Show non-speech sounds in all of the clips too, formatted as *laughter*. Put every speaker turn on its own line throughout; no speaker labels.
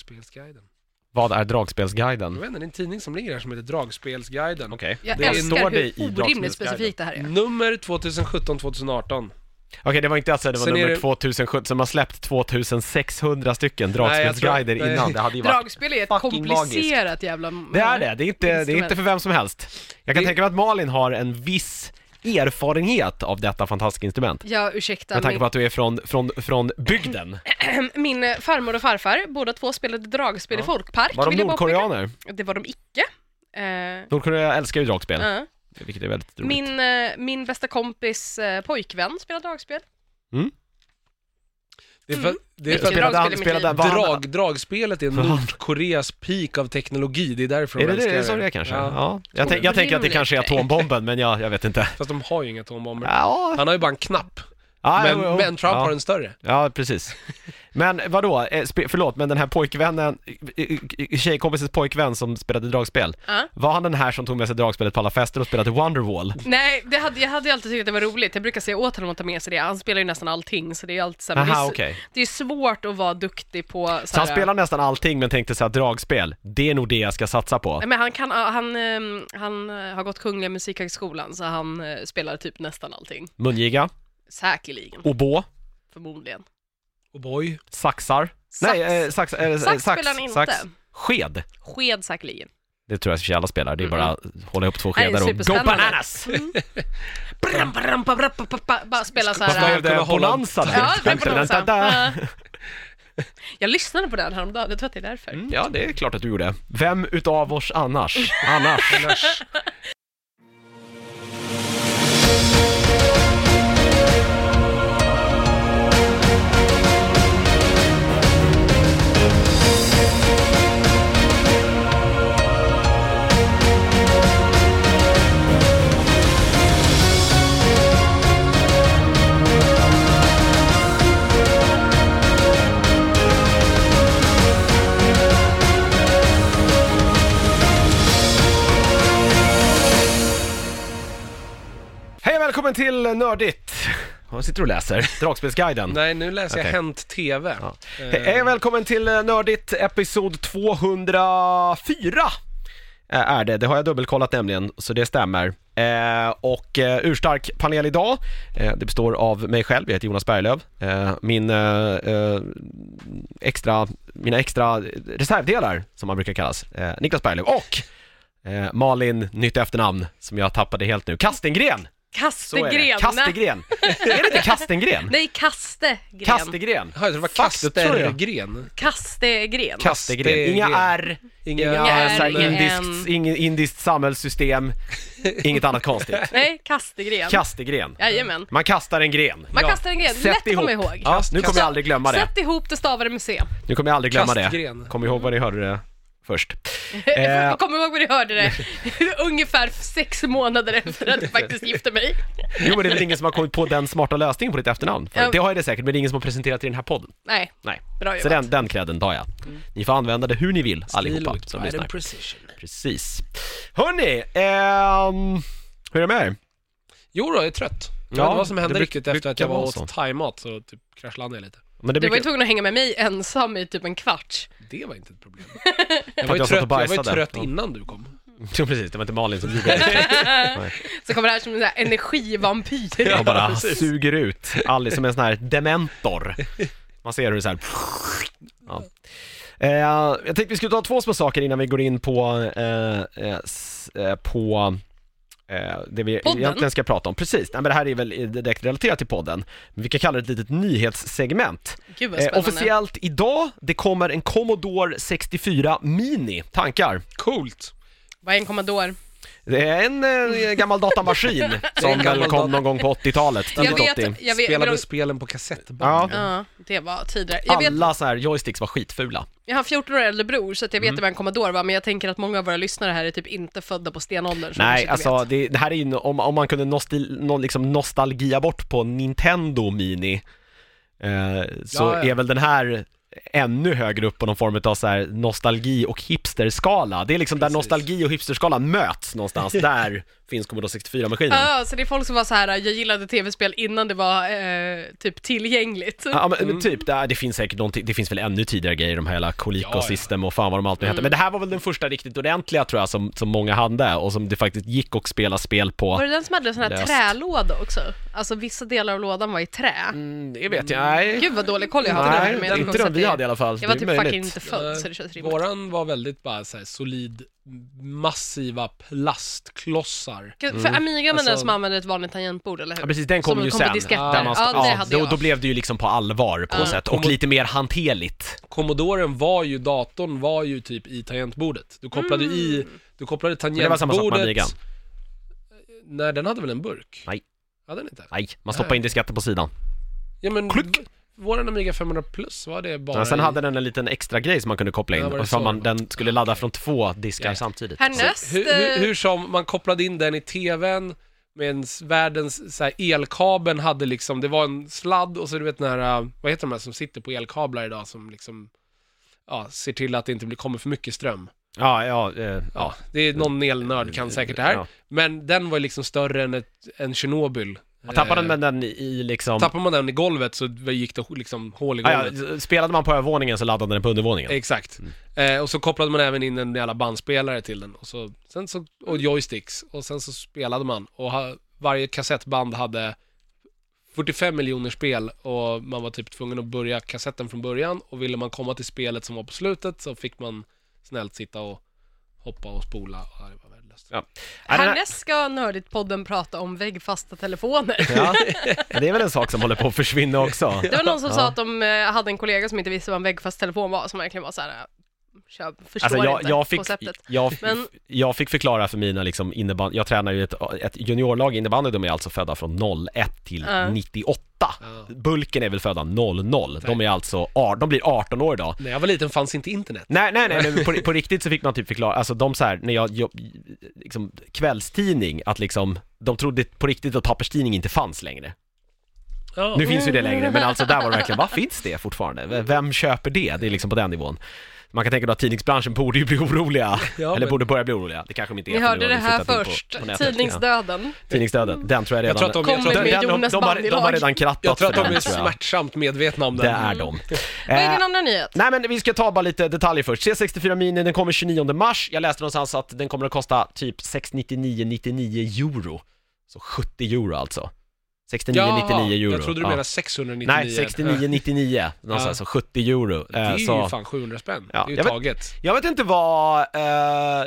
Dragspelsguiden.
Vad är
Jag
Dragspelsguiden?
vet inte, det är en tidning som ligger här som heter Dragspelsguiden.
Okej.
Jag
Det
älskar
når dig i Mm,
hur orimligt
Dragspelsguiden.
specifikt det här är.
Nummer 2017-2018.
Okej, det var inte alltså det var
Sen är
nummer
det-
2007, så de har släppt 2600 stycken
Nej, jag tror-
dragspelsguider
nej.
innan. Det hade ju varit...
Dragspel är ett
fucking
komplicerat jävla...
Det är det, det är inte, det är
Instrument.
inte för vem som helst. Jag kan
Det-
tänka mig att Malin har en viss erfarenhet av detta fantastiska instrument.
Ja, ursäkta.
Med tanke
Min,
på att du är från, från, från
*clears throat*
bygden.
min eh, farmor och farfar, båda två spelade dragspel i folkpark.
Var de
vill jag bara
nordkoreaner?
påpeka. Det var de icke. Eh,
Nordkorea älskar ju dragspel,
ja.
vilket är väldigt roligt.
Min, eh, min bästa kompis eh, pojkvän spelar dragspel.
Det är för,
Mm.
det är
Vilken
för att
dragspel i mitt liv.
var han-
drag, dragspelet är Nordkoreas peak av teknologi, det är därför de
Är det
älskar
det, som det är kanske?
Ja.
Ja. Jag, tänk, jag tänker att det
Orimligt.
kanske är atombomben, men jag, jag
*laughs*
vet inte.
Fast de har ju inga atombomber.
Ja,
Han har ju bara en knapp,
ja,
men,
jo, jo.
men Trump
ja.
har en större.
Ja, precis. Men vadå, eh, spe- förlåt, men den här pojkvännen, eh, eh, tjejkompisens pojkvän som spelade dragspel,
Ja.
var han den här som tog med sig dragspelet på alla fester och spelade Wonderwall?
Nej, det hade, jag hade ju alltid tyckt att det var roligt. Jag brukar säga åt honom att ta med sig det. Han spelar ju nästan allting, så det är alltid så här, men det, är,
Aha,
s-
okej.
det är svårt att vara duktig på... Så här,
Så han spelar nästan allting men tänkte såhär, dragspel, det är nog det jag ska satsa på.
Nej, men han, kan, han, ehm, han eh, har gått Kungliga Musikhögskolan, så han eh, spelar typ nästan allting.
Mungiga,
Säkerligen,
oboe,
förmodligen.
Och boy.
saxar. Nej, eh, sax, eh, eh,
Sax spelar han inte.
Sked.
Sked säkerligen.
Det tror jag att alla spelar, det är bara att hålla upp två
Nej, det är
skedar och go
superspännande.
bananas!
Mm. Bram, bram, bram, bram, bram, bram, Bara spela så
Vad
här...
blev
äh,
det? Bonanza? där?
Ja, det är på något sätt.
Da-da-da.
Ja. Jag lyssnade på den häromdagen, jag tror att det är därför.
Mm, Ja, det är klart att du gjorde. Vem utav oss annars? Annars?
Annars.
Hej och välkommen till Nördigt! Vad sitter du och läser? Dragspelsguiden?
Nej, nu läser jag
Okej.
Hänt TV.
Ja.
Eh,
Hej och välkommen till eh, Nördigt episod 204 eh, är det. Det har jag dubbelkollat nämligen, så det stämmer. Eh, och eh, urstark panel idag. Eh, det består av mig själv, jag heter Jonas Berglöf. Eh, min, eh, eh, extra, mina extra reservdelar, som man brukar kallas, eh, Niklas Berglöf och eh, Malin, nytt efternamn, som jag tappade helt nu, Kastengren! Så är det.
Kastegren.
Kastegren! är det inte
*laughs*
Kastengren?
Nej, Kastegren.
Kastengren!
jaha, det var
Fuck, det tror jag.
Kastergren.
Kastegren.
Kastegren. Inga R,
Inga,
inga
R,
så här
inga
indiskt,
N.
ing- indiskt samhällssystem, inget annat
*laughs*
konstigt.
Nej, Kastegren.
Kastegren.
Jajamän.
Man kastar en gren.
Man
Ja.
kastar en gren,
Sätt
lätt att komma
ihop.
ihåg.
Ja, nu kommer
Kast-
jag aldrig glömma det.
Sätt ihop det stavade med C.
Nu kommer jag aldrig glömma
Kastgren.
det. Kom ihåg vad ni hörde det först.
*laughs*
Eh.
Jag kommer ihåg när jag hörde
*laughs*
det ungefär sex månader efter att jag faktiskt gifte mig.
Jo men det är väl ingen som har kommit på den smarta lösningen på ditt efternamn? För
Ja.
Det har ju det säkert, men det är ingen som har presenterat i den här podden.
Nej,
Nej.
bra Mm.
Så
jobbat.
den, den credden tar jag. Ni får använda det hur ni vill allihopa som
Steel
lyssnar.
with precision.
Precis. Hörni, ehm, hur är det med er?
Jo då, jag är trött. Jag
Ja,
vet inte vad som
det
hände
bruk-
riktigt efter att jag
brukar
var
vara
åt thaimat, så typ kraschlandade jag lite.
Men det
Du var
brukar-
ju tvungen att hänga med mig ensam i typ en kvart.
Det var inte ett problem. *laughs*
att
Jag var ju trött,
jag satt och
jag var ju
bajsade.
trött
Ja.
innan du kom.
*laughs* Jo precis, det var inte Malin som gjorde det.
Så kommer det här som en sån här
*laughs*
energivampyr.
och bara
precis.
suger ut Alice som en sån här dementor. Man ser hur det så här. Ja. Eh, jag tänkte vi skulle ta två små saker innan vi går in på, eh, eh, s, eh, på eh, det vi
Podden?
egentligen ska prata om. Precis, Nej, men det här är väl direkt relaterat till podden. Men vi kan kalla det ett litet nyhetssegment.
Gud vad
Eh,
spännande.
officiellt idag, det kommer en Commodore 64 Mini. Tankar?
Coolt!
Vad är en kommandor?
Det är en eh, gammal
*laughs*
datamaskin som väl
gammal
kom
data-
någon gång på 80-talet,
Jag
tidigt 80.
vet, jag vet,
Spelade
vill
spelen på kassettband.
Ja.
Ja, det var tidigare. Jag, vet,
alla så här joysticks var skitfula.
jag har en 14 år äldre bror, så att jag vet
Mm.
vad en kommandor var, men jag tänker att många av våra lyssnare här är typ inte födda på stenåldern. så de kanske
Nej,
inte
alltså
vet.
det, det här är ju, no- om, om man kunde nostal, no, liksom nostalgia bort på Nintendo Mini, eh, så
Ja, ja.
är väl den här ännu högre upp på någon form av så här nostalgi och hipsterskala. Det är liksom där
Precis. *laughs*
nostalgi och hipsterskala möts någonstans, där finns Commodore 64-maskinen.
Ja, så det är folk som var så här, jag gillade tv-spel innan det var eh, typ tillgängligt.
Ja men
mm.
typ, det, det finns säkert någonting, det finns väl ännu tidigare grejer, de här hela Coleco
Ja, Mm. ja.
System och fan vad de allt nu hette. Men det här var väl den första riktigt ordentliga tror jag som, som många hade och som det faktiskt gick att spela spel på.
Var det den som hade sån här
Löst.
trälåda också? Alltså vissa delar av lådan var i trä.
Mm, det vet jag, nej.
Gud vad dålig koll jag har på det här
Nej,
med
inte den vi hade i alla fall.
Jag var
Det är
typ
möjligt.
fucking inte född så det känns rimligt.
Eh, Våran var väldigt bara så här solid, massiva plastklossar.
Gud,
Mm.
För Amiga var den
Alltså-
som använde ett vanligt tangentbord, eller hur?
Ja precis, den
Som
kom ju
kom
sen.
på disketter.
där man-
Ja, det hade
då,
jag.
då blev det ju liksom på allvar på
Ja. Mm.
sätt och lite mer hanterligt.
Commodoren var ju, datorn var ju typ i tangentbordet. Du kopplade i,
Mm.
du kopplade
Men det var samma sak med
tangentbordet. Eh,
Amigan.
Nej, den hade väl en burk?
Nej.
Hade den inte?
Nej, man stoppar in disketten på sidan.
Ja men,
Klick.
v- våran Amiga 500 plus var det bara
Ja, sen
i-
hade den en liten extra grej som man kunde koppla in,
Ja, var det
och så
så?
man, den skulle ladda från två diskar
Ja.
samtidigt.
Härnäst,
hur, hur,
eh,
hur som, man kopplade in den i tvn med världens så här, elkabeln hade liksom, det var en sladd och så du vet den här, äh, vad heter de här som sitter på elkablar idag som liksom, ja, ser till att det inte blir, kommer för mycket ström.
Ja, ja, eh, ja.
Ja, det är någon elnörd kan säkert det här.
Ja.
Men den var ju liksom större än ett, en Tjernobyl.
Och tappade
Eh,
man den i- i liksom...
Tappar man den i golvet så gick det liksom hål i
Ah,
golvet.
ja, spelade man på övervåningen så laddade den på undervåningen.
Exakt.
Mm.
Eh, och så kopplade man även in en jävla bandspelare till den. Och, så, sen så, och joysticks. Och sen så spelade man. Och ha, varje kassettband hade 45 miljoner spel och man var typ tvungen att börja kassetten från början. Och ville man komma till spelet som var på slutet så fick man snällt sitta och hoppa och spola. Och det var värdelöst.
Ja. Ja, den här-
Härnäst ska Nördigt-podden prata om väggfasta telefoner.
Ja, men det är väl en sak som håller på att försvinna
*laughs*
också.
Det var någon som
Ja.
sa att de eh, hade en kollega som inte visste vad en väggfast telefon var, som verkligen var så här, eh, "Kör, förstår
Alltså jag,
inte
jag, fick,
konceptet.
jag,
Men-
jag fick förklara för mina liksom innebandy, jag tränar ju ett, ett juniorlag i innebandy, de är alltså födda från 01 till
Ja.
98.
Ja.
Bulken är väl födda 00, de är alltså, ar- de blir 18 år idag.
När jag var liten fanns inte internet.
Nej, nej, nej, men på, på riktigt så fick man typ förklara, alltså de så här, när jag jobb, liksom, kvällstidning, att liksom, de trodde på riktigt att papperstidning inte fanns längre.
Ja.
Nu finns ju det längre, men alltså där var
*laughs*
det verkligen, vad finns det fortfarande? V- Vem köper det? Det är liksom på den nivån. Man kan tänka då att tidningsbranschen borde ju bli oroliga,
Ja,
eller
men-
borde börja bli oroliga. Det kanske de inte är
Ni
för nu
hörde
har
det
vi
här
flyttat in på-
först,
på nätet. Ja.
tidningsdöden.
Tidningsdöden, den tror jag redan...
Jag tror att de- jag tror att
Kommer
de-
den,
med
de, de,
Jonas
de, har, de har
Bandilag.
redan krattat
Jag tror att
för
de
den,
är
tror jag.
smärtsamt medvetna om
Det
det.
är de.
Vad är
Eh,
din andra nyhet?
Nej men vi ska ta bara lite detaljer först. C64 Mini, den kommer 29 mars. Jag läste någonstans att den kommer att kosta typ 699,99 euro. Så 70 euro alltså. 69,99 euro.
jag trodde du
Ja.
menade 699.
Nej, 69,99. Någonstans,
Ja.
så 70 euro.
Det är
Eh,
ju
så.
fan 700 spänn. det
Ja,
är
jag
ju
vet-
taget.
Jag vet inte vad, eh,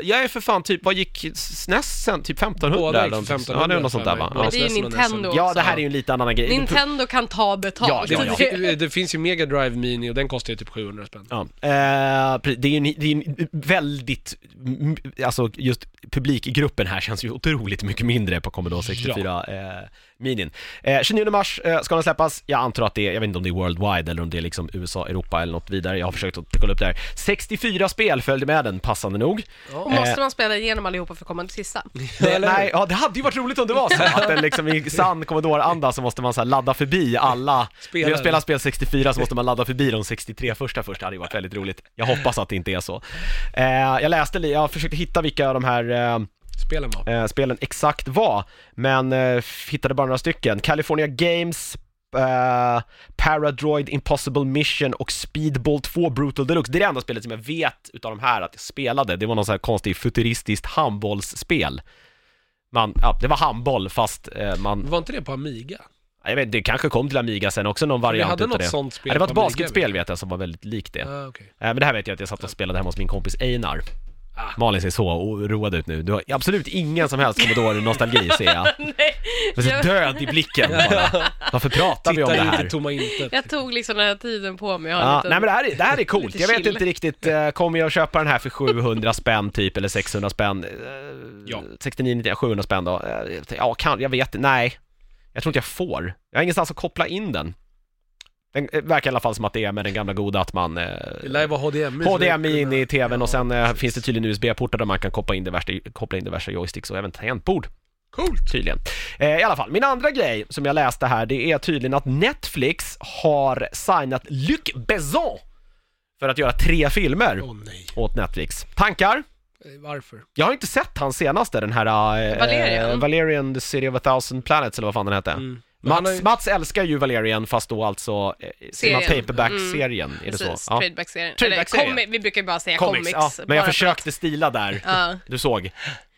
jag är för fan typ, vad gick SNES sen? Typ 1500?
Båda gick
eller
för
någonting.
1500
Ja, det är något sånt där va?
för mig.
Ja.
Men det är ju
SNES och
Nintendo.
ja, det här är ju en lite annan grej.
Nintendo kan ta betalt.
Ja, ja,
Det, det, det finns ju Mega Drive Mini och den kostar ju typ 700 spänn.
Ja, eh, pre- det är ju en, det är en väldigt, m- alltså just publikgruppen här känns ju otroligt mycket mindre på Commodore 64 eh, Minin. Eh, 29 mars eh, ska den släppas, jag antar att det är, jag vet inte om det är worldwide eller om det är liksom USA, Europa eller något vidare, jag har försökt att kolla upp det här. 64 spel följde med den, passande nog.
Och måste man spela igenom allihopa för att komma till sista?
Det, Eh. *laughs* nej, ja, det hade ju varit roligt om det var så, att den liksom i sann Commodore-anda så måste man så här ladda förbi alla,
Spelare.
när jag spelar spel 64 så måste man ladda förbi de 63 första först, det hade ju varit väldigt roligt. Jag hoppas att det inte är så. Eh, jag läste, li- jag försökte hitta vilka av de här eh,
Spelen var.
eh, spelen exakt var, men eh, f- hittade bara några stycken. California Games, eh, Paradroid Impossible Mission och Speedball 2 Brutal Deluxe. Det är det enda spelet som jag vet utav de här att jag spelade. Det var någon sån här konstig futuristiskt handbollsspel. Man, ja, det var handboll fast eh, man,
Var inte det på Amiga?
jag vet, det kanske kom till Amiga sen också någon variant
hade
utav
något
det.
sånt spel
ja, det var
på
ett
Amiga,
basketspel vet jag som var väldigt likt det.
Ja, ah, okej.
Eh, Men det här vet jag att jag satt och spelade hemma hos min kompis Einar.
Ah.
Malin ser så oroad ut nu. Du har absolut ingen som helst Commodore-nostalgi ser jag.
Nej,
Jag är
jag-
så död i
*laughs*
blicken bara. Varför pratar vi om det
Titta
här?
inte tomma intet.
Jag tog liksom den här tiden på mig. Jag har en
Ja,
liten-
nej men det här, är, det här är coolt,
Lite
jag vet
chill.
inte riktigt, eh, kommer jag att köpa den här för 700 spänn typ eller 600 spänn? Eh,
Ja.
69, 90, 700 spänn då? Eh, Ja, kan, jag vet nej. Jag tror inte jag får. Jag har ingenstans att koppla in den. Den eh, verkar i alla fall som att det är med den gamla goda att man eh,
Det lär ju vara HDMI. så
HDMI
det-
in i tvn
Ja,
och sen eh,
precis.
finns det tydligen USB-portar där man kan koppla in diverse, koppla in diverse joysticks och även tangentbord.
Coolt!
Tydligen. Eh, I alla fall, min andra grej som jag läste här, det är tydligen att Netflix har signat Luc Besson för att göra tre filmer
Åh nej.
åt Netflix. Tankar?
Eh, Varför?
Jag har inte sett hans senaste, den här... eh,
Valerian.
eh, Valerian, The City of a Thousand Planets, eller vad fan den hette.
Mm. Men han
Mats,
har ju-
Mats älskar ju Valerian, fast då alltså eh,
Serien. Mm.
paperback-serien, är det så?
Precis,
Ja.
tradeback-serien.
Tradeback-serien.
Eller, comi- vi brukar ju bara säga
Comics,
comics.
ja. Men jag
bara för-
försökte stila där.
Ja,
Du såg.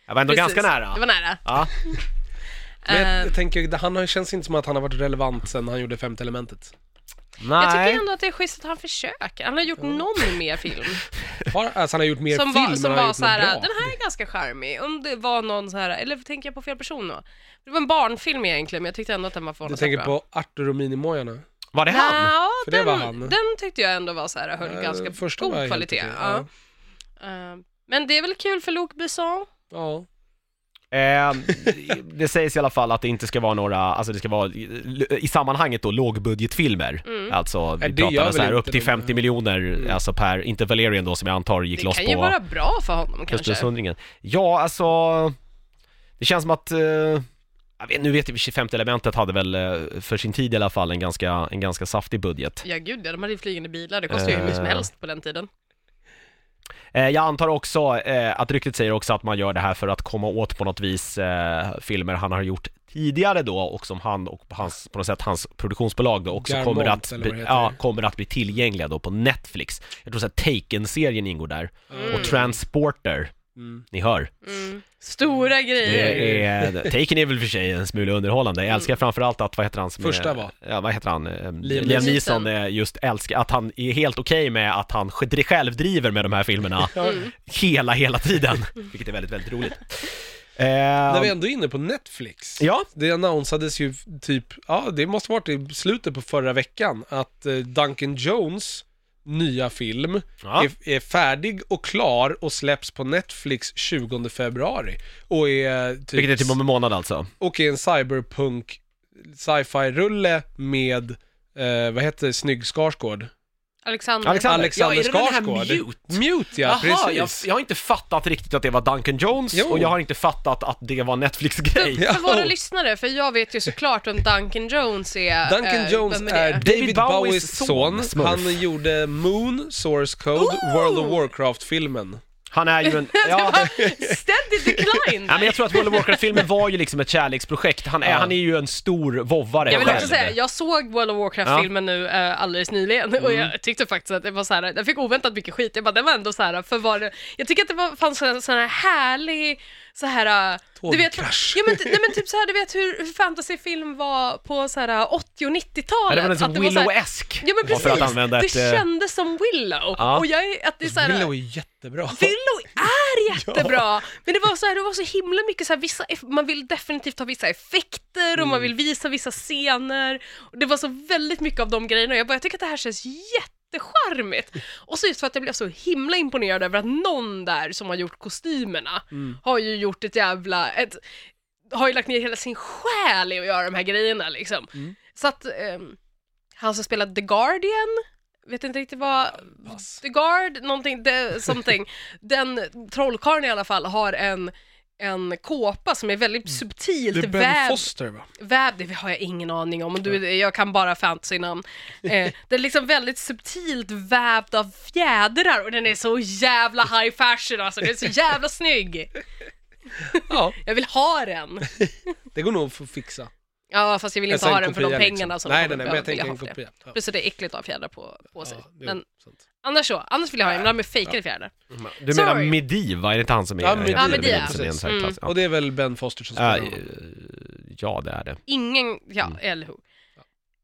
Jag var ändå
precis.
ganska nära.
Det var nära.
Ja.
Men jag,
Ehm,
jag tänker, det- han har, känns inte som att han har varit relevant sen han gjorde femte elementet.
Nej.
Jag tycker ändå att det är schysst att han försöker. Han har gjort någon
*laughs*
mer film.
Har, alltså han har gjort mer
som
film
var,
än
som
han har
var
gjort
så här,
något
den
bra.
här är ganska charmig. Om det var någon så här, eller tänker jag på fel person då? Det var en barnfilm egentligen, men jag tyckte ändå att den var
Du
förhållandsvis
tänker
bra.
på Arthur och Minimoja nu?
Var det han?
Ja,
För det
den,
var han.
den tyckte jag ändå var så här, höll
Eh,
ganska
första var
god
helt
kvalitet.
okej,
Ja. Ehm, Men det är väl kul för Luc Besson?
Ja.
Eh, det sägs i alla fall att det inte ska vara några, alltså det ska vara i- i sammanhanget då lågbudgetfilmer.
Mm.
Alltså vi
Nej, det
pratar
gör
väl så här
väl
upp
inte
till
de- Mm.
50 miljoner, alltså per, inte Valerian då som jag antar gick
Det
loss
kan ju
på
vara bra för honom kanske.
Östersundringen. Ja, alltså det känns som att eh, jag vet, nu vet jag, 25 elementet hade väl eh, för sin tid i alla fall en ganska, en ganska saftig budget.
Ja gud ja, de hade ju flygande bilar, det kostade ju hur mycket som
Eh.
helst på den tiden.
Eh, jag antar också eh, att ryktet säger också att man gör det här för att komma åt på något vis eh, filmer han har gjort tidigare då och som han och hans, på något sätt hans produktionsbolag då också
Garmont,
kommer att,
eller
bli-
vad det heter.
ja, kommer att bli tillgängliga då på Netflix. Jag tror så här Taken-serien ingår där
Mm.
och Transporter,
Mm.
ni hör.
Stora grejer.
Det är, Taken är väl för sig en smula underhållande. Jag älskar framförallt att, vad heter han som
Mm. Första
är,
var?
Ja, vad heter han? Eh, Liam
Neeson.
Neeson eh, just älskar, att han är helt okej med att han sj- själv driver med de
*laughs*
här filmerna hela, hela tiden. Vilket är väldigt, väldigt roligt. Eh,
När vi ändå är inne på Netflix.
Ja,
Det annonsades ju typ, ja det måste varit i slutet på förra veckan, att eh, Duncan Jones nya film
Ja.
är, är färdig och klar och släpps på Netflix 20 februari. Och är eh, typ,
vilket är typ om en månad alltså.
och är en cyberpunk sci-fi-rulle med, eh, vad heter det, Snygg Skarsgård?
Alexander.
Alexander.
Alexander
ja, är det den här
Skarsgård.
Mute?
Mute ja,
Jaha, jag,
precis.
jag har inte fattat riktigt att det var Duncan Jones
Jo.
och jag har inte fattat att det var Netflix-grej.
*laughs* Ja.
För våra lyssnare, för jag vet ju såklart vem Duncan Jones är.
Duncan
Eh,
Jones
vem
är
det?
David
David
Bowies
Bowies
son.
son, Smurf.
Han gjorde Moon, Source Code, World of Warcraft-filmen.
Han är ju en... Ja, *laughs*
Steady decline!
Ja, men jag tror att World of
*laughs*
Warcraft-filmen var ju liksom ett kärleksprojekt. Han är, han är ju en stor vovvare
Jag vill
själv.
också säga, jag såg World of Warcraft-filmen nu eh, alldeles nyligen och
Mm.
jag tyckte faktiskt att det var så här, den fick oväntat mycket skit. Jag bara, den var ändå så här, för var det, jag tycker att det var, fanns en sån här härlig, så här, eh, du vet,
Tågkrasch.
ja, men, t- nej, men typ så här, du vet hur, hur fantasyfilm var på så här 80 och 90-talet.
Ja, det var
Att
nästan
det var så här-
Willow-esk.
Ja men
För att
precis,
använda
det
ett, eh,
kändes som Willow.
Ja.
Och jag är, att
Alltså,
det är så här,
Willow är jättebra.
Willow är jättebra! Men det var, så här, det var så himla mycket så här, vissa, eff- man vill definitivt ha vissa effekter och man vill visa vissa scener. Och det var så väldigt mycket av de grejerna och jag bara, jag tycker att det här känns jättecharmigt. Och så just för att jag blev så himla imponerad över att någon där som har gjort kostymerna har ju gjort ett jävla, ett, har ju lagt ner hela sin själ i att göra de här grejerna liksom. Så att ehm, han som spelade The Guardian, vet inte riktigt vad,
Pass.
The Guard, någonting, the, something. Den trollkarlen i alla fall har en en kåpa som är väldigt subtilt
Mm. Det är Ben
vävd
Foster va?
väv, det har jag ingen aning om, och du, jag kan
*laughs*
bara fantasynamn. Eh, den är liksom väldigt subtilt vävd av fjädrar och den är så jävla high fashion alltså, den är så jävla snygg.
*laughs* Ja,
Jag vill ha den.
det går nog att få fixa.
Ja, fast jag vill inte
Alltså,
ha
en
den för de
kopia,
pengarna
liksom.
som
Nej, nej,
de
nej,
kommer
men jag
behöva
tänker
vilja ha
en
för det.
kopia. Ja.
Plus att det är äckligt att ha fjädrar på, på sig.
Ja, det är
Men
sant.
annars så, annars vill jag ha ibland med fejkade fjädrar.
Du
Sorry.
menar Mediva, är det inte han som är...
Ja, Medivh,
Medivh,
Medivh,
som är en sån här
precis. Mm.
klass. Ja.
Och det är väl Ben Foster som
Ja,
spelar honom.
eh, ja, det är det.
Ingen, ja,
Mm.
eller hur.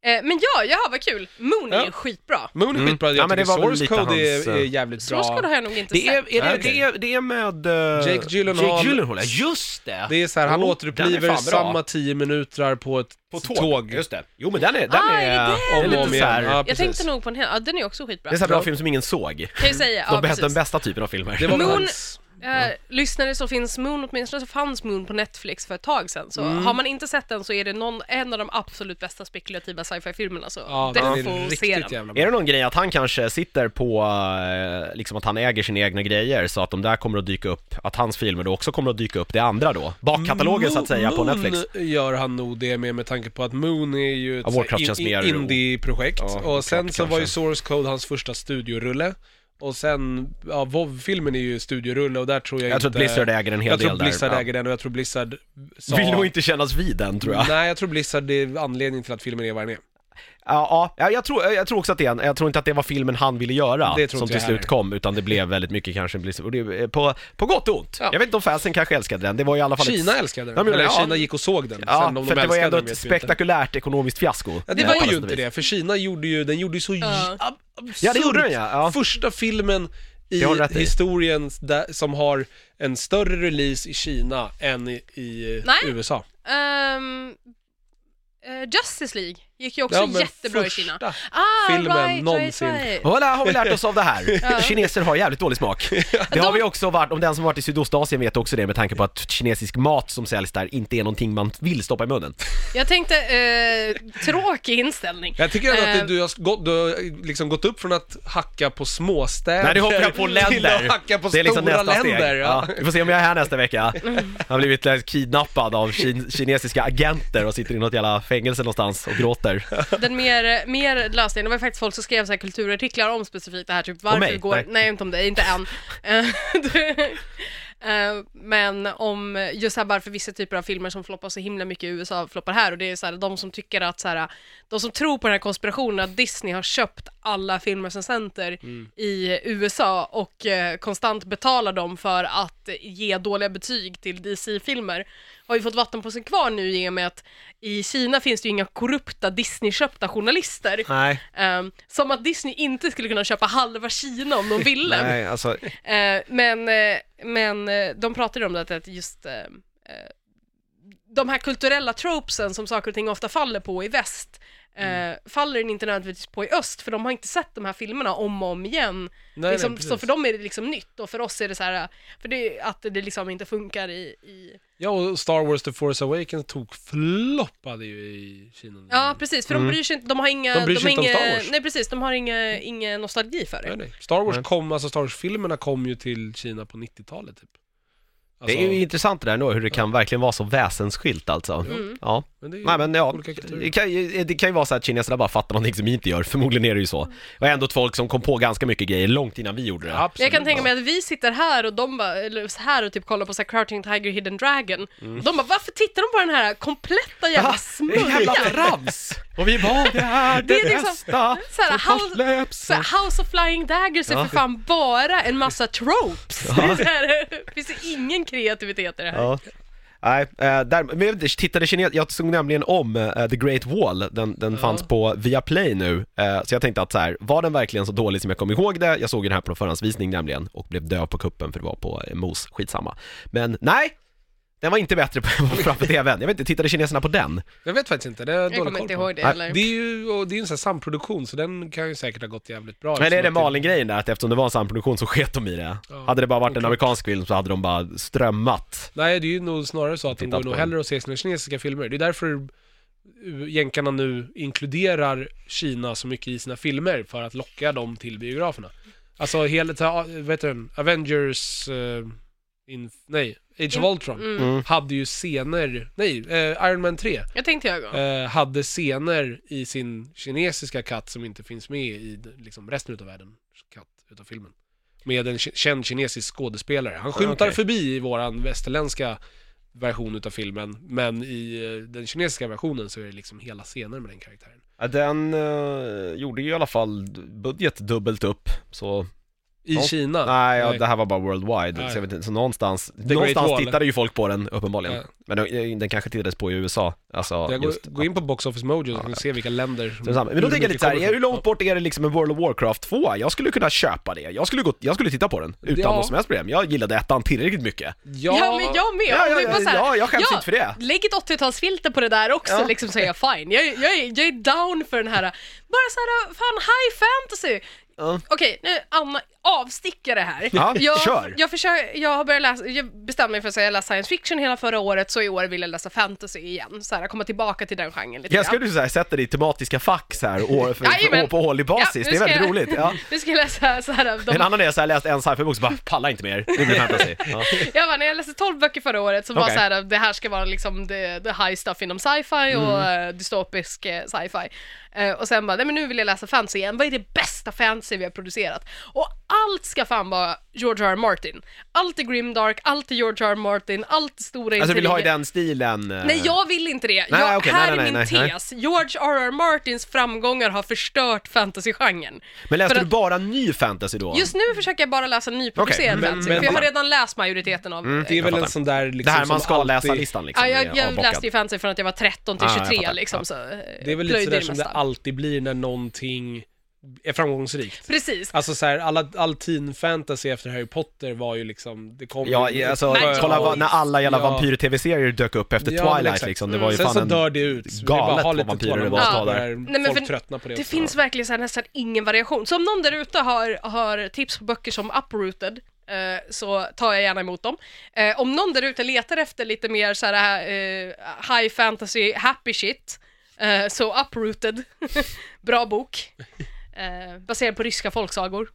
Eh, Men ja, jaha vad kul! Moon är
Ja.
ju skitbra.
Moon är
Mm.
skitbra, jag
Ja, men
tycker
det var väl
Source
lite
Code
hans,
är,
eh,
är jävligt
Source Code
bra.
har jag nog inte
Det
sett.
är, är, det,
okej.
det, är, det är med... eh,
Jake Gyllenhaal.
Jake Gyllenhaal, ja, just det!
Det är så här, han
Jo, den är
återuppliver
fan bra.
samma tio minuter på ett
På
tåg.
tåg. Just det. Jo men den är, den
Ah,
är,
är det
den
Om och
är
om
lite så här,
igen. Ja,
Jag
precis.
tänkte nog på en hel, ja den är också
Det
skitbra.
är en sån här bra film som ingen såg.
Kan jag säga,
De bästa, den
ja precis.
bästa typen av filmer.
Det var väl
Moon-
hans.
Eh, lyssnare så finns Moon, åtminstone så fanns Moon på Netflix för ett tag sedan. Så
Mm.
har man inte sett den så är det någon, en av de absolut bästa spekulativa sci-fi-filmerna så
Ja, den
den får
är
se
riktigt
den.
jävla bra.
Är det någon grej att han kanske sitter på, eh, liksom att han äger sina egna grejer så att de där kommer att dyka upp, att hans filmer då också kommer att dyka upp, det andra då? Bakkatalogen så att säga på
Moon
Netflix.
gör han nog det med, med tanke på att Moon är ju ett
Ja, Warcraft
så här
känns
in-
mer-
indie-projekt.
Ja,
och sen
klart,
så var ju
kanske.
Source Code hans första studiorulle. Och sen, ja, WoW filmen är ju studiorulle och där tror jag,
Jag
inte...
tror att Blizzard äger en hel
Jag
del
tror Blizzard
där.
äger den och jag tror Blizzard sa...
Vill nog inte kännas vid den tror jag.
Nej, jag tror Blizzard är anledningen till att filmen är vad den är.
Ja, ja jag, tror, jag tror också att det är en, jag tror inte att det var filmen han ville göra
Det tror
som
inte
till
jag
slut
heller.
kom, utan det blev väldigt mycket kanske Blizzard. Och det, är på, på gott och ont.
Ja.
Jag vet inte om fansen kanske älskade den, det var i alla fall ett-
Kina älskade
Ja,
den.
men-
Eller
ja.
Kina gick och såg den.
Ja,
Sen om
för
de
det var
älskade
ändå
den
ett
vet vi inte.
spektakulärt ekonomiskt fiasko.
Ja, det
eh,
var
på
ju
något
inte
vis.
det, för Kina gjorde ju, den gjorde ju så
Ja.
ja. ab- absurd.
Ja, det gjorde den, ja. Ja.
Första filmen i
Det har du rätt i.
historien där, som har en större release i Kina än i, i
Nej.
USA.
Ehm, eh, Justice League gick ju också
Ja, men
jättebra i
första
Kina. Ah,
filmen någonsin.
Och där har vi lärt oss av det här. Kineser har jävligt dålig smak. Det har vi också varit, om den som varit i Sydostasien vet också det med tanke på att kinesisk mat som säljs där inte är någonting man vill stoppa i munnen.
Jag tänkte, eh, tråkig inställning.
Jag tycker ändå att
Eh,
det, du har gått, du har liksom gått upp från att hacka på småstäder
Nej, du hoppar jag på
till att
länder. liksom
hacka på stora länder. Ja. Mm.
Ja, vi får se om jag är här nästa vecka. Jag har blivit eh, kidnappad av kin- kinesiska agenter och sitter i något jävla fängelse någonstans och gråter.
Den mer, mer lösningen, det var faktiskt folk som skrev så här kulturartiklar om specifikt det här, typ varför
mig?
går...
Nej.
Nej. inte om dig, inte än. *laughs* Eh, eh, Men om just så här, varför vissa typer av filmer som floppar så himla mycket i USA floppar här och det är så här, de som tycker att så här, de som tror på den här konspirationen att Disney har köpt alla filmer som center
Mm.
i USA och eh, konstant betalar dem för att ge dåliga betyg till DC-filmer har ju fått vatten på sin kvarn nu i och med att i Kina finns det ju inga korrupta Disney-köpta journalister.
Nej,
Ehm, som att Disney inte skulle kunna köpa halva Kina
*laughs*
om de ville.
nej alltså,
Eh, men eh, men eh, de pratade om det att- att just eh, eh, de här kulturella tropesen som saker och ting ofta faller på i väst eh, faller den inte nödvändigtvis på i öst för de har inte sett de här filmerna om och om igen.
Nej,
liksom,
nej,
så
precis.
för dem är det liksom nytt och för oss är det så här eh, för det, att det liksom inte funkar i, i...
ja, och Star Wars The Force Awakens tog floppade ju i Kina.
Ja precis, för de bryr sig inte, Mm. de har inga...
De bryr sig
har
inte om
inga,
Star Wars.
Nej precis, de har inga, inga nostalgi för det.
Nej, nej. Star Wars
Nej.
kom, alltså Star Wars-filmerna kom ju till Kina på 90-talet typ. Alltså,
det är ju intressant det där nu hur det kan verkligen vara så väsensskilt alltså.
Mm.
Ja.
men det är ju
Nej men ja,
olika kulturer.
det kan, ju- det kan ju vara så att kineserna bara fattar någonting som vi inte gör, förmodligen är det ju
Mm.
så. Och ändå ett folk som kom på ganska mycket grejer långt innan vi gjorde det.
Absolut.
Jag kan tänka mig att vi sitter här och de bara, eller så här och typ kollar på så här Crouching Tiger Hidden Dragon.
Mm.
De bara, varför tittar de på den här kompletta jävla smörjan?
trams! Och vi bara, det
*laughs*
här
Det är liksom- så här,
som
how-
fastsläpps.
Så här, House of Flying Daggers är
Ja.
för fan bara en massa tropes. *laughs* Det är så här, det finns ju ingen kreativitet i det här.
Ja. Nej, eh, där, men jag vet inte, tittade kines, jag såg nämligen om eh, The Great Wall, den, den fanns på Viaplay nu, eh, så jag tänkte att så här, var den verkligen så dålig som jag kom ihåg det? Jag såg den här på förhandsvisning nämligen och blev döv på kuppen för det var på eh, mos, skitsamma. Men nej, den var inte bättre på,
*laughs*
*laughs* framför tvn, jag vet inte, tittade kineserna på den?
Jag vet faktiskt inte, det är
Jag kommer inte ihåg det
Nej,
heller.
Det är ju och det är ju en sån här samproduktion, så den kan ju säkert ha gått jävligt bra.
Eller är det
eftersom att
Malin-grejen där, att eftersom det var en samproduktion så sket de i det?
liksom Ja.
Hade det bara varit en
Oklart.
amerikansk film så hade de bara strömmat.
Nej, det är ju nog snarare så att de
Tittat
går nog
på
hellre och ser sina kinesiska filmer. Det är därför eh, jänkarna nu inkluderar Kina så mycket i sina filmer, för att locka dem till biograferna. Alltså hela, ta- vad heter den, Avengers, eh, in, nej, Age of Ultron,
Mm.
Mm.
hade ju scener, nej, eh, Iron Man 3,
Jag tänkte jag gång.
eh, hade scener i sin kinesiska katt som inte finns med i d- liksom, resten utav världen katt utav filmen. Med en ki- känd kinesisk skådespelare. Han skymtar
Ah, Okej.
förbi i våran västerländska version utav filmen, men i eh, den kinesiska versionen så är det liksom hela scener med den karaktären.
Ja, Den eh, gjorde ju i alla fall budget dubbelt upp, så
I
Ja.
Kina.
Nej, ja, det här var bara worldwide,
Nej.
så jag vet inte, så någonstans, någonstans
Great Wall.
tittade ju folk på den uppenbarligen.
Ja.
Men den, den kanske tittades på i USA, alltså
jag går,
just.
gå in på Box Office Mojo så kan du se vilka länder som...
Så det är samma. Men då
hur
tänker jag
mycket
lite såhär,
kommer
hur
ifrån.
långt bort är det liksom en World of Warcraft 2? Jag skulle kunna köpa det, jag skulle, gå, jag skulle titta på den utan
Ja.
något som helst problem. Jag gillade ettan tillräckligt mycket.
Ja,
Ja, men jag med.
Ja,
Om
ja,
vi bara
ja,
så här-
ja, jag skäms inte för det.
Lägg ett 80-talsfilter på det där också,
Ja.
liksom, så är jag fine. Jag, jag, är, jag är down för den här, bara så här, fan high fantasy.
Ja.
Okej, nu Anna, avstickare här.
Ja,
jag,
kör.
Jag, försöker, jag har börjat läsa, jag bestämde mig för att säga jag läste science fiction hela förra året, så i år vill jag läsa fantasy igen. Så här, komma tillbaka till den genren lite
Jag skulle du såhär sätta dig i tematiska fack såhär, år för,
Jajamän.
år på årlig basis,
Ja,
det
nu
är väldigt
ska jag-
roligt. Ja.
*laughs* Nu ska jag läsa så här, de
En annan är såhär, läst en sci-fi-bok så bara, pallar inte mer, nu blir det fantasy. Ja. Alltså,
Jag bara, när jag läste 12 böcker förra året som var
Okej.
så här, det här ska vara liksom the, the high stuff inom sci-fi och
Mm.
eh, dystopisk eh, sci-fi. Eh, och sen bara, nej men nu vill jag läsa fantasy igen, vad är det bästa fantasy vi har producerat? Och allt ska fan vara George R. R. Martin. Allt är grimdark, allt är George R. R. Martin, allt är stora
Alltså vill du ha i
intriger.
den stilen? eh,
Nej, jag vill inte det.
Nej,
jag,
okej, nej,
här
nej,
är min
nej, nej.
tes. George R. R. Martins framgångar har förstört fantasygenren.
Men läste
för
du
att-
bara ny fantasy då?
Just nu försöker jag bara läsa nyproducerad
Okej, men- Mm,
fantasy,
men-
för jag har redan läst majoriteten av eh,
Det är
jag
väl en
fattar.
sån där liksom
det här
som
man ska
alltid-
läsa-listan liksom?
Ja, jag
är
jag
avbockad.
läste ju fantasy från att jag var 13 till
Ah, jag
23
fattar.
liksom,
Ja.
så eh,
Det är väl lite
plöjde
sådär
i det
som det
mesta.
alltid blir när någonting är framgångsrikt.
Precis.
Alltså så här, alla, all teen fantasy efter Harry Potter var ju liksom, det kom ju-
Ja, alltså
Nej,
kolla
ja.
vad, när alla jävla
Ja.
vampyr-tv-serier dök upp efter
Ja, men
Twilight
exakt. Mm.
liksom, det var ju
Sen
fan
så
en...
dör det ut. Så det är bara
galet
att ha
vad
lite
vampyrer det
tålamod
var
så
då där.
börjar
Nej, men
folk
för-
tröttna på det
Det
också.
finns verkligen så här nästan ingen variation. Så om någon där ute har, har tips på böcker som Uprooted eh, så tar jag gärna emot dem. Eh, om någon där ute letar efter lite mer så här eh, high fantasy, happy shit, eh, så Uprooted, *laughs* bra bok, eh, baserad på ryska folksagor.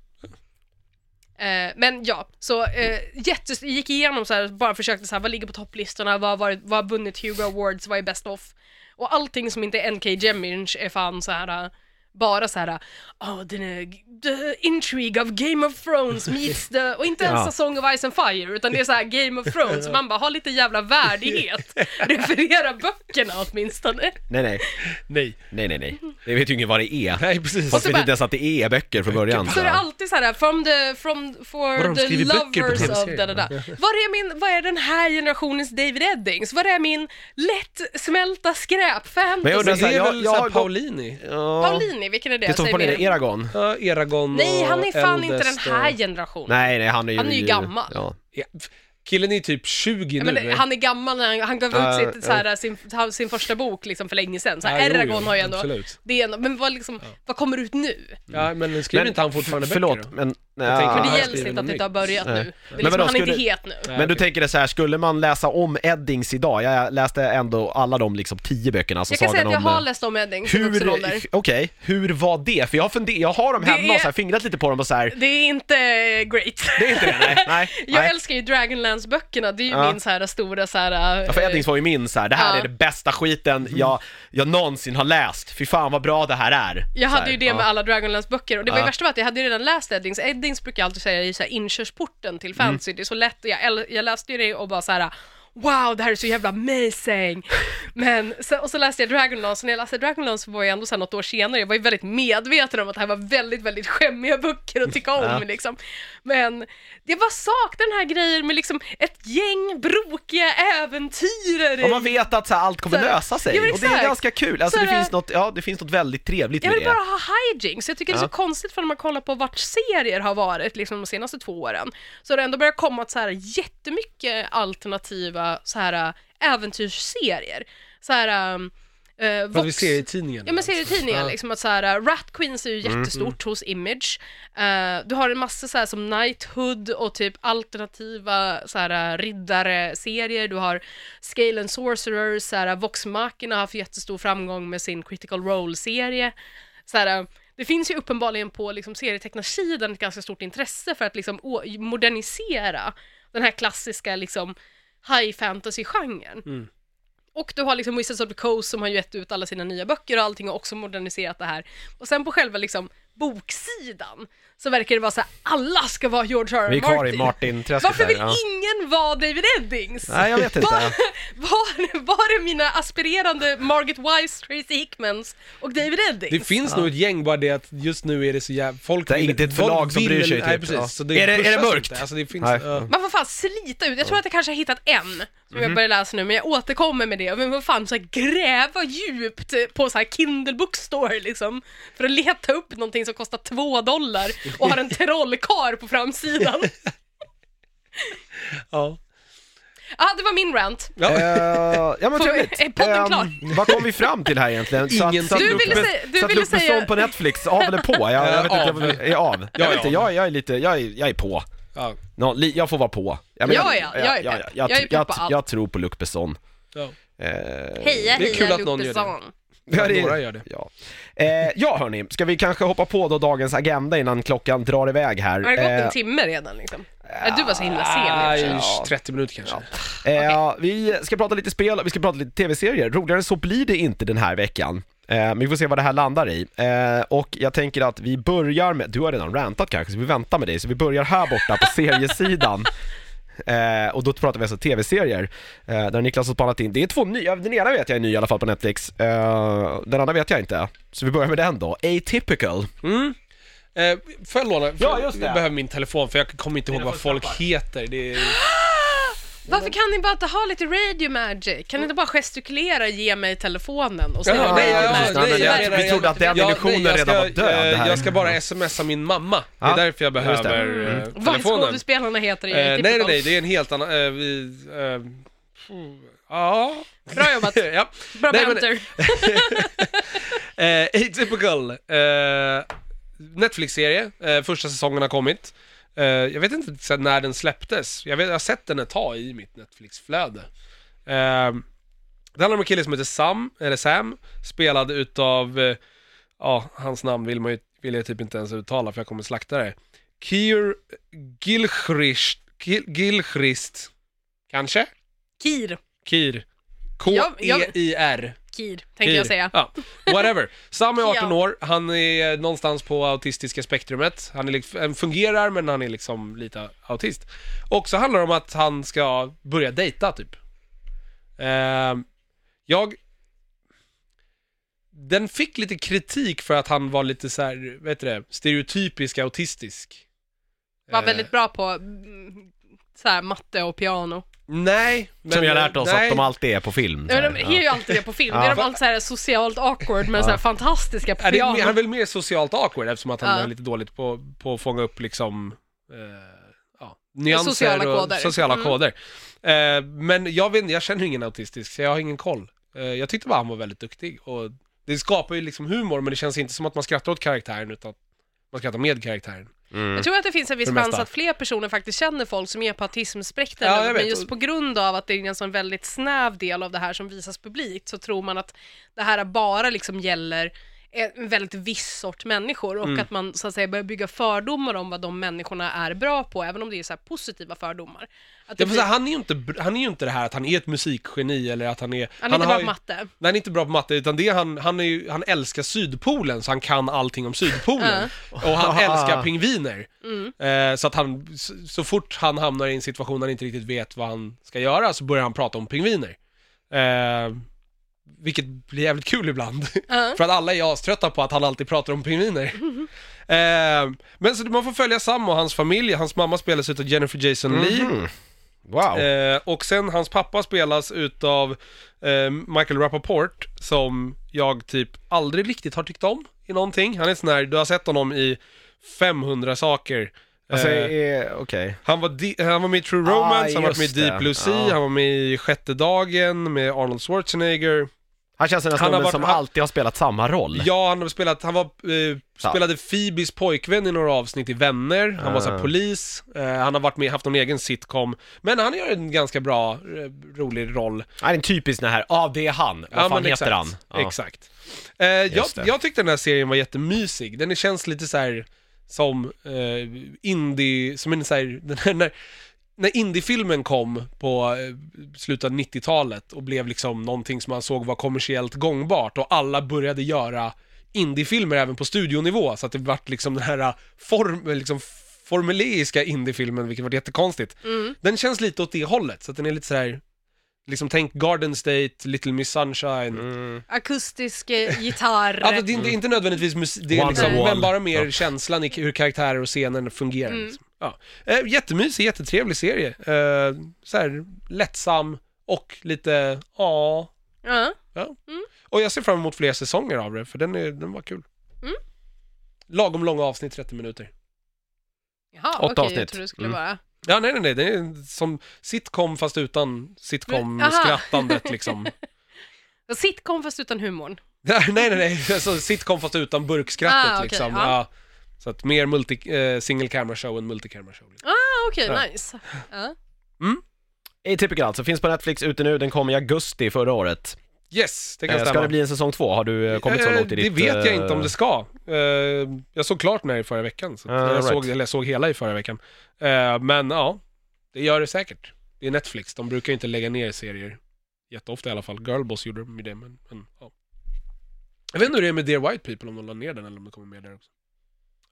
Eh, Men ja, så eh, jättes- gick igenom så här, bara försökte så här, vad ligger på topplistorna, vad har varit- vad har vunnit Hugo Awards, vad är best of? Och allting som inte är NK Jemish är fan så här eh, bara så här, oh, den är the intrigue of Game of Thrones meets the, och inte ens
Ja.
A Song of Ice and Fire, utan det är så här Game of Thrones, man bara har lite jävla värdighet, referera böckerna åtminstone.
Nej, nej,
Nej. *laughs*
nej, nej, nej. Det vet ju ingen vad det är.
Nej, precis.
Fast
så
vi vet
bara-
inte ens att det är böcker från början.
Så är det
så.
alltid så här from the, from,
Vadå,
for
de
the
skriver böcker på
lovers of
tv-serien?
da, da, da. Var är min, vad är den här generationens David Eddings? Var är min lättsmälta skräp
Men jag
Men det
undrar
är
så här, jag-
väl
jag
så
har
här
gått-
Paulini?
Ja.
Paulini, vilken är det?
Det är som
Säg
på
mer.
den Eragon.
Ja, Eragon
Nej,
och
han är fan inte den
Eldest
här
och-
generationen.
Nej, nej, han är ju...
Han är ju gammal.
Ja.
Ja, f- Killen är ju typ 20
Ja,
nu.
men det-
eh?
han är gammal, när han, han gav ut
Ja, ja.
sitt, så här, sin, han- sin första bok liksom för länge sedan. Så här,
Ja, jo,
Eragon
jo,
har ju ändå,
Absolut.
det är ändå men vad, liksom, vad kommer ut nu?
Ja, men skriver inte han fortfarande
f- Mm. Förlåt,
böcker då?
men...
Jag tänker-
Ja.
Men
han
det
skriver
gäller inte
något
att det inte har
nytt.
börjat
Nej.
nu.
Men
Det är liksom,
vadå,
han är inte
skulle-
het nu.
Nej,
Men du
okej.
tänker det så här, skulle man läsa om Eddings idag? Jag läste ändå alla de liksom tio böckerna, alltså
Jag kan säga
sagan
att jag
om...
har
eh,
läst om Eddings i
hur,
vuxen ålder.
Okej, hur var det? För jag har, funder, jag har dem
Det
hemma och
är-
så här, fingrat lite på dem och så här.
Det är inte great.
Det är inte det, nej. nej,
*laughs* Jag
nej.
älskar ju Dragonlance-böckerna, det är ju
Ja.
min så här stora så här...
Ja, för Eddings var ju min så här, det här
Ja.
är det bästa skiten jag, jag någonsin har läst, fy fan vad bra det här är.
Jag
Så här,
hade ju det med alla Dragonlance-böcker och det var
Ja.
ju värsta var att jag hade ju redan läst Eddings. Eddings brukar jag alltid säga är ju så här inkörsporten till
Mm.
fantasy, det är så lätt och jag, äl- jag läste ju det och bara så här. Wow, det här är så
*laughs*
jävla amazing! Men, så, och så läste jag Dragonlance, och när jag läste Dragonlance var jag ändå så här något år senare, jag var ju väldigt medveten om att det här var väldigt, väldigt skämmiga böcker att tycka
*laughs*
om
Ja.
liksom. Men jag bara saknar den här grejen med liksom ett gäng brokiga äventyrare
Och man vet att så här, allt kommer
Så här,
lösa sig,
ja, men
och det är
exakt.
ganska kul. Alltså,
Så
det,
här,
finns något, ja, det finns något väldigt trevligt
Jag
med
vill
det.
bara ha hijinks, jag tycker det är
Ja.
så konstigt för när man kollar på vart serier har varit liksom de senaste två åren, så har det ändå börjat komma så här jättemycket alternativa så här äh, äventyrsserier. Så här, um, eh,
För att
Vox-
vi ser i tidningen. alltså.
Ja men serietidningar
Ja. Mm-hmm.
liksom att så här, äh, Rat Queens är ju jättestort hos Image. Eh, du har en massa så här som Knighthood och typ alternativa så här äh, riddare-serier. Du har Scale and Sorcerers, så här äh, Vox Machina har haft jättestor framgång med sin Critical Role-serie. Så här, äh, det finns ju uppenbarligen på liksom serietecknarsidan ett ganska stort intresse för att liksom å- modernisera den här klassiska liksom high fantasy-genren.
Mm.
Och du har liksom Wizards of the Coast som har gett ut alla sina nya böcker och allting och också moderniserat det här. Och sen på själva liksom boksidan så verkar det vara så här, alla ska vara George R. R.
Vi är
Martin.
kvar i Martin-träsket
Varför
där,
vill
ja.
ingen vara David Eddings?
Nej, jag vet inte.
Var, var är mina aspirerande Margaret Wise, Tracy Hickmans och David Eddings?
Det finns nog ett gäng, bara det att just nu är det så jävla... Folk
Det är
vill-
inte ett
folk
förlag som
vill-
bryr sig,
Nej,
typ.
precis.
Ja.
Så det
Är det- är det
pushas inte.
mörkt? Mm.
Alltså det finns...
Nej.
ja.
Man får fan slita ut, jag tror att jag kanske har hittat en som
Mhm.
jag börjar läsa nu, men jag återkommer med det. Men vad fan, så här, gräva djupt på så här Kindle Bookstore liksom, för att leta upp någonting som kostar två dollar och
*laughs*
har en trollkar på framsidan.
Ja.
Ja, ah, det var min rant.
ja.
Eh, ja men
Får vi-
trevligt.
är podden
Ehm,
klar?
Vad kom vi fram till här egentligen?
Ingenting.
Så att, så att
Du
Luke
ville
Bes-
säga- du
så att
ville
Luke Besson
säga-
på Netflix, av eller på? Jag, jag vet
Eh,
inte, jag
av.
vill- är av. Jag,
Ja,
vet inte,
ja.
jag, jag är lite, jag är, jag är på.
ja.
Nå, li, jag får vara på. men
Ja, ja, jag är
jag, jag,
pepp. Jag
jag,
är pepp
jag,
på allt.
jag tror på Luke Besson.
ja.
Eh,
Heja,
Det är kul
heja,
att någon
Luke
gör det.
Besson.
Ja, några gör det.
Ja. Eh, ja hörni, ska vi kanske hoppa på då dagens agenda innan klockan drar iväg här?
Har det gått
Eh,
en timme redan liksom?
eh,
Ja, du var så himla sen i och för
Ah,
sig.
just 30 minuter kanske.
Eh, Vi ska prata lite spel, vi ska prata lite tv-serier. Roligare än så blir det inte den här veckan. Eh, Men vi får se vad det här landar i. Eh, Och jag tänker att vi börjar med, du har redan rantat kanske, så vi väntar med dig. Så vi börjar här borta på seriesidan. Eh, och då pratar vi alltså tv-serier, eh, där Niklas har spanat in. Det är två nya, den ena vet jag är ny i alla fall på Netflix, eh, den andra vet jag inte. Så vi börjar med den då, Atypical.
Eh, får jag låna?
Ja, just det.
Jag behöver min telefon för jag kommer inte ihåg vad folk heter. Det är...
Varför kan ni bara inte ha lite radio magic? Kan ni inte bara gestikulera, ge mig telefonen och säga
Jaha,
radio
ja, precis.
magic?
Nej, men
Det
jag-
verkar-
vi trodde att den illusionen
jag
redan var död,
eh,
här.
Jag ska bara smsa min mamma. Det är
Ja,
därför jag
just det. Mm.
behöver eh,
Vad
telefonen.
skådespelarna heter i
Eh, nej, nej,
Typical.
nej, det är en helt annan... Eh, vi, eh, pff, ja...
Bra
*laughs*
jobbat.
ja.
Bra
Nej, men-
banter.
Eh, *laughs* Atypical. Eh, Netflix-serie. Eh, första säsongen har kommit. Eh, jag vet inte sen när den släpptes. Jag, vet, jag har sett den ett tag i mitt Netflix-flöde. Eh, det handlar om en kille som heter Sam, eller Sam, spelad utav... Eh, ja, hans namn vill, man ju, vill jag typ inte ens uttala för jag kommer slakta det. Kier Gilchrist, Gil, Gilchrist kanske? E
Kir.
Kir.
Ja, ja.
K-E-I-R.
Kir, tänkte
Kir.
jag säga.
Ja, whatever. Sam är 18
*laughs* Ja.
år, han är någonstans på autistiska spektrumet. Han är liksom, han fungerar, men han är liksom lite autist. Och så handlar det om att han ska börja dejta, typ. Ehm, jag... Den fick lite kritik för att han var lite så här, vet du det, stereotypisk autistisk.
Var
Eh,
väldigt bra på mm, så här, matte och piano.
Nej, men...
Som vi har lärt oss
nej.
att de alltid är på film. så
Ja,
här.
de är ju alltid det på film. Det är de
Ja.
alltid så här socialt awkward men så här fantastiska på
Ja, det är,
piano.
mer- han är väl mer socialt awkward eftersom att han
Ja.
är lite dåligt på, på att fånga upp liksom, eh, ja, nyanser
Sociala
och
koder.
sociala
Mm.
koder. Eh, men jag, vet, inte, jag känner ingen autistisk, så jag har ingen koll. Eh, jag tyckte bara han var väldigt duktig och det skapar ju liksom humor, men det känns inte som att man skrattar åt karaktären, utan att man skrattar med karaktären.
Jag tror att det finns en viss
För det
chans
mesta.
att fler personer faktiskt känner folk som är på autismspektrat,
Ja, jag
men
vet.
just på grund av att det är en sån väldigt snäv del av det här som visas publikt så tror man att det här bara liksom gäller en väldigt viss sort människor
Mm.
och att man så att säga börjar bygga fördomar om vad de människorna är bra på, även om det är så här positiva fördomar. Att det
Jag får
blir-
säga, han, är ju inte, br- han är ju inte det här att han är ett musikgeni eller att han är...
han är inte
har
bra
ju-
på matte.
Nej, han är inte bra på matte, utan det är han, han, är ju, han älskar Sydpolen, så han kan allting om Sydpolen. Och han älskar pingviner.
Mm.
Eh, så att han, så, så fort han hamnar i en situation där han inte riktigt vet vad han ska göra, så börjar han prata om pingviner. Eh, vilket blir jävligt kul ibland.
Ja.
*laughs* För att alla är aströtta på att han alltid pratar om
*laughs*
pingviner. eh, men så man får följa Sam och hans familj, hans mamma spelas utav Jennifer Jason Leigh.
Mhm. Wow.
Eh, och sen hans pappa spelas utav eh, Michael Rapaport som jag typ aldrig riktigt har tyckt om i någonting. Han är sån här, du har sett honom i 500 saker.
alltså,
eh,
eh, okej.
han, var di- han var med i True Romance, han var
just
med i Deep
det.
Blue Sea,
Ja.
han var med i Sjätte dagen med Arnold Schwarzenegger.
Han känns som den
han har
snubben
varit-
som
han-
alltid har spelat samma roll.
Ja, han har spelat, han var, eh, spelade Phoebes pojkvän i några avsnitt i Vänner, han var så här
Ah.
polis, eh, han har varit med, haft någon egen sitcom, men han gör en ganska bra, eh, rolig roll.
Han är en typisk den här, ja ah, det är han, vad fan
men
heter
exakt,
han? Ja.
Exakt. Eh, jag,
Just det.
jag tyckte den här serien var jättemysig. Den känns lite så här som eh, indie, som en så här, *laughs* den här, när, när indiefilmen kom på eh, slutet av 90-talet och blev liksom någonting som man såg var kommersiellt gångbart och alla började göra indiefilmer även på studionivå så att det vart liksom den här form, liksom formuleiska indiefilmen vilket var jättekonstigt. Den känns lite åt det hållet så att den är lite så här liksom tänk Garden State, Little Miss Sunshine.
Mm.
Akustisk eh,
*laughs*
gitarr.
Alltså det är inte, inte nödvändigtvis musik, det är
One
liksom,
to one.
men bara mer
Ja.
känslan i hur karaktärer och scener fungerar.
Mm.
Liksom. Ja. Eh, jättemysig, jättetrevlig serie. Eh, så här, lättsam och lite, ja.
Ja.
ja. Och jag ser fram emot fler säsonger av det, för den, är, den var kul.
Mm.
Lagom långa avsnitt, 30 minuter.
Jaha,
Åtta
okej,
avsnitt.
jag trodde det skulle
Mm.
vara...
Ja, nej, nej, nej, det är som sitcom fast utan sitcom-skrattandet liksom. *laughs*
Sitcom fast utan humorn.
Nej, nej, nej, nej. Alltså, sitcom fast utan burkskrattet
Ah, okej,
liksom.
ja.
Ja. Så att mer multi, eh, single camera show än multi camera show. Liksom.
Ah, okej,
Ja.
nice. Ja.
Atypical alltså, finns på Netflix ute nu, den kom i augusti förra året.
Yes, det kan
Eh,
stämma.
ska det bli en säsong två? Har du eh, kommit så
Eh,
långt i
Det
ditt...
vet jag
eh,
inte om det ska. Eh, jag såg klart den här i förra veckan. Så att
Ah,
jag,
right.
såg, eller jag såg hela i förra veckan. Eh, men ja, det gör det säkert. Det är Netflix, de brukar ju inte lägga ner serier. Jätteofta i alla fall. Girlboss gjorde de ju det, men, men ja. Jag vet inte hur det är med Dear White People, om de la ner den eller om det kommer mer där också.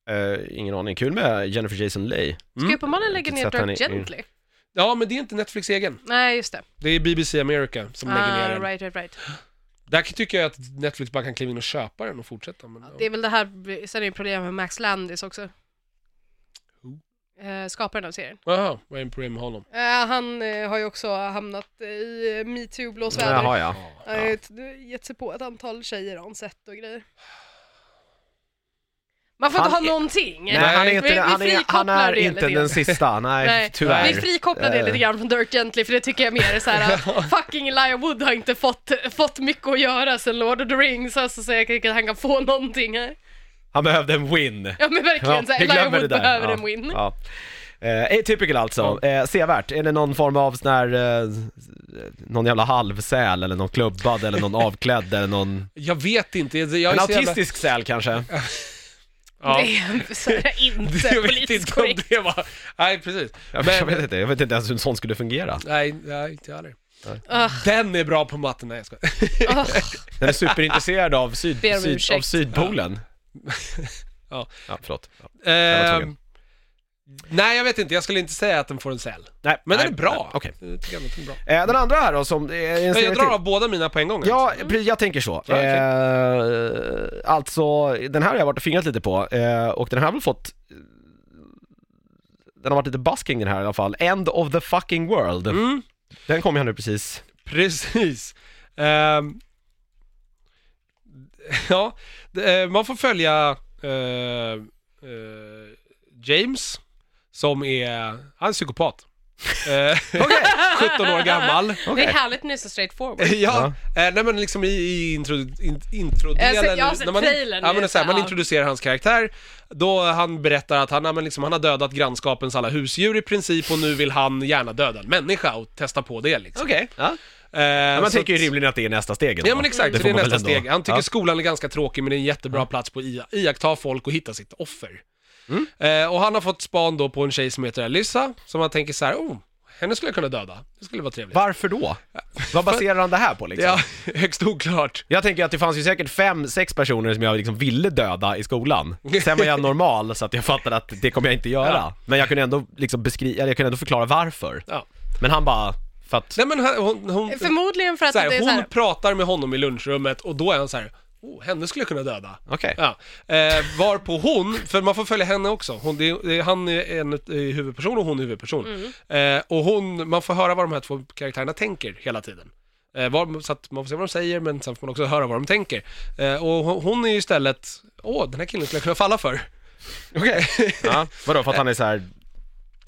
Eh, ingen aning. Kul med Jennifer Jason Leigh.
Mm.
Supermannen lägger ner
Sätta
Dirk
henne i-
Gently.
Ja, men det är inte Netflix egen.
Nej, just det.
Det är BBC America som lägger ner
Ah,
den.
right, right, right.
Där tycker jag att Netflix bara kan kliva in och köpa den och fortsätta. Men,
Det är väl det här, sen är det ju problem med Max Landis också.
Who?
Eh, skaparen av serien.
Jaha, vad är det problem med honom?
Eh, han eh, har ju också hamnat eh, i eh, metoo-blåsväder.
Jaha, ja.
Han har ju t- gett sig på ett antal tjejer han sett och grejer. Man får
Han
inte ha
är-
någonting.
Nej, han är
Vi- vi
inte, han är, han
frikopplar
är
det
inte
lite grann.
den sista. Nej,
*laughs* Nej,
tyvärr.
Vi frikopplar det
Eh.
lite grann från Dirk Gently för det tycker jag mer
*laughs*
är såhär, fucking Elijah Wood har inte fått, fått mycket att göra sen Lord of the Rings, alltså, så jag tycker att han kan få någonting här.
Han behövde en win.
Ja men verkligen,
Ja,
så här,
vi
Elijah
glömmer
Wood
det där.
behöver
Ja,
en win.
Ja. Eh, atypical alltså, eh, sevärt. Är det någon form av sån här, eh, någon jävla halvsäl eller någon klubbad eller
*laughs*
någon avklädd eller någon...
Jag vet inte. Jag, jag
En
är så jävla-
autistisk säl kanske?
Ja. *laughs*
Det är så här, inte
Jag vet
politiskt
inte om *laughs*
korrekt.
det var... Nej, precis.
Jag,
Men-
jag vet inte, jag vet inte ens hur en sån skulle fungera.
Nej, nej inte jag heller.
Ugh.
Den är bra på matten, nej jag skojar.
Åh,
Den är superintresserad av, syd,
Ber om
syd,
ursäkt.
av Sydpolen.
Ja. *laughs*
ja förlåt. Ja. var
Ehm,
tvungen.
nej, jag vet inte. Jag skulle inte säga att den får en säl.
Nej,
Men
nej,
den är bra.
nej, Okej.
Jag tycker ändå att den är bra.
Eh, den andra här då som, eh, är en
Men
serie
jag drar
till.
av båda mina på en gång.
Ja, precis, jag tänker så.
Ja, okej.
Eh, alltså, den här har jag varit och fingrat lite på eh, och den här har väl fått den har varit lite basking den här i alla fall. End of the fucking world.
Mm,
Den kom jag
*laughs*
nu precis.
*laughs* precis. Ehm, *laughs* ja, det, eh, man får följa eh, eh, James, som är, han är en psykopat. Eh, 17 år
*laughs*
gammal.
Det är härligt när det är så straight forward.
Ja, eh, nej men liksom i, i intro, in, introdelen,
Jag har sett- jag har sett
när man,
trailern,
ja, men
det är
så här, man
så- ja.
introducerar hans karaktär, då han berättar att han, ja, men liksom, han har dödat grannskapens alla husdjur i princip och nu vill han gärna döda en människa och testa på det liksom.
Okej. Ja.
Eh,
Men man
så
tänker ju
att-
rimligen att det är nästa steg. ändå.
Ja men exakt, så
får
det är
man väl
nästa
ändå.
steg. Han tycker
Ja.
skolan är ganska tråkig men det är en jättebra plats på att ia- iaktta folk och hitta sitt offer.
Mm.
Eh, och han har fått span då på en tjej som heter Alyssa, som han tänker så här, oh, henne skulle jag kunna döda. Det skulle vara trevligt.
Varför då? Vad baserar han det här på liksom?
Ja, *laughs* högst oklart.
Jag tänker att det fanns ju säkert fem, sex personer som jag liksom ville döda i skolan. Sen
*laughs*
var jag normal så att jag fattade att det kommer jag inte göra.
Ja.
Men jag kunde ändå liksom beskriva, jag kunde ändå förklara varför.
Ja.
Men han bara, för att...
Nej men hon, hon, hon,
Förmodligen för att
så här,
det är
hon
så här,
pratar med honom i lunchrummet och då är han så här, oh, henne skulle jag kunna döda.
Okej.
Ja. Eh, varpå hon, för man får följa henne också, hon, det, är- det, är- han är en eh, huvudperson och hon är huvudperson.
Mm.
Eh, och hon, man får höra vad de här två karaktärerna tänker hela tiden. Eh, vad- så att man får se vad de säger men sen får man också höra vad de tänker. Eh, och hon, hon är ju istället, åh den här killen skulle jag kunna falla för.
Okej.
*laughs*
Ja, vadå, för att han är så här.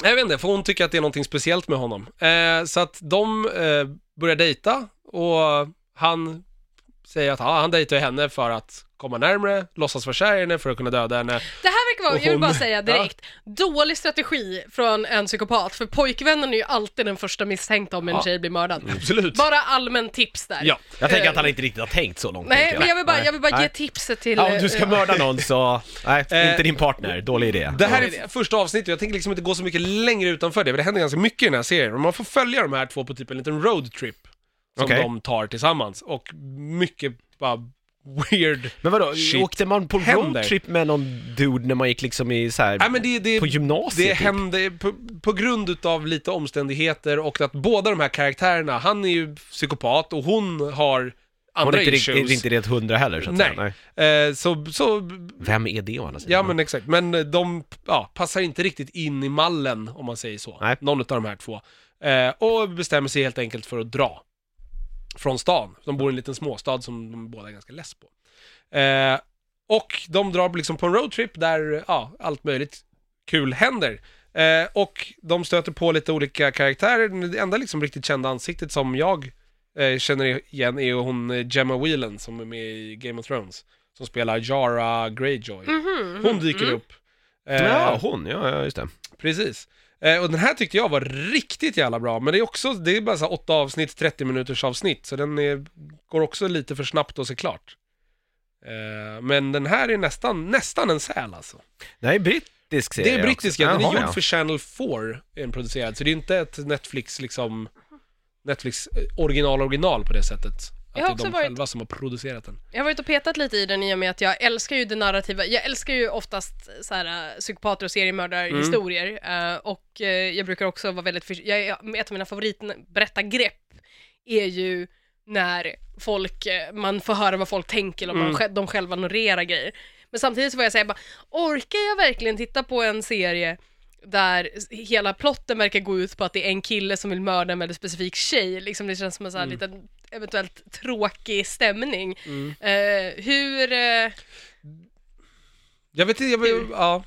Jag vet inte, för hon tycker att det är någonting speciellt med honom. Eh, så att de eh, börjar dejta och han säger att ja, han dejtar henne för att komma närmre, låtsas vara kär i henne för att kunna döda henne.
Det här verkar vara,
Och
jag vill bara
hon-
säga direkt, dålig strategi från en psykopat, för pojkvännen är ju alltid den första misstänkta om en
Ja.
tjej blir mördad.
Absolut. Eh.
Bara allmän tips där.
Ja.
Jag tänker att han inte riktigt har tänkt så långt.
Nej,
tänker
men jag vill bara,
Nej.
jag vill bara ge
Nej.
tipset till...
Ja, om du ska
eh,
mörda någon så, nej,
Eh,
inte din partner, dålig idé.
Det här är
Bra idé.
första avsnittet, jag tänker liksom inte gå så mycket längre utanför det, för det händer ganska mycket i den här serien. Och Man får följa de här två på typ en liten roadtrip som
Okej.
de tar tillsammans. Och mycket bara *laughs* weird...
Men vadå,
Shit.
åkte man på
Händer.
roadtrip med någon dude när man gick liksom i så här,
Nej, men det, det,
på gymnasiet?
Det
typ?
hände på, på grund utav lite omständigheter och att båda de här karaktärerna, han är ju psykopat och hon har
Hon är
andra
inte,
issues.
riktigt- inte rent hundra heller så att
Nej.
säga. Nej.
Eh, så, så,
Vem är det å andra sidan?
ja men exakt. Men eh, de ja, passar inte riktigt in i mallen om man säger så.
Nej.
Någon utav de här två. Eh, och bestämmer sig helt enkelt för att dra. Från stan. De bor i en liten småstad som de båda är ganska less på. Eh, och de drar liksom på en roadtrip där ja, allt möjligt kul händer. Eh, och de stöter på lite olika karaktärer. Det enda liksom riktigt kända ansiktet som jag eh, känner igen är ju hon eh, Gemma Whelan som är med i Game of Thrones. Som spelar Jara Greyjoy. Hon dyker upp. Eh,
Ja, hon, ja, ja just det.
Precis. Eh, och den här tyckte jag var riktigt jävla bra, men det är också, det är bara så här åtta avsnitt, 30 minuters avsnitt, så den är, går också lite för snabbt att se klart. Eh, men den här är nästan, nästan en säl alltså.
Nej, brittisk serie
Det är brittisk,
också.
ja. Den är
Jaha,
gjord
ja.
för Channel 4, är den producerad. Så det är inte ett Netflix liksom, Netflix eh, original original på det sättet. Att
har
det är
också
de
varit-
själva som har producerat den.
Jag har varit och petat lite i den i och med att jag älskar ju det narrativa, jag älskar ju oftast så här, äh, psykopater och seriemördarhistorier
Mm.
eh, och eh, jag brukar också vara väldigt förtjust, jag, är- ett av mina favoritberättargrepp är ju när folk, eh, man får höra vad folk tänker och
Mm.
man, sj- de själva narrerar grejer. Men samtidigt så får jag säga bara, orkar jag verkligen titta på en serie där s- hela plotten verkar gå ut på att det är en kille som vill mörda en väldigt specifik tjej. Liksom det känns som en sån här
Mm.
liten, eventuellt tråkig stämning. Eh, hur... eh,
Jag vet inte, jag, ja.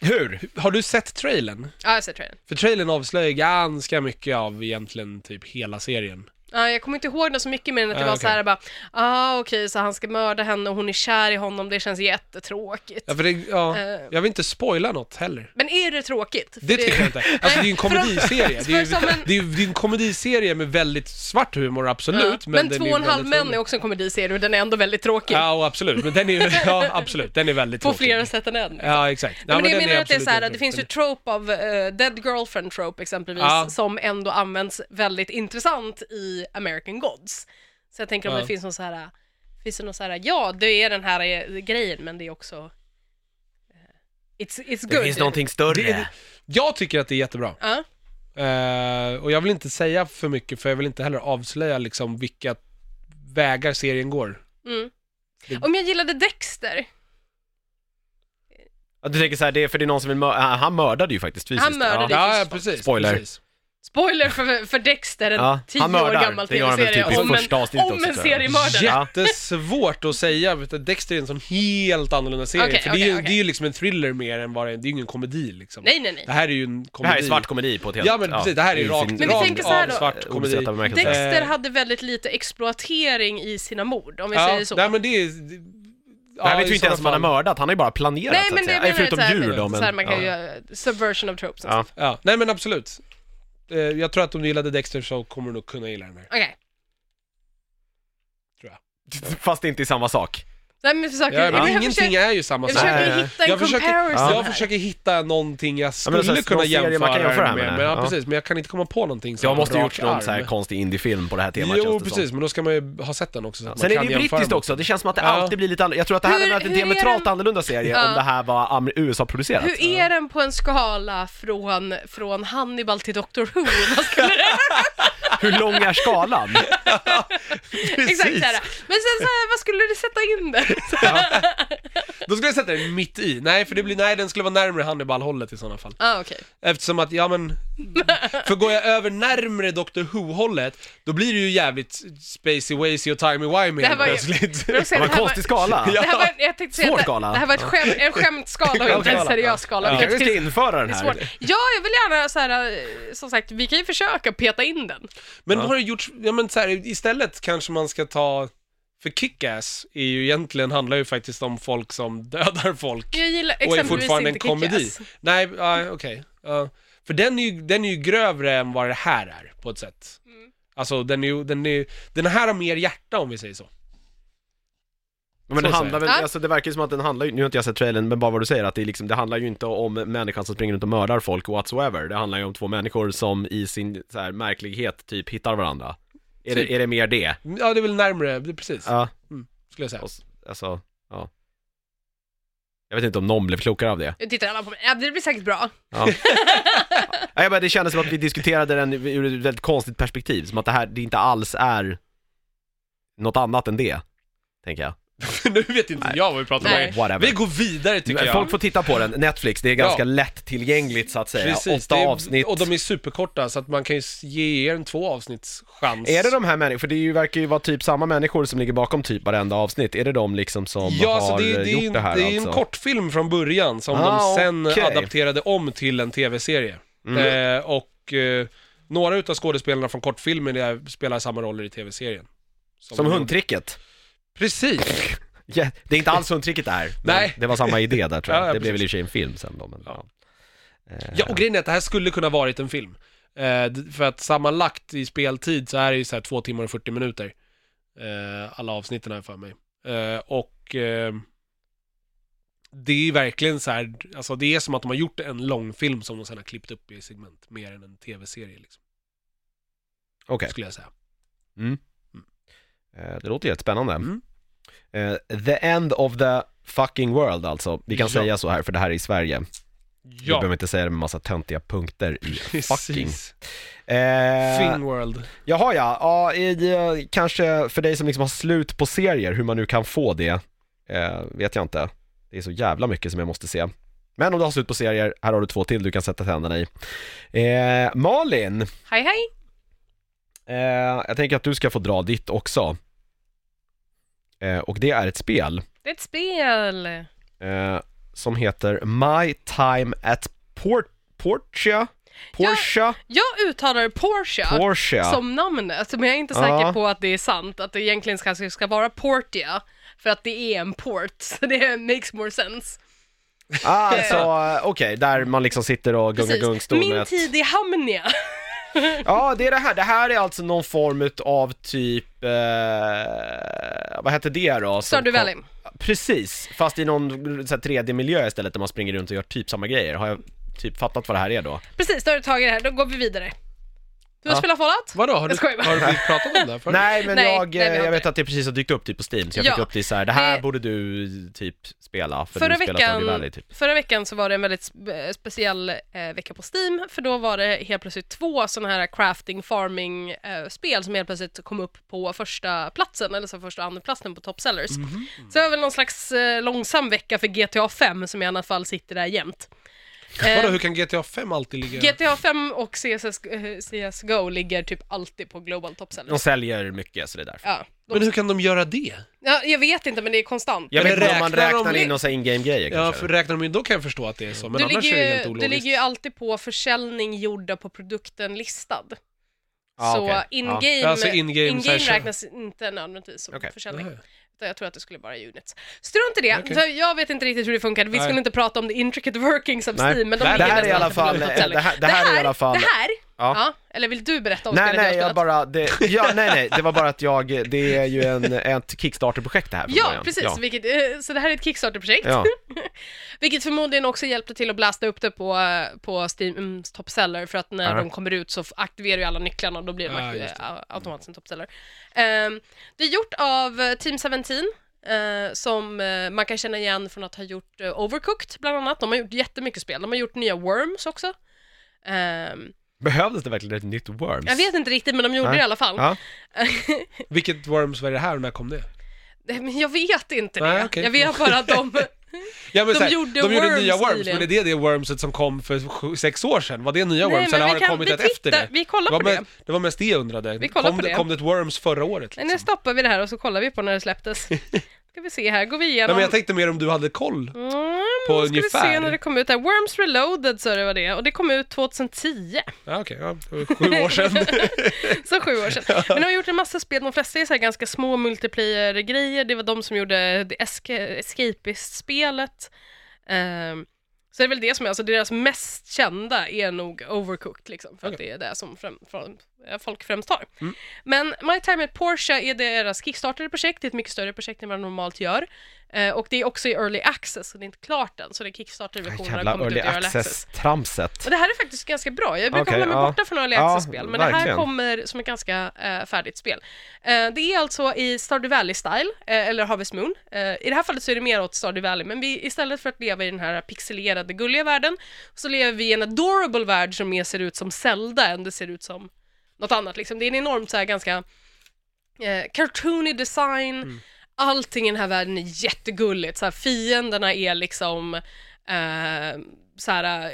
Hur?
Har du sett trailern?
Ja, jag ser trailern.
För trailern avslöjar ganska mycket av egentligen typ hela serien.
Ja, jag kommer inte ihåg det så mycket mer än att det
Ah,
var
okej.
så här bara, ah okej, så han ska mörda henne och hon är kär i honom, det känns jättetråkigt.
Ja, för det, ja,
Eh.
jag vill inte spoila något heller.
Men är det tråkigt? För
Det tycker jag
*laughs*
inte. Alltså det är ju en
för de-
komediserie. Det är ju, *laughs*
för som en-
det är ju det är en komediserie med väldigt svart humor, absolut.
Ja.
Men,
Men,
den
två
är
och en halv
väldigt
män
rolig.
är också en komediserie och den är ändå väldigt tråkig.
Ja, och absolut. Men den är ju,
*laughs*
ja absolut, den är väldigt
på
tråkig.
flera sätt än en.
Ja, exakt.
Nej, men det jag
den
menar att det är
absolut
så här,
väldigt
det finns ju
rolig.
trope av eh, dead girlfriend trope exempelvis,
Ja.
som ändå används väldigt intressant i American Gods. Så jag tänker om
Ja.
det finns någon så här, finns det någon så här, ja det är den här eh, grejen men det är också, eh, it's, it's good.
Det finns någonting större.
Det är- Jag tycker att det är jättebra.
Ja.
Eh, och jag vill inte säga för mycket, för jag vill inte heller avslöja liksom vilka vägar serien går.
Mm. Om jag gillade Dexter,
Ja, Du tänker så här, det är för det är någon som vill mörda, han mördade ju faktiskt fysiskt.
Han mördade
Ja,
ja.
finns
ja
fan.
precis.
Spoiler.
Precis.
spoiler för, för Dexter, en
Ja,
tio
han
år
mördar.
gammal
Det gör han väl
tv-serie
typ i
om en,
första avsnittet
om
också,
en
tror jag.
seriemördare.
Ja.
Jättesvårt att säga, vet du, Dexter är en sån helt annorlunda serie.
Okej,
för det är, ju-
okej, okej.
det är ju liksom en thriller mer än vad det är, det är ju ingen komedi liksom.
Nej, nej,
Eh.
nej.
Det här är ju en
Det
komedi.
här är svart komedi på ett helt...
Ja, men precis, det här är
i
rakt-
sin- Eh,
Men vi
rakt
tänker så här
av
då.
svart komedi.
obesatta bemärkelse.
Dexter
Eh.
hade väldigt lite exploatering i sina mord, om jag
ja,
säger så.
Nej men det är... Det,
Det här
ja,
vet
i
vi inte ens om
sådana
han har
fall.
mördat, han har ju bara planerat
Nej
så att
men det
säga.
jag menar
Nej, förutom
så här,
djur då, men...
så här, man kan
ja.
ju göra subversion of tropes och
Ja.
sånt.
Ja, nej men absolut. Eh, Jag tror att om du gillade Dexter så kommer du nog kunna gilla den här.
Okej,
Fast inte i samma sak.
nej men försöker,
Ja, men
jag
ingenting
försöker,
är ju samma
jag
sak.
försöker
Nej.
hitta en
Jag försöker-
comparison
Jag
här.
försöker hitta någonting jag
men
skulle
så här,
kunna
någon serie
jämföra,
man kan jämföra
den med.
med.
Men, ja,
Ja.
precis, men jag kan inte komma på någonting
Jag
på
måste ju
rak
gjort någon så här
arm.
konstig indiefilm på det här temat
Jo,
känns det som.
precis, men då ska man ju ha sett den också. Så att
Sen
man
är det
kan
ju
jämföra
brittiskt
dem.
också, det känns som att det
Ja.
alltid blir lite annorlunda. Jag tror att det här
Hur-
hade varit en
hur är den-
diametralt annorlunda serie
Ja.
om det här var am- USA-producerat.
Hur är den på en skala från, från Hannibal till Doctor Who? Vad skulle det-
*laughs* Hur lång är
*laughs*
skalan?
Exakt såhär. Men sen såhär, vad skulle du sätta in där?
Då skulle jag sätta den mitt i. Nej, för det blir, nej, den skulle vara närmare Hannibal-hållet i sådana fall.
Ah, okej.
Eftersom att, ja
*laughs*
men... För går jag över närmre Dr. Who-hållet, då blir det ju jävligt spacey, wacy och timey-wimey
Det här
helt
var ju-
plötsligt.
Men jag
Det
säger,
var
Det
en
här var-
konstig skala.
Ja.
det här var- jag tänkte säga
Svår
att det-
skala.
Det här var ett skäm, en skämtskala och inte en
Skämtskala.
seriös skala.
Vi
vilket
kanske ska
tycks-
införa
det
den
är
här.
svårt. Ja, jag vill gärna så här, eh, som sagt, vi kan ju försöka peta in den.
Men har det gjorts, ja men så här, istället kanske man ska ta, för Kick-Ass är ju egentligen, handlar ju faktiskt om folk som *laughs* dödar folk
Jag gillar
och är
exempelvis
fortfarande en
inte
komedi.
Kick-Ass.
Nej, ja, okej. Ja. för den är, ju, den är ju grövre än vad det här är, på ett sätt.
Mm.
Alltså den är ju, den är ju- den här har mer hjärta om vi säger så.
Men
Så
det
säger
handlar väl,
jag. Ja.
alltså det verkar ju som att den handlar ju, nu har inte jag sett trailern, men bara vad du säger att det är liksom, det handlar ju inte om människan som springer runt och mördar folk whatsoever. Det handlar ju om två människor som i sin så här, märklighet typ hittar varandra. Är,
Typ.
det, är det mer det?
Ja, det är väl närmre, det- precis,
Ja,
skulle jag säga.
och, s- alltså, ja. Jag vet inte om någon blev klokare av det.
Nu tittar alla på mig. Ja, det blir säkert bra.
Ja. *laughs* ja, jag bara, det kändes som att vi diskuterade den ur ett väldigt konstigt perspektiv, som att det här, det inte alls är något annat än det, tänker jag.
*laughs* nu vet inte jag vad vi pratar
Nej.
om.
Whatever.
Vi går vidare tycker jag.
Folk får titta på den, Netflix, det är ganska
Ja.
lättillgängligt så att säga.
Precis,
Åtta
det är-
avsnitt.
Och de är superkorta, så att man kan ju s- ge er en två avsnitts chans.
Är det de här människorna, för det är ju, verkar ju vara typ samma människor som ligger bakom typ varenda avsnitt, är det de liksom som har
så alltså, det, det, är
gjort
ju en-
det här
det är ju
alltså?
en kortfilm från början som
Ah,
de sen
okej. Mm.
adapterade om till en tv-serie. Eh, och eh, några utav skådespelarna från kortfilmen är- spelar samma roller i tv-serien.
Som
de-
hundtricket?
Precis!
Ja, det är inte alls hundtricket det här, men
Nej.
det var samma idé där tror
*laughs*
jag.
Ja, ja,
det blev väl i
precis.
och för sig en film sen då, men ja. Eh,
Ja, och grejen är att det här skulle kunna varit en film. Eh, d- för att sammanlagt i speltid så är det ju så här två timmar och 40 minuter. Eh, alla avsnitten här för mig. Eh, och eh, det är verkligen så här, alltså det är som att de har gjort en lång film som de sen har klippt upp i segment, mer än en tv-serie liksom,
Eh, Okej.
skulle jag säga.
Eh, Det låter ju jättespännande.
Mm.
Eh, The End of the fucking world alltså. Vi kan
Ja.
säga så här för det här är i Sverige. Vi behöver
Ja,
inte säga det med massa töntiga punkter i fucking.
*laughs* precis.
Eh,
Thingworld.
jaha ja, ja i, eh, kanske för dig som liksom har slut på serier, hur man nu kan få det, eh, vet jag inte. Det är så jävla mycket som jag måste se. Men om du har slut på serier, här har du två till du kan sätta tänderna i. Eh, Malin,
Hej hej!
eh, jag tänker att du ska få dra ditt också. Eh, och det är ett spel
Det är ett spel!
eh, som heter My Time at Port Portia? Portia?
Jag uttalar Porsche
Portia?
som namnet, men jag är inte
Ja.
säker på att det är sant, att det egentligen kanske ska vara Portia, för att det är en port, *laughs* så det makes more sense.
Ah, alltså, eh, okej, där man liksom sitter och gungar gungstol med
Min
ett-
tid i Hamnia.
Ja, det är det här. Det här är alltså någon form av typ, eh, vad heter det då? som
Stardew
kom-
Valley.
Precis, fast i någon så här 3D-miljö istället där man springer runt och gör typ samma grejer. Har jag typ fattat vad det här är då?
Precis, då har du tagit det här, då går vi vidare. Du har
Ja.
spelat Fallout?
Vadå, har du,
Jag skojar bara.
har du blivit pratat om det här förut?
Nej, men
Nej,
jag,
nej, vi har
eh, jag
inte
vet
det.
att det precis har dykt upp typ på Steam, så jag
Ja,
fick upp det så här. det här
det-
borde du typ spela, för
Förra
du spelat Stardew Valley
veckan,
typ.
förra veckan så var det en väldigt spe- speciell eh, vecka på Steam, för då var det helt plötsligt två sådana här crafting, farming eh, spel som helt plötsligt kom upp på första platsen eller så första och andra platsen på top sellers.
Mhm.
Så det var väl någon slags eh, långsam vecka för GTA 5 som i annat fall sitter där jämt. Eh,
Vadå, hur kan GTA 5 alltid ligga...
GTA 5 och CSS, eh, CSGO ligger typ alltid på global top
De
sellers.
säljer mycket, så det är därför.
Ja,
Men
de,
hur kan de göra det?
ja, jag vet inte men det är konstant.
Jag
Men
vet inte om man
räknar de
räknar
det?
in och säger in-game-grejer
Ja,
kanske.
för räknar de in, då kan jag förstå att det är så, men
du,
annars
ligger
är det helt
ju, du
ologiskt.
ligger ju alltid på försäljning gjorda på produkten listad.
Ja,
så
Ah, okej. Ja.
in-game,
Alltså in-game
in-game
session.
räknas inte nödvändigtvis som
Okej.
försäljning.
Nej.
Utan Jag tror att det skulle vara units. Strunt i det,
Okej.
så jag vet inte riktigt hur det funkar. Vi
Nej.
skulle inte prata om the intricate workings of
Nej.
Steam, men de
Det här
Det
ligger
här är i
nästan
alla
alltid på
fall,
global
det
top sellers.
här, det här är i alla fall
liksom. Det här?
Ja.
Ja. Eller vill du berätta om
Nej,
spelet
nej,
har
jag
spelat?
bara, det, ja, nej, nej, det var bara att jag, det är ju en, ett Kickstarter-projekt det här från
Ja,
början.
precis.
Ja,
Vilket, eh, så det här är ett Kickstarter-projekt.
ja.
Vilket förmodligen också hjälpte till att blasta upp det på, eh, på Steams toppseller för att när
Ja.
de kommer ut så f- aktiverar ju alla nycklarna och då blir de
Ja,
aktiv-
just det.
au- automatiskt en toppseller. Ehm, det är gjort av eh, Team 17 eh, som eh, man kan känna igen från att ha gjort eh, Overcooked bland annat. De har gjort jättemycket spel. De har gjort nya Worms också. Ehm,
Behövdes det verkligen ett nytt Worms?
jag vet inte riktigt men de gjorde
Nej.
det i alla fall.
Ja.
Vilket Worms var det här och när kom det?
*laughs* Men jag vet inte det.
Nej, okej.
Jag vet bara
*laughs*
att de...
Ja, men
De
så här,
gjorde
de gjorde
Worms
nya Worms,
nyligen.
men är det det Wormset som kom för sju, sex år sedan? Var det nya
Nej,
Worms
men
eller
vi
har det
kan-
kommit
vi
ett efter
tittar-
det?
Vi kollar
Det var,
på det.
mest, det var mest det jag undrade.
Vi kollar
kom,
på det.
kom det ett Worms förra året?
Nej, nu
Liksom?
stoppar vi det här och så kollar vi på när det släpptes.
*laughs*
Ska vi se här, går vi
Nej,
igenom.
men jag tänkte mer om du hade koll.
Mm,
på
ska vi se
ungefär.
när det kom ut här. Worms Reloaded så det var det och det kom ut 2010,
Ja, okej, ja, det var sju år sedan.
*laughs* så sju år sedan. Men de har gjort en massa spel, de flesta är så här ganska små multiplayer-grejer. Det var de som gjorde det Esca- Escapist-spelet. Ehm, så det är väl det som är, alltså deras mest kända är nog Overcooked liksom, för att det är det som främ, fram, eh, folk främst har.
Mm.
Men My Time at Porsche är deras Kickstarter-projekt, det är ett mycket större projekt än vad de normalt gör. Eh, och det är också i Early Access, så det är inte klart än, så det är Kickstarter-versionen har
Jävla
kommit
early
ut i Early Access.
access-tramset.
Och det här är faktiskt ganska bra. Jag brukar
Okej,
hålla mig
ja.
borta från early
Ja,
access-spel, men det här
verkligen.
kommer som ett ganska eh, färdigt spel. Eh, det är alltså i Stardew Valley-style, eh, eller Harvest Moon. Eh, I det här fallet så är det mer åt Stardew Valley, men vi, istället för att leva i den här pixelerade, gulliga världen, så lever vi i en adorable värld som mer ser ut som Zelda än det ser ut som något annat. Liksom. Det är en enormt så här, ganska eh, cartoony design,
Mm.
allting i den här världen är jättegulligt. Så här, fienderna är liksom eh, så här, eh,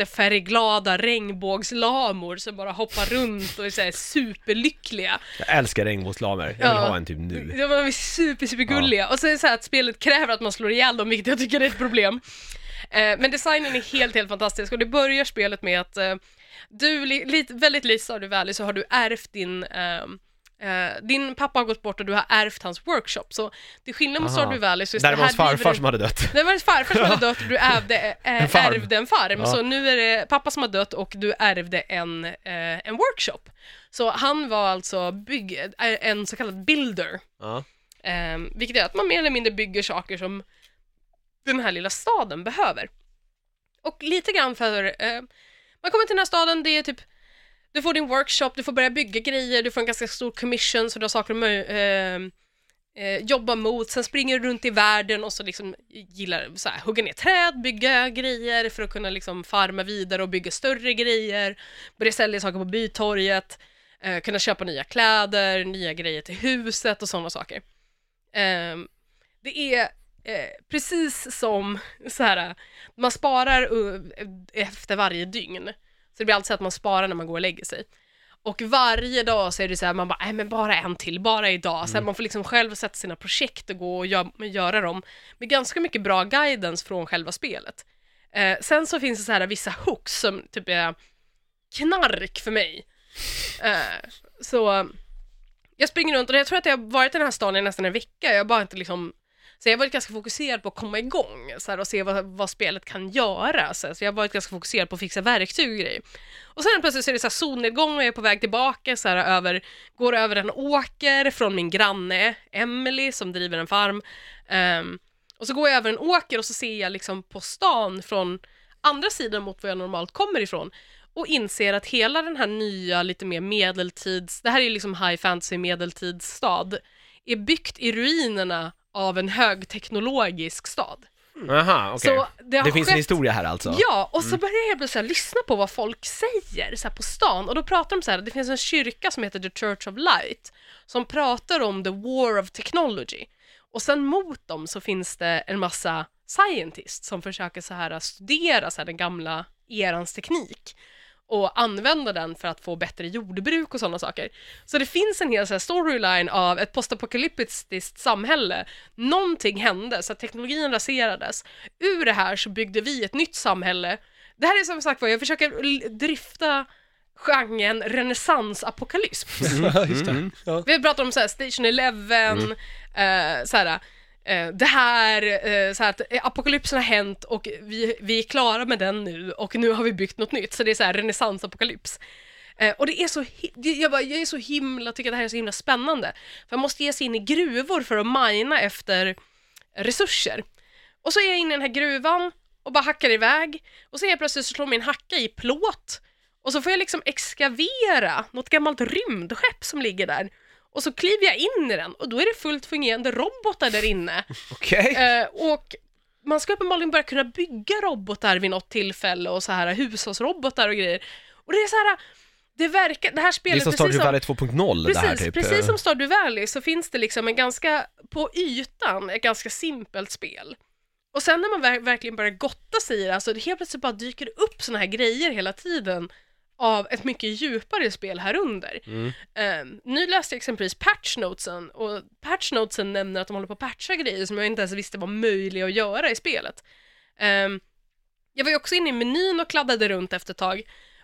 jättefärgglada regnbågslamor som bara hoppar runt och är så här, superlyckliga.
Jag älskar regnbågslamer, jag vill
Ja.
ha en typ nu.
De är super, supergulliga. Och så är det så här att spelet kräver att man slår ihjäl dem, vilket jag tycker är ett problem. Eh, men designen är helt, helt fantastisk och det börjar spelet med att eh, du, li, li, väldigt likt Stardew Valley, så har du ärvt din ehm, eh, din pappa har gått bort och du har ärvt hans workshop, så till skillnad mot
Aha.
Stardew Valley så är
Där det var hans
driver
farfar
du-
som hade dött.
det var hans farfar som hade dött och du ärvde, eh,
En farm.
ärvde en farm.
Ja.
Så nu är det pappa som har dött och du ärvde en, eh, en workshop. Så han var alltså bygg, eh, en så kallad builder.
Ja.
Eh, vilket är att man mer eller mindre bygger saker som den här lilla staden behöver. Och lite grann för, eh, man kommer till den här staden, det är typ Du får din workshop, du får börja bygga grejer, du får en ganska stor commission så du har saker att mö- eh, eh, jobba mot. Sen springer du runt i världen och så liksom gillar så här, hugga ner träd, bygga grejer för att kunna liksom farma vidare och bygga större grejer. Börja sälja saker på bytorget, eh, kunna köpa nya kläder, nya grejer till huset och sådana saker. Ehm, det är eh, precis som så här, man sparar uh, efter varje dygn. Så det blir alltid så att man sparar när man går och lägger sig. Och varje dag så är det så här, man bara, nej men bara en till, bara idag. Så här, man får liksom själv sätta sina projekt och gå och gö- göra dem med ganska mycket bra guidance från själva spelet. Eh, sen så finns det så här vissa hooks som typ är knark för mig. Eh, så jag springer runt och jag tror att jag har varit i den här stan i nästan en vecka. Jag har bara inte liksom så jag har varit ganska fokuserad på att komma igång så här, och se vad, vad spelet kan göra. Så, här, så jag har varit ganska fokuserad på att fixa verktyg och grejer. Och sen plötsligt så är det så här solnedgång och jag är på väg tillbaka, så här, över, går över en åker från min granne Emily som driver en farm. Ehm, och så går jag över en åker och så ser jag liksom på stan från andra sidan mot var jag normalt kommer ifrån och inser att hela den här nya, lite mer medeltids, det här är ju liksom high fantasy medeltidsstad, är byggt i ruinerna av en högteknologisk stad.
Aha, okej.
Så det har
Det finns en
skett-
historia här alltså?
Ja, och så börjar jag plötsligt så här lyssna på vad folk säger så här på stan och då pratar de så här, det finns en kyrka som heter The Church of Light som pratar om the war of technology och sen mot dem så finns det en massa scientists som försöker så här studera så här den gamla erans teknik och använda den för att få bättre jordbruk och sådana saker. Så det finns en hel så här storyline av ett postapokalyptiskt samhälle. Någonting hände så att teknologin raserades. Ur det här så byggde vi ett nytt samhälle. Det här är som sagt vad jag försöker l- drifta genren renässansapokalyps.
Ja, Mm, just
Mm,
det. Ja.
Vi pratar om så här Station Eleven, eh, så här, eh, det här, eh, så här att eh, apokalypsen har hänt och vi, vi är klara med den nu och nu har vi byggt något nytt. Så det är så här renässansapokalyps. Eh, och det är så, hi- det- jag, bara, jag är så himla, tycker att det här är så himla spännande. För man måste ge sig in i gruvor för att mina efter resurser. Och så är jag inne i den här gruvan och bara hackar iväg och så helt plötsligt så slår min hacka i plåt och så får jag liksom exkavera något gammalt rymdskepp som ligger där och så kliver jag in i den och då är det fullt fungerande robotar där inne.
Okej.
Eh, och man ska uppenbarligen börja kunna bygga robotar vid något tillfälle och så här hushållsrobotar och grejer. Och det är så här, det verkar, det här
Det är
spelet
som Stardew Valley 2.0 det här
Precis,
typ.
precis som Stardew Valley så finns det liksom en ganska, på ytan, ett ganska simpelt spel. Och sen när man ver- verkligen börjar gotta sig i det, alltså det helt plötsligt bara dyker det upp såna här grejer hela tiden av ett mycket djupare spel här under.
Mm.
Eh, nu läste jag exempelvis patchnotesen och patchnotesen nämner att de håller på att patcha grejer som jag inte ens visste var möjliga att göra i spelet. Ehm, jag var ju också inne i menyn och kladdade runt efter ett tag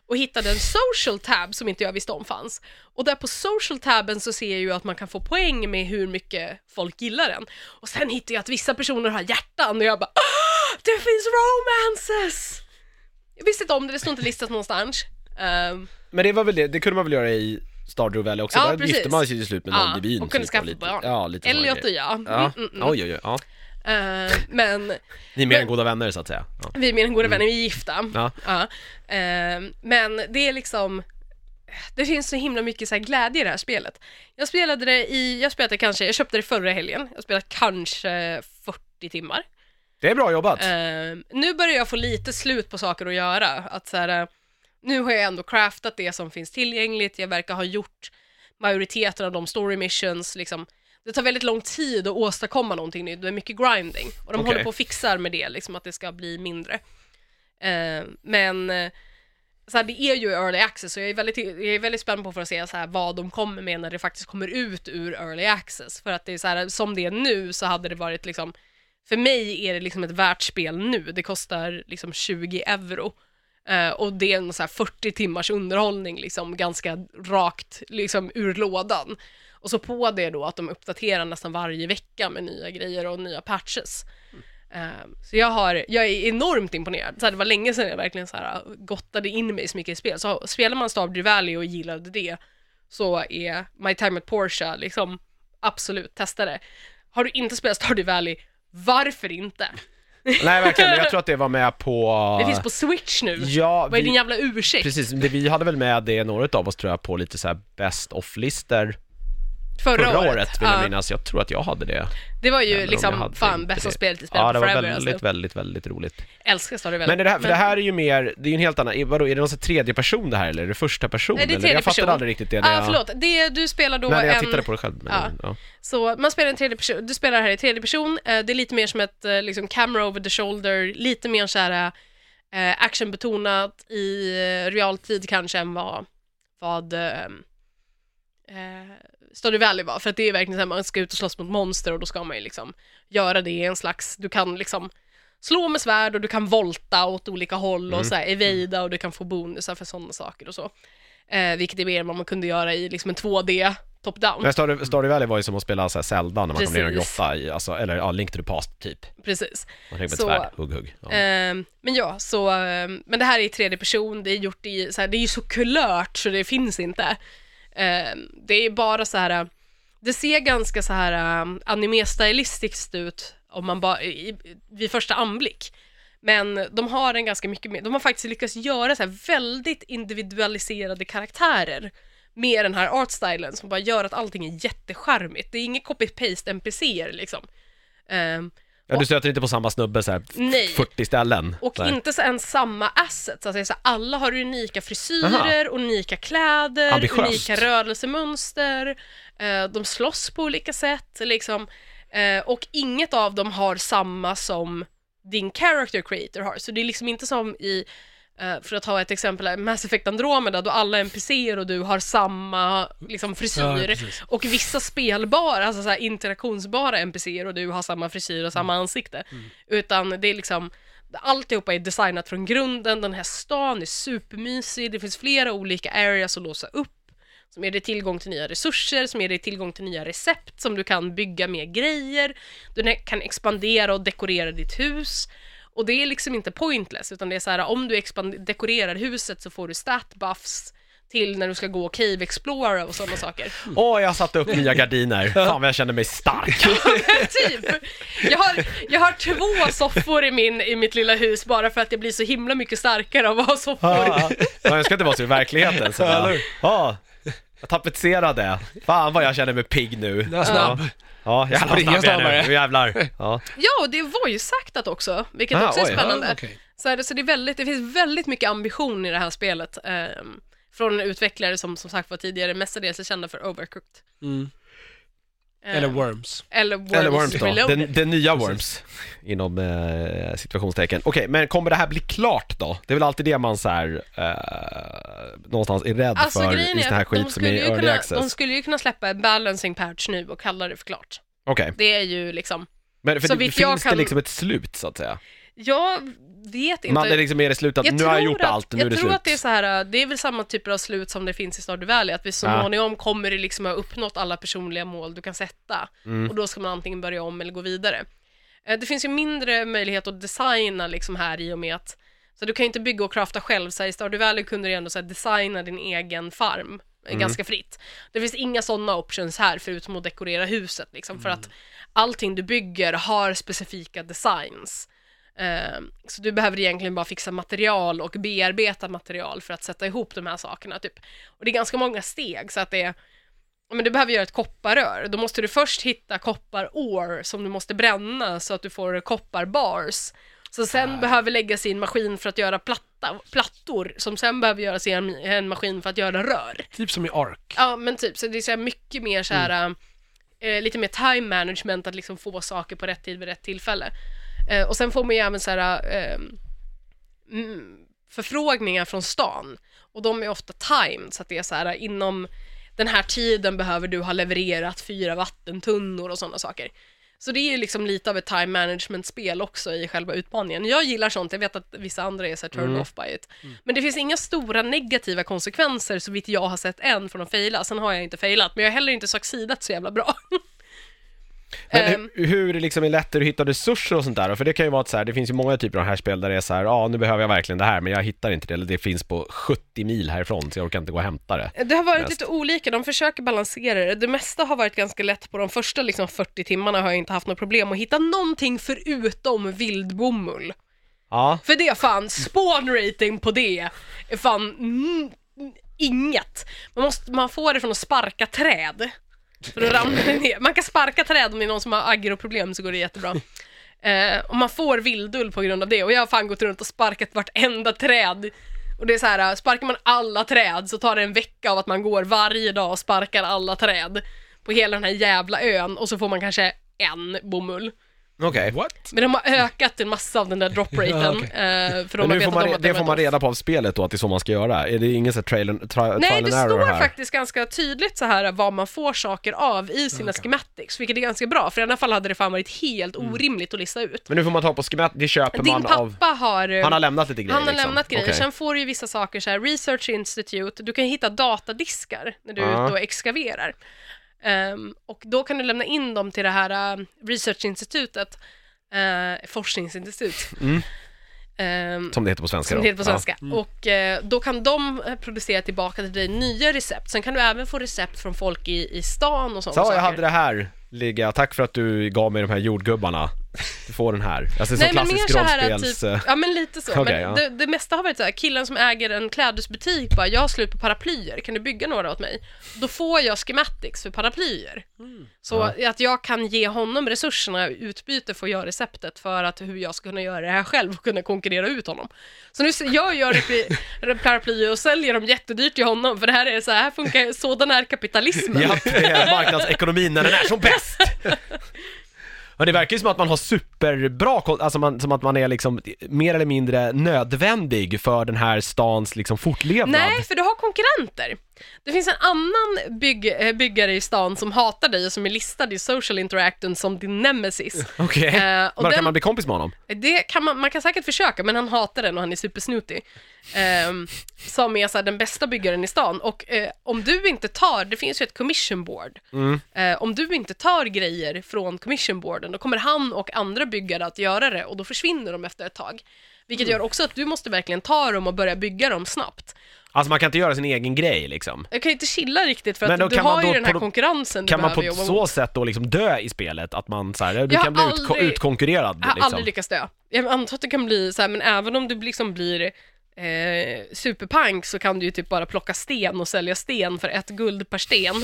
och hittade en social tab som inte jag visste om fanns. Och där på social taben så ser jag ju att man kan få poäng med hur mycket folk gillar den. Och sen hittar jag att vissa personer har hjärtan och jag bara "Ah, det finns romances! Jag visste inte om det, det stod inte listat någonstans. Ehm,
Men det var väl det, det kunde man väl göra i Stardew Valley också?
Ja,
Där gifte
precis.
man sig till slut med någon
Ja,
divin.
och kunde
typ,
skaffa
lite,
barn.
Ja, lite sådana
Elliot och
grejer.
jag.
Ja,
Mm, mm, mm.
oj, oj, oj. Ja.
Eh, men
Ni är mer än goda vänner så att säga. Ja.
vi är mina goda vänner, vi är gifta.
Ja.
Eh, men det är liksom, det finns så himla mycket så här glädje i det här spelet. Jag spelade det i, jag spelade kanske, jag köpte det förra helgen, jag spelade kanske 40 timmar.
Det är bra jobbat.
Eh, nu börjar jag få lite slut på saker att göra. Att så här, eh, nu har jag ändå craftat det som finns tillgängligt, jag verkar ha gjort majoriteten av de story missions. Liksom. Det tar väldigt lång tid att åstadkomma någonting nytt, det är mycket grinding. Och de
Okej.
håller på och fixar med det, liksom, att det ska bli mindre. Eh, men eh, så här, det är ju early access så jag är väldigt, jag är väldigt spänd på för att se så här, vad de kommer med när det faktiskt kommer ut ur early access. För att det är så här, som det är nu så hade det varit liksom, för mig är det liksom ett värt spel nu. Det kostar liksom 20 euro. Eh, och det är en så här 40 timmars underhållning liksom ganska rakt liksom ur lådan. Och så på det då att de uppdaterar nästan varje vecka med nya grejer och nya patches. Eh, Så jag, har, jag är enormt imponerad. Så här, det var länge sedan jag verkligen så här, ah, gottade in mig så mycket i spel. Så spelar man Stardew Valley och gillade det så är My Time at Porsche liksom absolut testa det. Har du inte spelat Stardew Valley, varför inte?
*laughs* Nej, verkligen. men Jag tror att det var med på...
Det finns på Switch nu.
Ja,
Vad är din
vi...
jävla ursäkt?
Precis, det, vi hade väl med det, några av oss tror jag, på lite så här best off-listor
Förra,
förra året, vill jag
Ja.
minnas. Jag tror att jag hade det.
Det var
Eller
ju
om jag
liksom,
hade
fan,
inte
bästa
det.
spelet i
Ja,
spelet
det var
forever
väldigt,
alltså.
väldigt, väldigt roligt.
Älskar Story Valley.
Men är det här, för det här är ju mer, det är ju en helt annan, är- vadå, är det någon sån här tredje person det här eller är det första person?
Nej, det är
eller?
tredje
Jag fattade
person.
aldrig riktigt det när
Ah,
jag,
förlåt. Det, du spelar då
när jag
en...
tittade på det själv. Men,
Ja.
ja.
Så man spelar en tredje person, du spelar här i tredje person, eh, det är lite mer som ett eh, liksom, camera over the shoulder, lite mer så här eh, actionbetonat i eh, realtid kanske än vad, vad eh, eh, Stardew Valley var, för att det är verkligen så här, man ska ut och slåss mot monster och då ska man ju liksom göra det i en slags, du kan liksom slå med svärd och du kan volta åt olika håll och så här, evada och du kan få bonusar för sådana saker och så. Eh, vilket är mer än vad man kunde göra i liksom en 2D top-down.
Men Stardew Stardew Valley var ju som att spela så här Zelda när man kom ner i en
Precis.
grotta i, alltså, eller ja, Link to the Past typ.
Precis.
Man tänker på ett
Så-
svärd, hugg hugg. Ja.
Ehm, men ja, så, ehm, men det här är i tredje person, det är gjort i, så här, det är ju så kulört så det finns inte. Ehm, det är bara så här, eh, det ser ganska så här eh, anime-stylistiskt ut om man bara, i, i- vid första anblick. Men de har en ganska mycket mer, de har faktiskt lyckats göra så här väldigt individualiserade karaktärer med den här artstylen som bara gör att allting är jättecharmigt. Det är inget copy-paste NPCer liksom. Ehm,
ja, du stöter inte på samma snubbe så här, f-
Nej.
40 ställen.
Och
så här.
inte så ens samma assets. Alltså, det är så här, alla har unika frisyrer, unika kläder,
Ambitiöst.
unika rörelsemönster. Eh, de slåss på olika sätt. Liksom. Eh, och inget av dem har samma som din character creator har. Så det är liksom inte som i, eh, för att ta ett exempel, Mass Effect Andromeda, då alla NPCer och du har samma liksom,
Ja,
frisyr.
precis.
och vissa spelbara, alltså så här, interaktionsbara NPCer och du har samma frisyr
Mm.
och samma ansikte. Utan det är liksom, alltihopa är designat från grunden, den här stan är supermysig, det finns flera olika areas att låsa upp som ger dig tillgång till nya resurser, som ger dig tillgång till nya recept som du kan bygga med grejer, du ne- kan expandera och dekorera ditt hus. Och det är liksom inte pointless, utan det är så här om du expand- dekorerar huset så får du stat buffs till när du ska gå och cave explora och sådana saker. *laughs*
Åh, jag satte upp nya gardiner. Fan vad jag känner mig stark.
*laughs* typ. Jag har, jag har två soffor i, min, i mitt lilla hus bara för att jag blir så himla mycket starkare av att ha soffor.
Ja, jag ska inte vara så i verkligheten. Så
Ja, eller
bara,
hur?
ja, jag tapetserade. Fan vad jag känner mig pigg nu.
Den är snabb.
Ja, jävlar
Springa
vad snabb jag är
snabbare.
nu. Nu jävlar. Ja.
Ja, och det är voice-actat också, vilket
Ah,
också
oj.
är spännande.
Ah, okej.
så, är det, så det, är väldigt, det finns väldigt mycket ambition i det här spelet. ehm, från utvecklare som som sagt var tidigare mestadels är kända för Overcooked.
Mm.
Ehm,
Eller Worms.
eller Worms,
Eller Worms då.
Reloaded.
Den, den nya Worms. Inom eh, situationstecken. Okej, men kommer det här bli klart då? Det är väl alltid det man så här, eh, någonstans är rädd
Alltså
för
grejen
i sån
är
här
att de
skit som är
skulle,
i
ju
early
kunna,
access.
de skulle ju kunna släppa en balancing patch nu och kalla det för klart.
Okej,
Det är ju liksom,
men för
Så
det,
vitt
finns
jag
det
kan-
liksom ett slut så att säga?
jag vet inte.
Man är liksom, är det slut att nu har jag
tror
gjort
att,
allt, nu
jag
är det
tror
slut?
att det är så här, äh, det är väl samma typer av slut som det finns i Stardew Valley, att vi så
Ja.
småningom kommer det liksom ha uppnått alla personliga mål du kan sätta
Mm.
och då ska man antingen börja om eller gå vidare. Eh, Det finns ju mindre möjlighet att designa liksom här i och med att så du kan ju inte bygga och crafta själv, så här, i Stardew Valley kunde du ju ändå så här, designa din egen farm eh,
Mm.
ganska fritt. Det finns inga sådana options här förutom att dekorera huset liksom,
Mm.
för att allting du bygger har specifika designs. Eh, Så du behöver egentligen bara fixa material och bearbeta material för att sätta ihop de här sakerna. Typ. Och det är ganska många steg, så att det är ja, men du behöver göra ett kopparrör, då måste du först hitta kopparår som du måste bränna så att du får kopparbars. Så sen behöver läggas i en maskin för att göra platta, plattor, som sen behöver göras i en, en maskin för att göra rör.
Typ som i Ark.
Ja men typ, så det är så här mycket mer så här, eh, lite mer time management att liksom få saker på rätt tid vid rätt tillfälle. Eh, och sen får man ju även så här, eh, mm, förfrågningar från stan och de är ofta timed så att det är så här inom den här tiden behöver du ha levererat fyra vattentunnor och sådana saker. Så det är ju liksom lite av ett time management-spel också i själva utmaningen. Jag gillar sånt, jag vet att vissa andra är så här turn off by it. Men det finns inga stora negativa konsekvenser så *laughs* vitt jag har sett än från att fejla. Sen har jag inte failat, men jag har heller inte succeedat så jävla bra.
Men
Ehm.
hur, hur liksom är det lätt att hitta resurser och sånt där? För det kan ju vara att så här, det finns ju många typer av här spel där det är så här, ja nu behöver jag verkligen det här men jag hittar inte det, eller det finns på 70 mil härifrån så jag orkar inte gå och hämta det.
Det har varit
Mest.
lite olika, de försöker balansera det. Det mesta har varit ganska lätt på de första liksom, 40 timmarna har jag inte haft något problem att hitta någonting förutom vildbomull.
Ja,
För det fan, spawn rating på det är fan mm, inget. Man, måste, man får det från att sparka träd. För då ramlar det *laughs* ner. Man kan sparka träd om det är någon som har agroproblem så går det jättebra. Eh, och man får vildull på grund av det och jag har fan gått runt och sparkat vartenda träd. Och det är så här, sparkar man alla träd så tar det en vecka av att man går varje dag och sparkar alla träd på hela den här jävla ön och så får man kanske en bomull.
okej.
What?
Men de har ökat en massa av den
*laughs*
där dropraten.
Ja, okej.
eh, för de
Men
har
nu får
vetat
man,
om
re-
att
det
var
får man
ett
reda på av spelet då, att det är så man ska göra? Är det ingen så här trail, and- tra,
Nej,
trial
det
and error
står
här?
faktiskt ganska tydligt så här vad man får saker av i sina schematics, vilket är ganska bra, för i alla fall hade det fan varit helt orimligt att lista ut.
Men nu får man ta på skemat, det köper
Din
Mm. man
pappa
av...
har... eh,
Han har lämnat lite grejer
han har
liksom.
lämnat grejer.
Okej.
Sen får du ju vissa saker så här, Research Institute, du kan hitta datadiskar när du är
Ja.
ute och exkaverar. Ehm, och då kan du lämna in dem till det här eh, Research Institutet, eh, forskningsinstitut.
Mm.
Ehm,
Som det heter på svenska
som
då.
det heter på
Ja.
svenska. Och eh, då kan de eh, producera tillbaka till dig nya recept. Sen kan du även få recept från folk i, i stan och sånt.
Så jag hade det här ligga, tack för att du gav mig de här jordgubbarna. Du får den här. Alltså som
Nej, men
klassisk
mer så här att
rollspels...
typ, ja men lite så.
*laughs* Okej,
men
ja.
det, det mesta har varit så här, killen som äger en klädesbutik bara, jag har slut på paraplyer, kan du bygga några åt mig? Då får jag schematics för paraplyer.
Mm.
Så att jag kan ge honom resurserna, i utbyte får jag receptet för att hur jag ska kunna göra det här själv och kunna konkurrera ut honom. Så nu, s- jag gör *laughs* repli- re- paraplyer och säljer dem jättedyrt till honom, för det här är så här funkar, sådan är kapitalismen.
Japp, det är eh, marknadsekonomin när den är som bäst! Ja, det verkar ju som att man har superbra koll, alltså man, som att man är liksom mer eller mindre nödvändig för den här stans liksom fortlevnad.
Nej, för du har konkurrenter. Det finns en annan bygg, eh, byggare i stan som hatar dig och som är listad i social interaction som din nemesis.
Okej,
Eh,
men
och den-
kan man bli kompis med honom?
Det kan man, man kan säkert försöka, men han hatar den och han är supersnutig. Ehm, som är så här, den bästa byggaren i stan. Och eh, om du inte tar, det finns ju ett commission board. Eh, om du inte tar grejer från commission boarden, då kommer han och andra byggare att göra det och då försvinner de efter ett tag. Vilket gör också att du måste verkligen ta dem och börja bygga dem snabbt.
Alltså man kan inte göra sin egen grej liksom.
Jag kan ju inte chilla riktigt för
Men då
att du
kan man
har ju
då
den här
på-
konkurrensen du
Kan man
behöver
på
jobba mot.
så sätt då liksom dö i spelet? Att man så här, du
Jag
kan bli
har
utko-
aldrig-
utkonkurrerad
Jag har
liksom?
aldrig lyckats dö. Jag antar att det kan bli så här, men även om du liksom blir eh, superpank så kan du ju typ bara plocka sten och sälja sten för ett guld per sten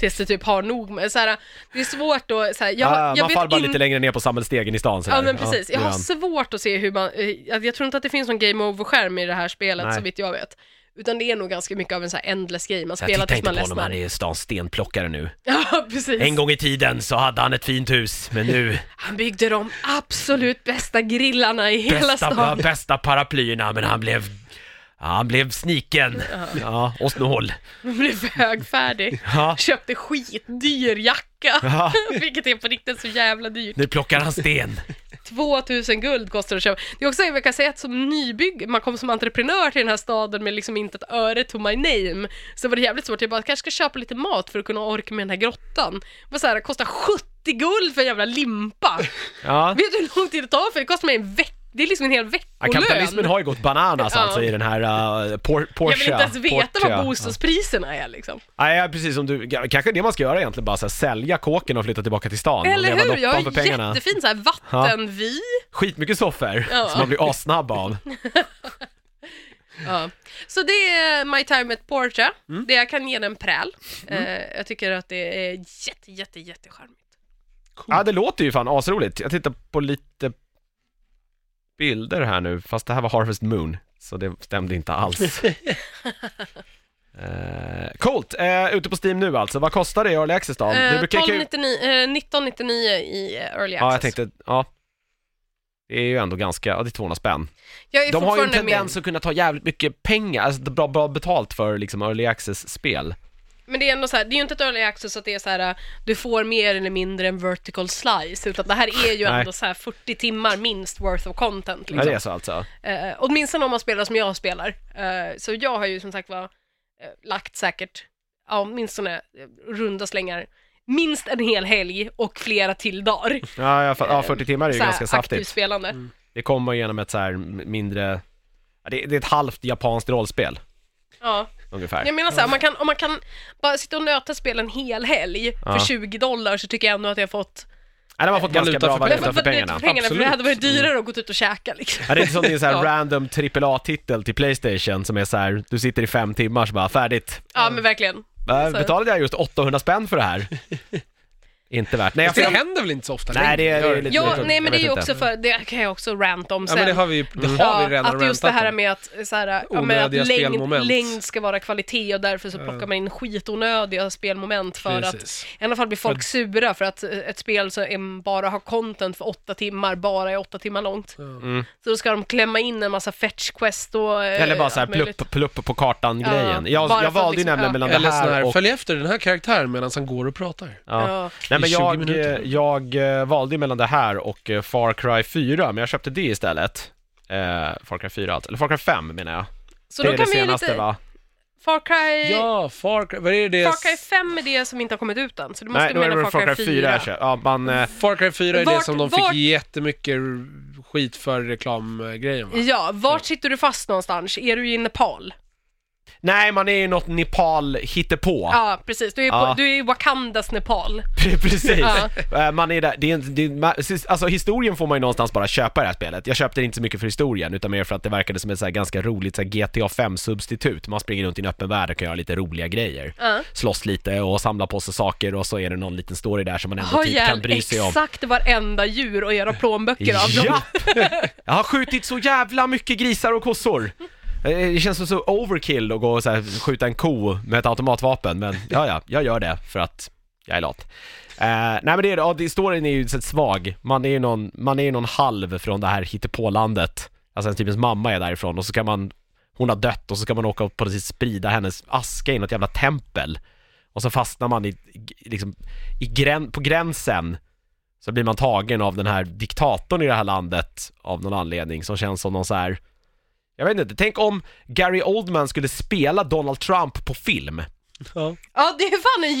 tills du typ har nog med. Så här, det är svårt att, så här, jag, har-
Ah,
jag
man faller
vet
bara
inte
lite längre ner på samhällsstegen i stan så
Ja
här.
men precis, jag
det
har
gör han.
svårt att se hur man, eh, jag jag tror inte att det finns någon game over-skärm i det här spelet
Nej.
så vitt jag vet. Utan det är nog ganska mycket av en så här endless game, man
Så
spelar
jag tittar
tills
inte
man
på honom, han
ledsnar.
är stans stenplockare nu.
*laughs* Ja precis.
En gång i tiden så hade han ett fint hus, men nu
Han byggde de absolut bästa grillarna i *laughs* hela
bästa,
stan.
bästa paraplyerna, men han blev ja, han blev sniken. Ja, och snål.
Han blev högfärdig.
Ja.
Köpte skitdyr jacka.
Ja.
*laughs* Vilket är på riktigt så jävla dyrt.
Nu plockar han sten.
2000 guld kostar det att köpa. Det är också, jag kan säga att som nybygg, man kom som entreprenör till den här staden med liksom inte ett öre to my name. Så var det jävligt svårt. Jag bara, kanske ska köpa lite mat för att kunna orka med den här grottan. Det var så här, det kostar 70 guld för en
*laughs*
jävla limpa.
Ja.
Vet du hur lång tid det tar för? Det kostar mig en vecka. Det är liksom en hel
Ja,
veckolön.
kapitalismen har ju gått bananas
Ja.
alltså i den här uh, por-
Jag
Porsche.
vill inte ens veta
Porsche.
vad bostadspriserna är liksom.
Nej, ja, precis som du, kanske det man ska göra egentligen, bara så här, sälja kåken och flytta tillbaka till stan
Eller
och leva
hur? Jag
loppan för
har
pengarna.
jättefin så här vattenvy.
Skitmycket soffor
Ja.
som man blir assnabb av.
Ja. Så det är My Time at Porsche.
Mm.
Det jag kan ge den en präl. Eh, jag tycker att det är jätte, jätte, jätte charmigt.
Ja, det låter ju fan asroligt. Jag tittar på lite bilder här nu, fast det här var Harvest Moon, så det stämde inte alls. Eh, coolt! Eh, ute på Steam nu alltså, vad kostar det i Early Access då? det
Eh,
brukar ju-
1299, eh, 1999 i eh, Early Access.
Ja, jag tänkte, ja. Det är ju ändå ganska, ja det är 200 spänn.
Jag är
De har ju en
fortfarande
tendens att kunna ta jävligt mycket pengar, alltså det är bra, bra betalt för liksom Early Access-spel.
med, men det är ändå så här, det är ju inte ett Early Access att det är så här, eh, du får mer eller mindre en vertical slice, utan det här är ju
Nej.
ändå så här 40 timmar minst worth of content.
Ja,
Liksom.
det är så alltså.
Eh, åtminstone om man spelar som jag spelar. Eh, så jag har ju som sagt var eh, lagt säkert, ja, åtminstone eh, runda slängar, minst en hel helg och flera till dagar.
Ja, jag, fa- ja 40 timmar är ju
Så här,
ganska saftigt.
aktivt spelande.
Det kommer genom ett så här mindre, ja, det, det är ett halvt japanskt rollspel
Ja.
ungefär.
Jag menar så här, man kan, om man kan bara sitta och nöta spel en hel helg
Ja.
för 20 dollar så tycker jag ändå att jag fått
Nej, de har fått ganska
Valuta
bra
för
Men
valuta
vad-
för
vad- det är
pengarna.
För, pengarna för det
Absolut.
hade varit dyrare att gå ut och käka liksom.
Ja, det är inte som din så här
*laughs* Ja.
random AAA-titel till Playstation som är så här, du sitter i fem timmar så bara färdigt.
Ja men verkligen.
Äh,
Så-
betalade jag just 800 spänn för det
*laughs*
här? inte värt. Nej, jag
Det
får-
händer väl inte så ofta?
Nej, det är- det är lite-
Ja,
jag
nej men
vet
det är ju
inte.
också för, det kan jag också ranta om
Ja,
sen.
men det har vi ju, det har
Ja,
vi redan
att just det
rantat
här
om.
med att, så här, ja, men
Onödiga
att längd,
spelmoment.
längd ska vara kvalitet och därför så plockar man in skitonödiga spelmoment för
Precis.
att i alla fall blir folk sura för att eh, ett spel som är- bara har content för åtta timmar bara är åtta timmar långt. Så då ska de klämma in en massa fetch quest och eh,
Mm. Eller bara så här
allt möjligt.
plupp, plupp på kartan-grejen.
Ja,
jag
bara
jag
för att
valde ju
liksom-
nämligen
ja.
mellan det
Eller sån
här
här,
och...
följ efter den här karaktären medan han går och pratar.
Ja.
Ja.
Nej
I
men
20
jag,
minuter.
jag eh, valde ju mellan det här och eh, Far Cry 4, men jag köpte det istället. Eh, Far Cry 4 alltså, eller Far Cry 5 menar jag.
Så
det
då
är det
kan vi ju
senaste
lite,
va?
Far Cry,
Ja, Far Cry, vad är det?
Far Cry 5 är det som inte har kommit ut än, så du måste
Nej, då är det
mena
väl
Far Cry 4.
jag köpte. Ja, man... eh,
Far Cry 4 är det
Vart-
som de
vart-
fick jättemycket skit för reklamgrejen va?
Ja, vart sitter du fast någonstans? Är du i Nepal?
Nej, man är ju något Nepal hittepå.
Ja, precis. Du är,
Ja.
på, du är i Wakandas Nepal.
*laughs* Precis.
Ja.
Eh, Man är där, det är, inte- det är, ma- alltså historien får man ju någonstans bara köpa i det här spelet. Jag köpte det inte så mycket för historien, utan mer för att det verkade som ett så här ganska roligt så här GTA 5-substitut. Man springer runt i en öppen värld och kan göra lite roliga grejer.
Ja.
Slåss lite och samla på sig saker och så är det någon liten story där som man ändå
Har
typ kan
ihjäl
bry sig om.
exakt varenda djur och göra plånböcker av dem.
Ja! Jag har skjutit så jävla mycket grisar och kossor! Eh, Det känns som så overkill att gå och så här skjuta en ko med ett automatvapen, men ja, ja, jag gör det för att jag är lat. Eh, nej men det är ja, det, storyn är ju så svag, man är ju någon, man är ju någon halv från det här hittepålandet. Alltså typ ens mamma är därifrån och så kan man, hon har dött och så ska man åka och på precis sprida hennes aska i något jävla tempel. Och så fastnar man i, i- liksom, i grän, på gränsen så blir man tagen av den här diktatorn i det här landet av någon anledning som känns som någon så här. Jag vet inte, tänk om Gary Oldman skulle spela Donald Trump på film.
Ja.
Ja, det är fan en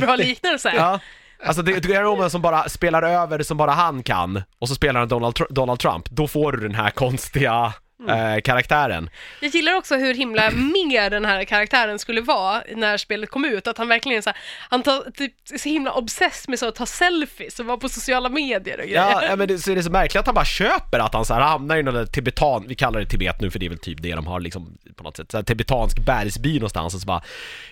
*laughs*
bra liknelse.
Ja. Alltså det det är Gary Oldman som bara spelar över som bara han kan och så spelar han Donald, Tr- Donald Trump. Då får du den här konstiga eh, karaktären.
Jag gillar också hur himla mer den här karaktären skulle vara när spelet kom ut, att han verkligen är så här, han tar, typ, är så himla obsess med så att ta selfies och vara på sociala medier och grejer.
Ja, ja, men det, så är det så märkligt att han bara köper att han så här hamnar i någon där tibetan, vi kallar det Tibet nu för det är väl typ det de har liksom på något sätt, så här tibetansk bergsby någonstans och så bara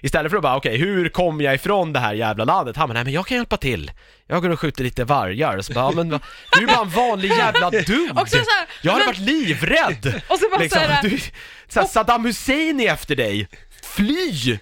Istället för att bara okej, hur kom jag ifrån det här jävla landet? Han bara nej men jag kan hjälpa till Jag går och skjuter lite vargar och så bara ja, men va- du är bara en vanlig
*laughs*
jävla dude!
Och så är det så här,
jag hade
men-
varit livrädd! Liksom.
Och så bara så här-
du, så här, Saddam Hussein är efter dig!
*laughs*
Fly!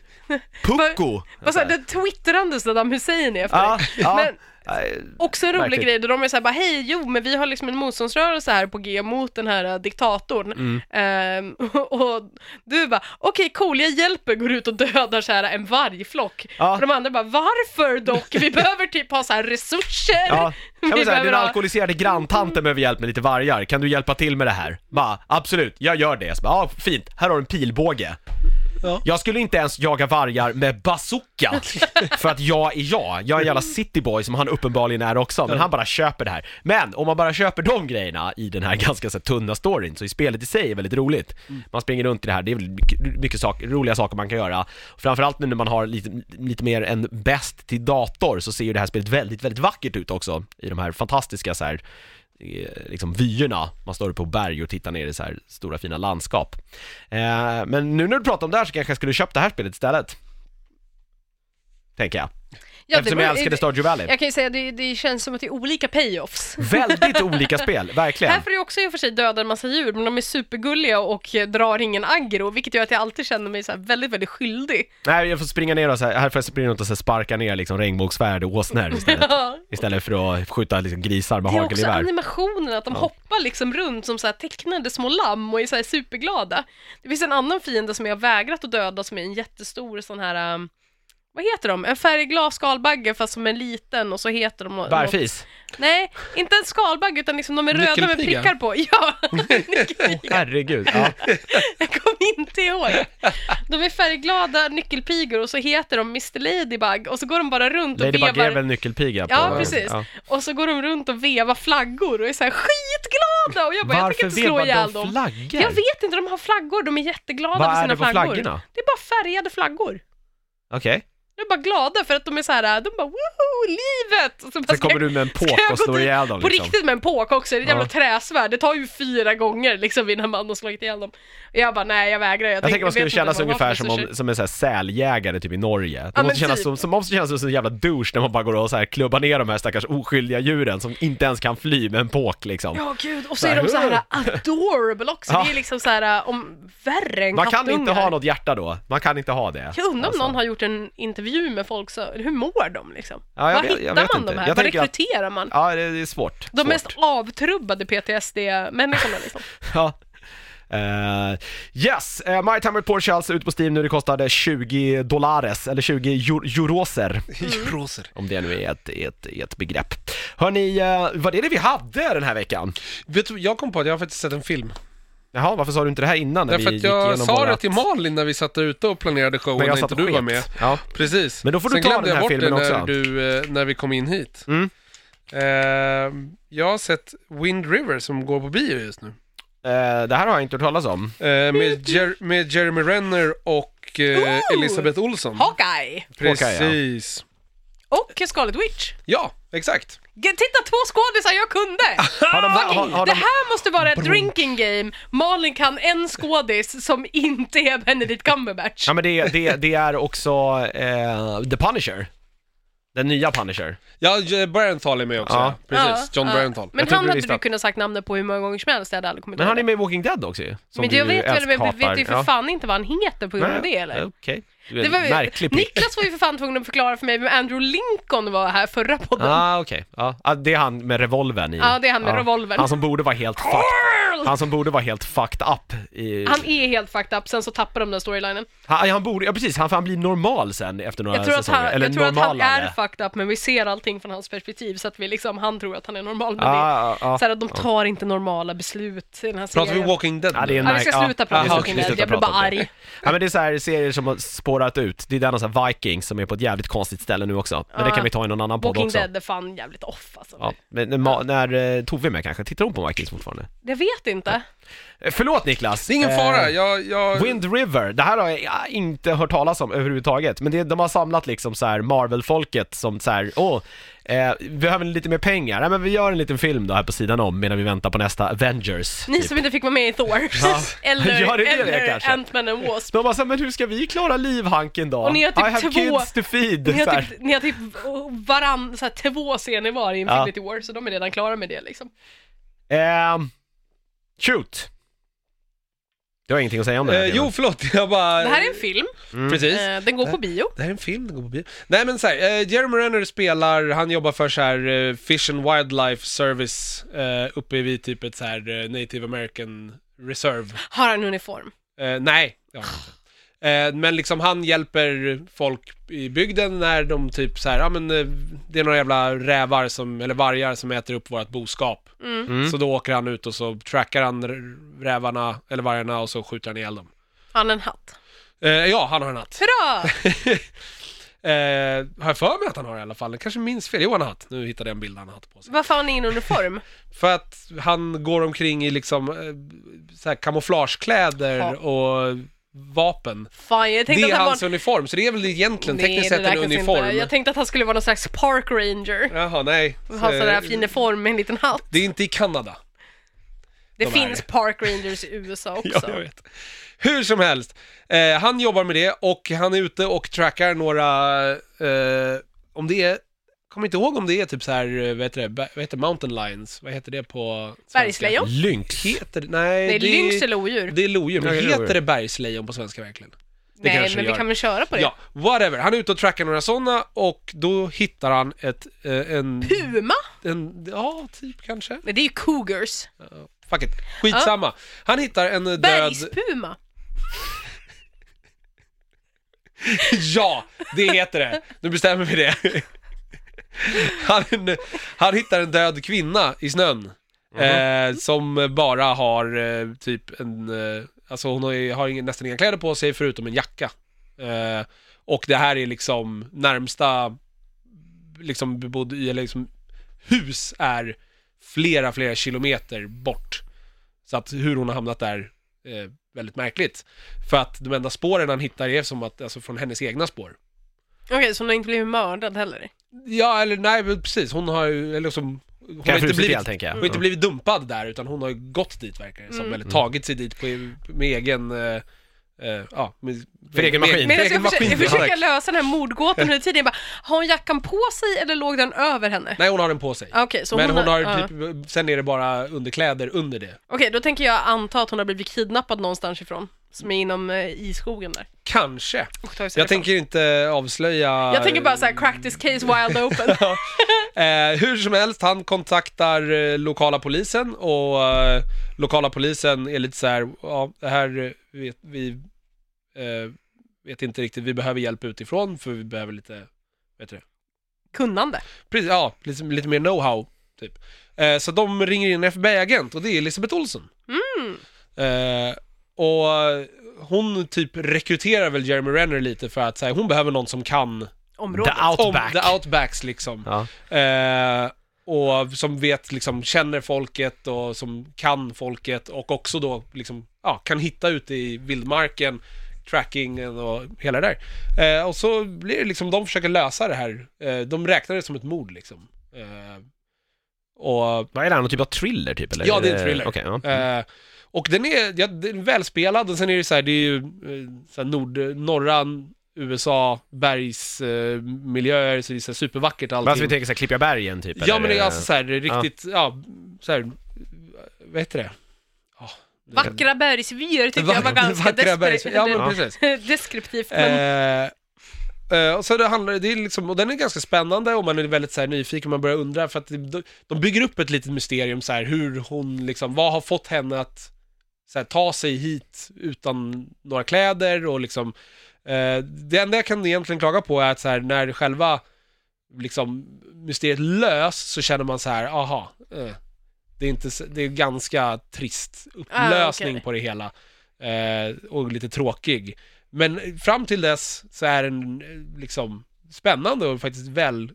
Pucko!
Vad sa Alltså, den twittrande Saddam Hussein är efter
Ja,
dig.
ja,
Men
Nej,
Också en rolig
Verkligen.
grej där de är såhär bara hej, jo men vi har liksom en motståndsrörelse här på G mot den här äh, diktatorn.
Mm.
Ehm, *laughs* och, och du bara okej cool, jag hjälper, går ut och dödar så här en vargflock.
Ja.
Och de andra bara varför dock?
*laughs*
Vi behöver typ ha så här *laughs* resurser.
Ja,
Vi
jag vill säga,
behöver
den
ha-
alkoholiserade granntanten behöver hjälp med lite vargar, kan du hjälpa till med det här? Bara, absolut, jag gör det. Så bara, ja, fint, här har du en pilbåge.
Ja.
Jag skulle inte ens jaga vargar med bazooka, för att jag är jag. Jag är en jävla cityboy som han uppenbarligen är också, men han bara köper det här. Men om man bara köper de grejerna i den här ganska så här, tunna storyn, så är spelet i sig väldigt roligt. Man springer runt i det här, det är väl mycket, mycket sak, roliga saker man kan göra. Framförallt nu när man har lite, lite mer än bäst till dator, så ser ju det här spelet väldigt, väldigt vackert ut också, i de här fantastiska så här eh, liksom vyerna, man står uppe på berg och tittar ner i så här stora fina landskap. Eh, men nu när du pratar om det här så kanske jag skulle köpa det här spelet istället. Tänker jag.
Ja, det
Eftersom
beror-
jag älskade Stardew Valley.
Jag *laughs* kan ju säga det, det känns som att det är olika payoffs.
Väldigt olika spel, verkligen.
Här får du också i och för sig döda en massa djur, men de är supergulliga och eh, drar ingen aggro, vilket gör att jag alltid känner mig så här väldigt, väldigt skyldig. *laughs*
Nej, jag får springa ner och så här, här får jag springa runt och så här sparka ner liksom regnbågsvärd och åsnor
*laughs*
istället. Istället för att skjuta liksom grisar med
Det är också
hagelgevär.
animationen, att de hoppar liksom runt som så här tecknade små lamm och är så här superglada. Det finns en annan fiende som jag har vägrat att döda som är en jättestor sån här, um, Vad heter de? En färgglad skalbagge fast som en liten och så heter de nå- något-
Bärfis.
Nej, inte en skalbagge utan liksom de är röda med
Nyckelpiga.
prickar på.
*laughs*
*laughs* Ja, nyckelpiga.
Herregud.
*laughs*
Ja.
Jag kommer inte ihåg. De är färgglada nyckelpigor och så heter de Mr Ladybug och så går de bara runt och
Ladybug är
vevar.
väl nyckelpiga? På,
Ja, precis. Och så går de runt och vevar flaggor och är så här skitglada och jag bara, jag
Varför
tänker inte slå
vevar de
ihjäl dem.
flaggor?
Jag vet inte, de har flaggor, de är jätteglada
Vad
för
är
sina
det på
flaggor.
flaggorna?
Det är bara färgade flaggor.
Okej.
De är bara glada för att de är så här, de bara woho, livet! Och så bara,
Sen
ska
kommer
jag-
du med en
ska
påk
jag
och
gå
slår
till-
ihjäl dem
På
liksom.
riktigt med en påk också, det är ett jävla
Ja.
träsvärd, det tar ju fyra gånger liksom innan man har slagit ihjäl dem. Och jag bara nej, jag vägrar. Jag,
Jag tänker
tänkte-
man skulle
vet inte
känna
vad
sig
man har för
ungefär som, om,
resurser.
som en sån här säljägare typ i Norge.
Ja,
De
men
måste kännas
typ.
som, som, måste kännas som en jävla douche när man bara går och så här klubbar ner de här stackars oskyldiga djuren som inte ens kan fly med en påk liksom.
Ja gud, och så är de så här adorable också,
Ja.
det är liksom så här om värre än
Man kan inte
kattungar.
ha något hjärta då, man kan inte ha det.
Jag undrar om
Alltså.
någon har gjort en intervju med folk, så, hur mår de liksom?
Ja, jag
Var
vet- jag
hittar
vet
man
inte.
de här?
Jag
Var
tänker att-
rekryterar man?
Ja, det det är svårt.
De
svårt.
mest avtrubbade PTSD-människorna liksom.
*laughs* Ja. Eh, yes, uh, My Time Report kör alltså ut på Steam nu, det kostade 20 dollares, eller 20 eur- euroser.
Mm.
Roser.
Om det nu är ett, ett, ett begrepp. Hörni, uh, vad är det vi hade den här veckan?
Vet du, jag kom på att jag har faktiskt sett en film.
Jaha, varför sa du inte det här innan? när
Därför
vi
att
gick
jag
igenom
sa
vårat-
det till Malin när vi satt ute och planerade showen
Men jag
när
satt
inte
och
du var
sket.
med.
Ja.
Precis.
Men då får du
Sen
ta
glömde
den
jag
här
bort
filmen
det när
också.
Du, eh, när vi kom in hit.
Mm.
Eh, jag har sett Wind River som går på bio just nu.
Eh, det här har jag inte hört talas om.
Eh, med, Jer- med Jeremy Renner och eh,
Ooh!
Elisabeth Olsson.
Hawkeye
Precis.
och Scarlet Witch.
Ja, exakt.
G- Titta, två skådisar jag
*laughs*
kunde!
Har de, har, har, har
Det
de,
här måste vara ett drinking game. Malin kan en skådis som inte är Benedict Cumberbatch.
ja men det, det, det är också eh, The Punisher. Den nya Punisher.
Ja, J- Barenthal är med också.
Ja.
Ja.
Ja,
Precis, John
ja.
Barenthal.
Men
Jag tror
han
du
hade
visste
du
att-
kunnat sagt namnet på hur många gånger som helst, jag hade aldrig kommit
Men han är
ihåg
med i Walking Dead också ju. som
Men jag
du
vet väl, men vi
älskhatar.
vet ju för
Ja.
fan inte vad han heter på grund av
Nej,
det eller?
Okej, du är
Det
en
var, ju-
märklig prick.
Niklas var ju för fan tvungen att förklara för mig vem Andrew Lincoln var här förra podden.
Ah, okej. Ja, ah, det är han med revolvern i.
Ja, det är han med
Ja.
revolvern.
Han som borde vara helt fucked, han som borde vara helt fucked up i...
Han är helt fucked up, sen så tappar de den storylinen.
Han, han borde, ja precis, han, för han blir normal sen efter några
Jag tror, att
säsonger.
han,
Eller
jag tror att han
normalare.
är fucked up, men vi ser allting från hans perspektiv, så att vi liksom, han tror att han är normal, men det
Ja, Ah, ja,
så här, att de tar inte normala beslut i den här
Pratar vi
serien.
Walking Dead
Ja,
nu?
det är en
Ja, vi ska
märk-
sluta
ja,
prata
just det,
om
vi
Walking Dead,
slutar
jag blir
prata
bara
om det.
arg.
Ja men det är så här serier som har spårat ut, det är den och så här Vikings som är på ett jävligt konstigt ställe nu också. Men det
Ja.
kan vi ta i någon annan podd
Walking
också.
Dead är fan jävligt off alltså.
Ja, men när, ma- när eh, Tove är med kanske, tittar hon på Vikings fortfarande?
Jag vet inte.
Eh, Förlåt Niklas!
Det är ingen
Eh,
fara, jag... jag...
Wind River, det här har jag eh, inte hört talas om överhuvudtaget, men det, de har samlat liksom så här Marvel-folket som så här, åh, eh, vi behöver lite mer pengar, nej men vi gör en liten film då här på sidan om medan vi väntar på nästa Avengers. typ.
Ni som inte fick vara med i Thor, *laughs* eller,
Gör det det
eller
kanske?
Ant-Man and Wasp.
De bara så här, men hur ska vi klara livhanken då?
Och ni har typ
I have
två-
kids to feed.
Ni
så
har
här.
typ, ni har typ varann, så här, två scener var i Infinity War, så de är redan klara med det liksom.
Eh, Ehm, shoot. Du har ingenting att säga om det här,
Eh,
Lena.
jo, förlåt, *laughs* jag bara... Mm.
Det här är en film,
Precis.
eh, den går på bio.
Det här är en film, den går på bio. Nej men såhär, eh, Jeremy Renner spelar, han jobbar för så här eh, Fish and Wildlife Service eh, uppe vid typ ett så här eh, Native American Reserve.
Har han uniform?
Eh, nej, det har han inte. Eh, men liksom han hjälper folk i bygden när de typ så här, ja men eh, det är några jävla rävar som, eller vargar som äter upp vårt boskap. Så då åker han ut och så trackar han r- rävarna, eller vargarna och så skjuter han ihjäl dem.
Har han en hatt?
Eh, ja, han har en hatt.
Hurra!
Eh, har jag för mig att han har i alla fall. Jag kanske minns fel. Jo, han har hatt. Nu hittade jag en bild han har hatt på sig.
Varför har han ingen uniform?
För att han går omkring i liksom eh, så här kamouflagekläder
Ja.
och vapen.
Fan, jag
Det
tänkte
är
att han
hans
var...
uniform, så det är väl egentligen tekniskt
det
sett en
räknas
uniform.
Inte. Jag tänkte att han skulle vara någon slags park ranger.
Jaha, nej.
Ha sån där
Eh,
fin form med en liten hatt.
Det är inte i
*laughs*
Kanada.
Det
de
finns
är-
park rangers i USA också.
*laughs* Ja, jag vet. Hur som helst, eh, han jobbar med det och han är ute och trackar några, eh, om det är, kommer inte ihåg om det är typ så här, eh, vad heter det, Ba- vad heter mountain lions, vad heter det på svenska?
Bergslejon?
Lynx.
Heter det? Nej,
Det är lynx eller odjur?
Det är lodjur, men
Ja, det är
heter
lodjur.
det bergslejon på svenska verkligen? det
Nej,
kanske
men vi
gör.
kan väl köra på det?
Ja, whatever. Han är ute och trackar några sådana och då hittar han ett, eh, en,
Puma?
en, ja, typ kanske.
Nej, det är ju cougars.
Fuck it. Skitsamma. Han hittar en eh, död...
Bergspuma?
*laughs* Ja, det heter det. Nu bestämmer vi det. *laughs* Han, han hittar en död kvinna i snön. eh, som bara har eh, typ en, eh, alltså hon har, ju- har ingen, nästan inga kläder på sig förutom en jacka. Eh, och det här är liksom närmsta, liksom bebodd i, eller liksom hus är flera, flera kilometer bort. Så att hur hon har hamnat där, eh, väldigt märkligt. För att de enda spåren han hittar är som att, alltså från hennes egna spår.
Okej, så hon har inte blivit mördad heller?
Ja, eller nej, men precis. Hon har ju, eller liksom, hon har, inte
frusit
blivit,
ihjäl, tänker jag.
hon har inte blivit dumpad där, utan hon har ju gått dit verkar det som,
Mm.
eller tagit sig dit på, med egen, eh, eh, ja, med,
För egen maskin.
Men
egen
jag ska försöka, jag
maskin.
försöker lösa den här mordgåtan under tiden. Jag bara, har hon jackan på sig eller låg den över henne?
Nej, hon har den på sig.
Ah, Okej, så
men hon har,
ja.
typ, sen är det bara underkläder under det.
Okej, då tänker jag anta att hon har blivit kidnappad någonstans ifrån. Som är inom, eh, i skogen där.
Kanske.
Och tagit sig
Jag
därifrån.
tänker inte avslöja...
jag tänker bara såhär, crack this case wild
*laughs*
open.
Eh, hur som helst, han kontaktar eh, lokala polisen och eh, lokala polisen är lite så här, ja, det här eh, vet vi, eh, vet inte riktigt, vi behöver hjälp utifrån för vi behöver lite, vet du det?
*laughs* Kunnande.
Precis, ja, lite, lite mer know-how, typ. Eh, så de ringer in en FBI-agent och det är Elisabeth Olsson. Eh, och hon typ rekryterar väl Jeremy Renner lite för att så här, hon behöver någon som kan
The
Området.
Outback.
om the outbacks liksom.
Ja.
Eh, och som vet, liksom känner folket och som kan folket och också då liksom, ja, kan hitta ute i vildmarken, trackingen och hela det där. Eh, och så blir det liksom, de försöker lösa det här. Eh, de räknar det som ett mord liksom. Eh, och
Vad är det här, någon typ av thriller typ? Eller?
Ja, det är en thriller.
Okej, ja.
Eh, och den är, ja, den är välspelad och sen är det så här, det är ju eh, så här nord, norra USA, bergsmiljöer, eh, miljöer, så det är så här supervackert allting.
Men Alltså vi tänker såhär, Klippiga bergen typ?
Ja
eller?
men det är alltså så här riktigt, ja, så här, vad heter det? Ja, det-
Vackra bergsvyer tyckte jag var
Vackra-
ganska
vackra
despre-
bergs- Ja men
Ja.
precis.
*laughs* deskriptivt. Men...
Eh, eh, och så det handlar, det är liksom, och den är ganska spännande och man är väldigt så här nyfiken, man börjar undra för att de, de bygger upp ett litet mysterium så här hur hon liksom, vad har fått henne att så här, ta sig hit utan några kläder och liksom eh, Det enda jag kan egentligen klaga på är att så här, när själva liksom mysteriet lös så känner man så här, aha, eh, det är inte, så- det är ganska trist upplösning
Ah, okej.
på det hela eh, och lite tråkig. Men fram till dess så är den eh, liksom spännande och faktiskt väl,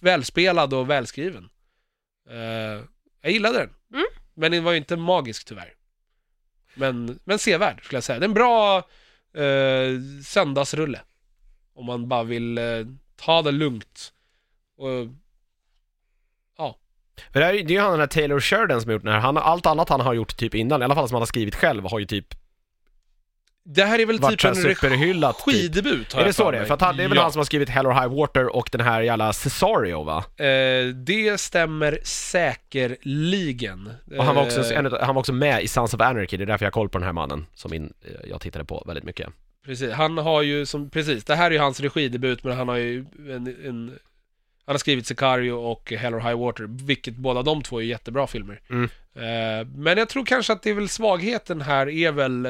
välspelad och välskriven. Eh, jag gillade den.
Mm.
Men den var ju inte magisk tyvärr. Men, men sevärd skulle jag säga. Det är en bra eh, söndagsrulle. Om man bara vill eh, ta det lugnt. Och,
För det, här, är ju- det är ju han den här Taylor Sheridan som har gjort den här, han, har- allt annat han har gjort typ innan, i alla fall som han har skrivit själv, har ju typ
det här är väl
varit
typ en
typ superhyllat typ.
regidebut har
Är det
jag
så
för
det är?
mig.
För att han, det är väl
ja.
han som har skrivit Hell or High Water och den här jävla Cesario va?
Eh, det stämmer säkerligen.
Och han var också,
Eh,
en, utav- han var också med i Sons of Anarchy, det är därför jag har koll på den här mannen, som min, eh, jag tittade på väldigt mycket.
Precis, han har ju som, precis, det här är ju hans regidebut men han har ju en, en han har skrivit Sicario och Hell or High Water, vilket båda de två är jättebra filmer.
Mm.
Eh, men jag tror kanske att det är väl svagheten här är väl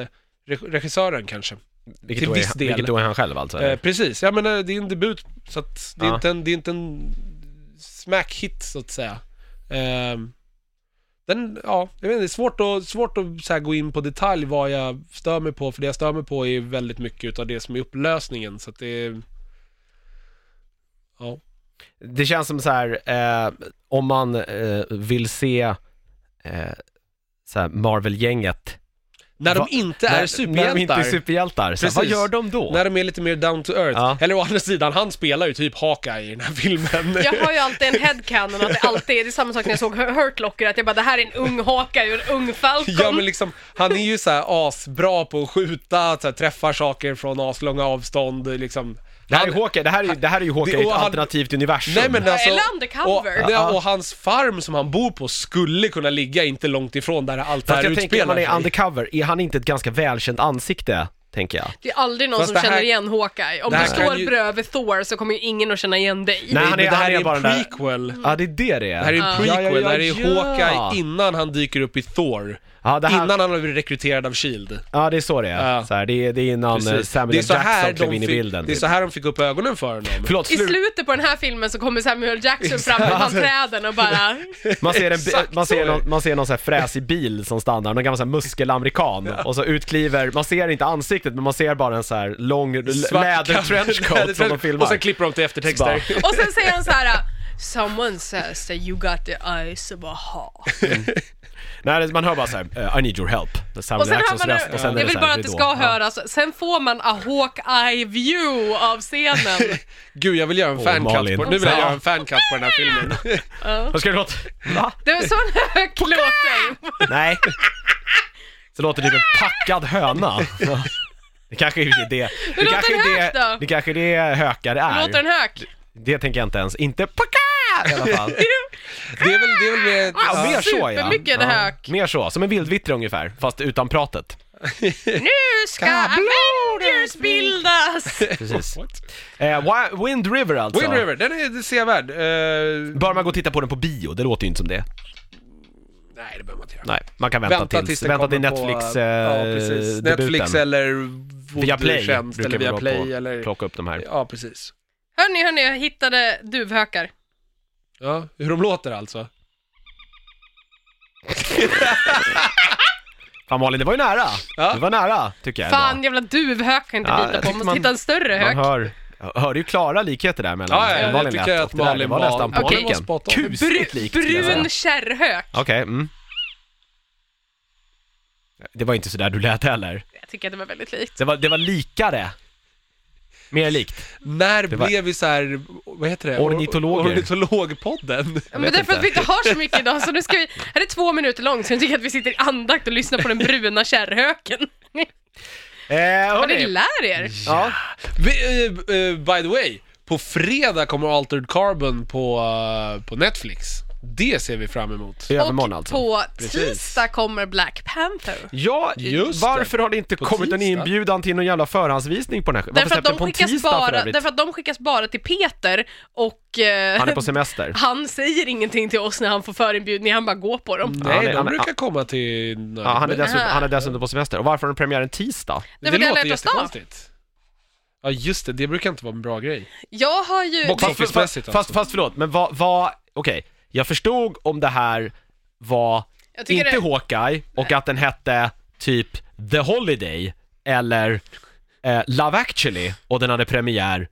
re- regissören kanske.
Vilket,
Till
då,
viss
är,
del.
vilket då är han själv alltså?
Eh, precis, ja men det är en debut så att det är,
Ja.
inte, en, det är inte en smack hit så att säga. Eh, den, ja, jag vet inte, det är svårt att, svårt att så här, gå in på detalj vad jag stör mig på, för det jag stör mig på är väldigt mycket utav det som är upplösningen så att det är... Ja.
Det känns som så här, eh, om man eh, vill se eh, så här Marvel-gänget
När de
Va-
inte
när,
är superhjältar.
När de inte är superhjältar, så här, vad
Precis.
gör de då?
När de är lite mer down to earth.
Ja.
Eller å andra sidan, han spelar ju typ Hawkeye i den här filmen.
Jag har ju alltid en headcanon att det alltid är, det är samma sak när jag såg Hurt Locker, att jag bara det här är en ung haka ur en ung Falcon.
*laughs* Ja men liksom, han är ju så här asbra på att skjuta, så här, träffar saker från aslånga avstånd liksom.
Det här,
Han-
är Hawkeye, det, här är, det här är ju Hawkeye
Det-
i
och
ett
han-
alternativt universum.
Nej men alltså,
Eller undercover.
Och, ja, och hans farm som han bor på skulle kunna ligga inte långt ifrån där allt det här
Fast jag tänker, när
utspelar
man
sig.
är undercover, är han inte ett ganska välkänt ansikte, tänker jag?
Det är aldrig någon
Fast
som
det här-
känner igen Hawkeye. Om
det här
du
kan
står
ju-
bredvid Thor så kommer ju ingen att känna igen dig.
Nej,
Nej,
han
men
är-
det
han
här
är
är
bara
en
den där-
prequel.
Ja, det är det det är.
Det här är en
Ja, ja,
prequel,
ja,
det här är
ja.
Hawkeye innan han dyker upp i Thor.
Ja, det här,
Innan han blev rekryterad av Shield.
ja, det är så det är.
Ja.
Så här, det, är det är innan eh,
E Precis.
Samuel
Det är, så
Jackson
här
klev
de
in i
fick,
bilden. typ.
det är så här de fick upp ögonen för honom.
Förlåt,
I
slut.
slutet på den här filmen så kommer Samuel
*laughs*
Jackson fram mellan
alltså-
träden och bara...
Man ser, en,
Exakt
man
så
ser,
är
någon, man ser någon så här fräsig bil som stannar, någon gammal så här muskelamerikan och så utkliver, man ser inte ansiktet men man ser bara en så här lång l- lädertrenchcoat som
*laughs*
de
Och sen
filmar.
klipper de till eftertexter.
Bara-
Och sen säger han så här. Someone says that you got the eyes of a hawk.
Nej, man hör bara så här, eh, I need your help. Det är
Och
Samuel
sen
Jacksons
har man
röst och sen är
Jag
det
vill
så
bara
här,
att det
ridå.
ska
Ja.
höras. Sen får man a hawk-eye view av scenen.
Gud, jag vill göra en
Malin.
fancut på, nu vill jag
Ja.
göra en fancut på den här filmen.
Vad ska det låta? Va?
Det var sån hög låten. *laughs*
Nej. Så låter det typ en packad höna. Det kanske är det. Det,
låter
kanske
en
är
hök
det,
då?
det kanske är det hökar är.
Låter den hög?
Det tänker jag inte ens. Inte packa i alla fall.
Det är väl, det är väl mer...
Ja,
ja.
mer så ja.
Supermycket
ja.
hök.
Mer så, som en vildvittra ungefär, fast utan pratet.
Nu ska Avengers bildas!
*laughs* Precis.
What?
Eh, Wi- Wind River alltså.
Wind River, den är sevärd. Eh,
Bör man gå och titta på den på bio? Det låter ju inte som det.
nej, det behöver man inte göra.
Nej, man kan vänta, tills,
den
vänta till
kommer på,
Netflix
eh,
eh,
ja, precis. Netflix
debuten.
eller
Via Play
Voodoo-tjänst eller
vi
via
hålla på
Play
och
eller...
plocka upp de här.
Ja, precis.
Hörni, hörni, jag hittade duvhökar.
Ja, hur de låter alltså.
Fan Malin, det var ju nära.
Ja.
Det var nära, tycker jag.
Fan,
ändå.
jävla duvhök kan jag inte
Ja, jag
lita på.
tycker
Måste
man-
hitta en större
Man
hök.
hör, jag hörde ju klara likheter där mellan
Ja, ja,
hur
jag
Malin
tycker
lät
att
och det där. Det
Malin
var
var-
nästan på
Okej.
pricken.
var spot on.
Kusligt likt. skulle jag säga.
Brun kärrhök.
Okej, mm. Det var inte sådär du lät heller.
Jag tycker att det var väldigt likt.
Det var, det var likare. Mer likt.
När
var-
blev vi så här, vad heter det?
Ornitologer.
Ornitologpodden.
Ja,
vet
Men därför
inte.
att vi inte har så mycket idag, så nu ska vi... Här är två minuter långt, så jag tycker att vi sitter i andakt och lyssnar på den bruna kärrhöken.
Eh,
Vad ni
hörni.
lär er!
Ja.
Vi, eh, eh, by the way, på fredag kommer Altered Carbon på, eh, på Netflix. Det ser vi fram emot.
I övermorgon
Och
alltså.
på
Precis.
tisdag kommer Black Panther.
Ja,
Just det.
varför har det inte
På
kommit en
tisdag.
inbjudan till någon jävla förhandsvisning på den här? Varför
Därför att,
släppte
de
den på en
skickas
tisdag för
bara, *laughs*
övrigt?
därför att de skickas bara till Peter och... eh,
Han är på semester.
han säger ingenting till oss när han får förinbjudning, han bara går på dem.
Ja,
Nej,
det-
de
han-
brukar komma till
Ja, han, är
men-
dessutom,
Aha.
han är dessutom på semester. Och varför har den premiär en tisdag?
Det,
Därför att jag
låter
lät oss ta.
jättekonstigt. Ja, just det. Det brukar inte vara en bra grej.
Jag har ju...
Box
Fast, fast,
Office-mässigt
fast,
alltså.
fast förlåt, men vad, vad okej, jag förstod om det här var
Jag tycker
inte
det-
Hawkeye och att den hette typ The Holiday eller eh, Love actually och den hade premiär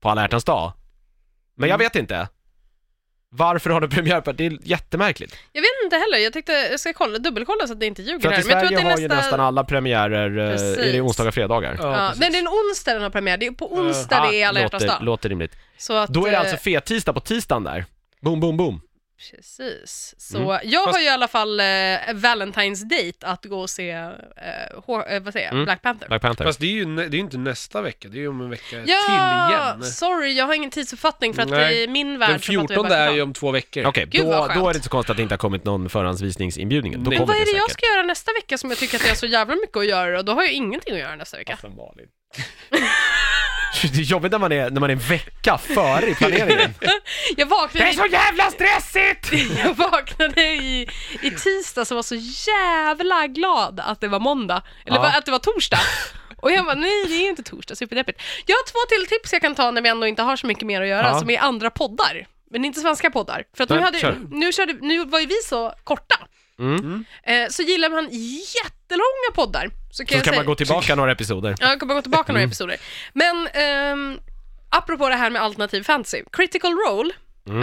på alla hjärtans dag. Men
Mm.
jag vet inte. Varför har den premiär på, det är jättemärkligt.
Jag vet inte heller, jag tänkte jag ska kolla, dubbelkolla så att det inte ljuger
För att i
här. Men jag tror
Sverige
att det
har
är
ju
nästa...
nästan alla premiärer, eh, är det
Precis.
onsdagar och fredagar. Ah,
Ja,
ja,
precis.
nej, det är en onsdag den har premiär, det är på onsdag det är alla hjärtans
låter,
dag.
låter rimligt.
Så att,
Då är det
eh,
alltså fettisdag på tisdagen där. Boom, boom, boom.
Precis. Så
Mm.
jag har ju i alla fall eh, Valentine's date att gå och se, eh, H- eh, vad säger jag,
Mm.
Black Panther.
Black Panther.
Fast det är ju nä- det är ju inte nästa vecka. Det är ju om en vecka
Ja,
till igen.
sorry, jag har ingen tidsförfattning för att
Nej.
i min värld
Den
så fattar jag
14
bara
är
ibland.
ju om två veckor.
Okej,
Gud,
då,
vad skönt.
då är det inte så konstigt att det inte har kommit någon förhandsvisningsinbjudning. Då
Nej.
kommer
Vad är
det
det jag
säkert.
ska göra nästa vecka som jag tycker att jag har så jävla mycket att göra och då har jag ingenting att göra nästa vecka.
Det är jobbigt när man är, när man är en vecka före i planeringen. *laughs*
Jag vaknade,
jävla stressigt!
jag vaknade i, i tisdag och var så jävla glad att det var måndag, eller
Ja.
va- att det var torsdag. Och jag bara, nej det är ju inte torsdag, superdeppigt. Jag har två till tips jag kan ta när vi ändå inte har så mycket mer att göra,
Ja.
som är andra poddar. Men inte svenska poddar. För att nu,
Nej,
hade,
kör.
nu, körde, nu var ju vi så korta.
Mm.
Eh, så gillar man jättelånga poddar, så kan
Så
jag
kan
säga,
man gå tillbaka några episoder.
Ja, jag kommer gå tillbaka några episoder. Men ehm, apropå det här med alternativ fantasy, Critical Role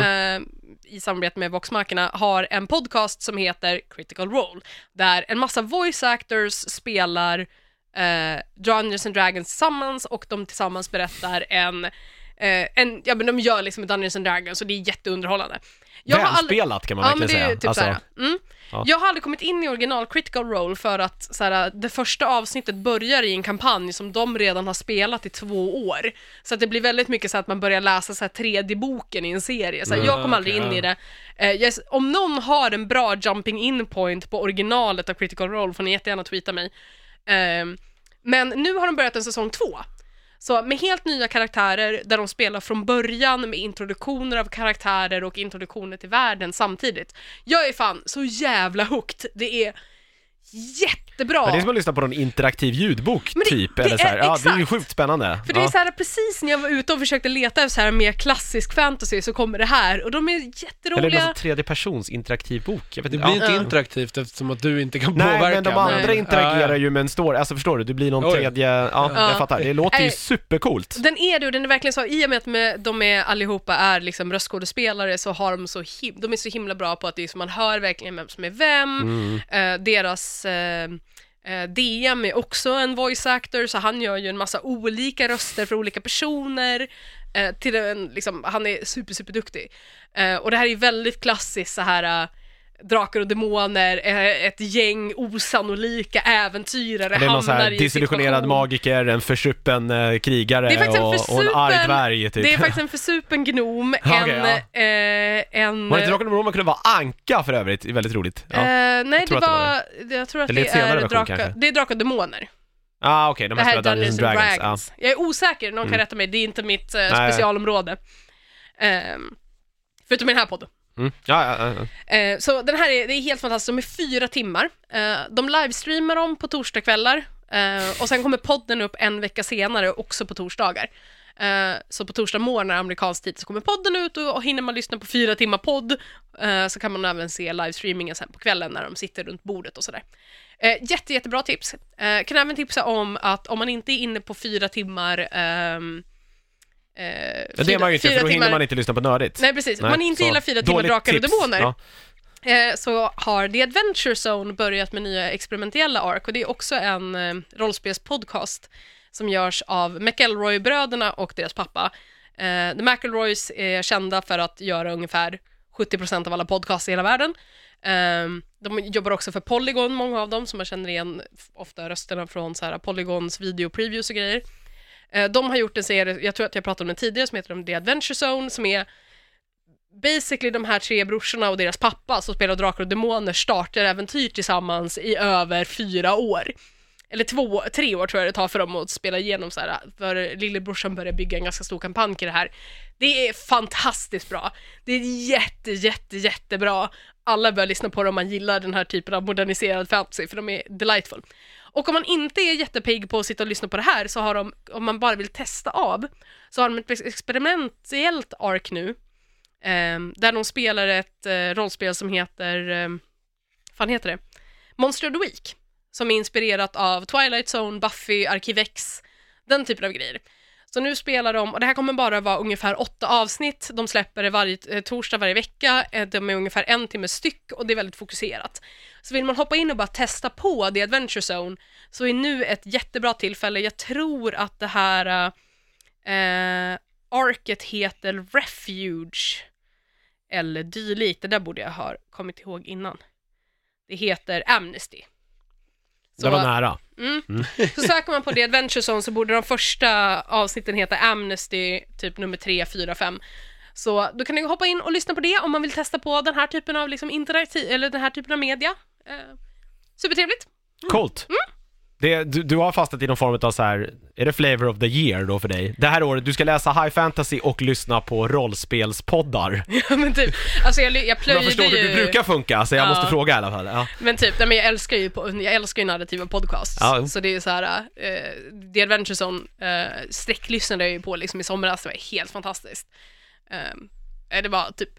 ehm, i samarbete med Voxmarkerna har en podcast som heter Critical Role, där en massa voice actors spelar eh, Dungeons and Dragons tillsammans och de tillsammans berättar en, eh, en ja men de gör liksom Dungeons and Dragons och det är jätteunderhållande. Jag har aldrig-
Välspelat kan man
Ja, men
verkligen
det är ju
säga. Alltså,
typ såhär. Mm.
ja.
Jag har aldrig kommit in i original critical role för att såhär, det första avsnittet börjar i en kampanj som de redan har spelat i två år. Så att det blir väldigt mycket så att man börjar läsa såhär, tredje boken i en serie. Såhär,
Mm,
jag kom aldrig in i det. Eh, jag, om någon har en bra jumping in point på originalet av critical role får ni jättegärna tweeta mig. Ehm, men nu har de börjat en säsong två. Så med helt nya karaktärer där de spelar från början med introduktioner av karaktärer och introduktioner till världen samtidigt. Jag är fan så jävla hooked. Det är jättebra.
Men det är som att lyssna på någon interaktiv ljudbok
Men det-
typ,
det
eller så här.
är-
Ja, det är ju
exakt.
sjukt spännande.
För det är
ja.
så här, precis när jag var ute och försökte leta efter så här mer klassisk fantasy så kommer det här och de är
Eller någon
jätteroliga.
sån tredje persons interaktiv bok. Jag vet
Det
inte.
blir
ja.
inte interaktivt eftersom att du inte kan
Nej,
påverka.
men de andra
Nej.
interagerar
Ja, ja.
ju med en story. Alltså förstår du, det blir någon
Oj.
tredje... Ja,
Ja.
jag fattar. Det låter ju
Nej.
supercoolt.
Den är det och den är verkligen så, i och med att med, de är allihopa är liksom röstskådespelare så har de så, him- de är så himla bra på att det är så man hör verkligen vem som är vem,
Mm.
eh, deras eh, eh, DM är också en voice actor så han gör ju en massa olika röster för olika personer, eh, till en, liksom, han är super super duktig. Eh, och det här är ju väldigt klassiskt så här eh, Drakar och demoner, eh, ett gäng osannolika äventyrare
Det är någon så här
hamnar i en
desillusionerad
situation.
magiker, en försuppen eh, krigare
Det är faktiskt en
och, och en
försupen-
arg dvärg typ.
Det är faktiskt en försupen gnom,
*laughs* Ja,
en...
okej,
eh, en
Var det inte Draken och Roman kunde vara Anka för övrigt? Det är väldigt roligt. Ja,
eh, nej, det
tror att det
var... det- Jag tror att
Eller
det
en senare
är
version,
Drakar...
kanske.
Det är Drakar och Demoner.
ah, okej, de
Det
här
här är
spelar
Dungeons and Dragons. Jag är osäker, någon kan rätta mig. Det är inte mitt eh,
Mm. Nej.
specialområde. Ehm, förutom i den här podden.
Ja. Mm. Ja, ja, ja, ja.
Eh, så den här är, det är helt fantastiskt, de är fyra timmar. Eh, de livestreamar dem på torsdagskvällar eh, och sen kommer podden upp en vecka senare också på torsdagar. Eh, så på torsdag morgnar amerikansk tid så kommer podden ut och, och hinner man lyssna på fyra timmar podd eh, så kan man även se livestreamingen sen på kvällen när de sitter runt bordet och sådär. Eh, jätte, jättebra tips. Eh, kan även tipsa om att om man inte är inne på fyra timmar ehm, eh,
Men det är man ju inte, för då hinner man inte lyssna på nördigt.
Nej precis, om man inte
så
gillar fyra timmar
dåligt
drakar och
tips.
demoner
Ja.
eh, så har The Adventure Zone börjat med nya experimentella ark och det är också en eh, rollspelspodcast som görs av McElroy-bröderna och deras pappa. Eh, The McElroys är kända för att göra ungefär 70% av alla podcasts i hela världen. Eh, de jobbar också för Polygon, många av dem, som man känner igen f- ofta rösterna från så här, Polygons videopreviews och grejer. Eh, de har gjort en serie, jag tror att jag pratade om den tidigare, som heter The Adventure Zone, som är basically de här tre brorsorna och deras pappa som spelar Drakar och Demoner startar äventyr tillsammans i över fyra år. Eller två, tre år tror jag det tar för dem att spela igenom så här, för lillebrorsan börjar bygga en ganska stor kampanj i det här. Det är fantastiskt bra. Det är jätte, jätte, jättebra. Alla bör lyssna på det om man gillar den här typen av moderniserad fantasy, för de är delightful. Och om man inte är jättepigg på att sitta och lyssna på det här, så har de, om man bara vill testa av, så har de ett experimentellt ark nu, Ehm, där de spelar ett eh, rollspel som heter, um, fan heter det? Monster of the Week, som är inspirerat av Twilight Zone, Buffy, Arkivex, den typen av grejer. Så nu spelar de, och det här kommer bara vara ungefär åtta avsnitt, de släpper det varje eh, torsdag varje vecka, eh, de är ungefär en timme styck och det är väldigt fokuserat. Så vill man hoppa in och bara testa på The Adventure Zone så är nu ett jättebra tillfälle, jag tror att det här eh, eh, arket heter Refuge eller dylikt. Det där borde jag ha kommit ihåg innan. Det heter Amnesty.
Det var nära.
Mm. Så söker man på The Adventure Zone så borde de första avsnitten heta Amnesty, typ nummer 3, 4, 5. Så då kan ni hoppa in och lyssna på det om man vill testa på den här typen av liksom interaktiv, eller den här typen av media. Eh, supertrevligt. *laughs*
Coolt.
Mm.
Det, du, du har fastnat i någon form av så här, är det flavor of the year då för dig? Det här året, du ska läsa high fantasy och lyssna på rollspelspoddar.
Ja, men typ, alltså jag, ly- jag
Jag
plöjde
förstår hur
ju...
det brukar funka, så jag
Ja.
måste fråga i alla fall. Ja.
Men typ, nej, men jag älskar ju, po- jag älskar ju narrativa podcasts.
Ja, jo.
Så det är ju så här, eh, The Adventure Zone eh, sträcklyssnade jag ju på liksom i somras, det var helt fantastiskt. Eh, det var typ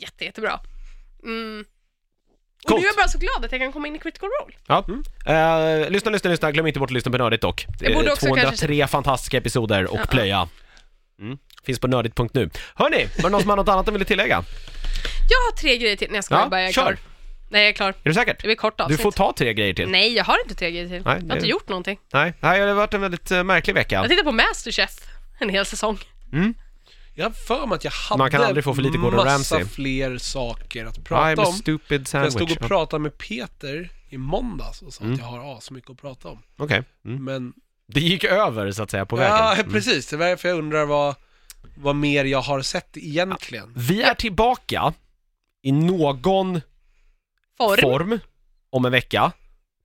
jätte, jättebra. Mm. Och
Coolt.
nu är jag bara så glad att jag kan komma in i Critical Role.
Ja. Eh, lyssna, lyssna, lyssna. Glöm inte bort att lyssna på Nördigt dock.
Mm. Jag borde
Eh,
också
203
kanske-
fantastiska episoder och plöja. Mm. Finns på nördigt.nu. Hörni, var det någon som har något annat de ville tillägga?
Jag har tre grejer till, när jag ska
Ja,
bara, jag är
kör.
klar. Nej, jag är klar.
Är du säker?
Det blir kort
Du
avsnitt.
får ta tre grejer till.
Nej, jag har inte tre grejer till.
Nej,
jag
det-
har inte gjort någonting.
Nej, Nej det har varit en väldigt eh, märklig vecka.
Jag tittar på Masterchef en hel säsong.
Jag har för mig att jag hade
Man kan aldrig få för lite Gordon
massa
Ramsay.
fler saker att prata
I'm a
om.
stupid
För Jag
sandwich.
stod och
Ja,
pratade med Peter i måndags och sa att jag har asmycket att prata om.
Okej. Mm.
Men,
Det gick över så att säga på
ja
vägen. Mm.
precis, det var därför jag undrar vad, vad mer jag har sett egentligen.
Vi är tillbaka i någon
Form.
form om en vecka.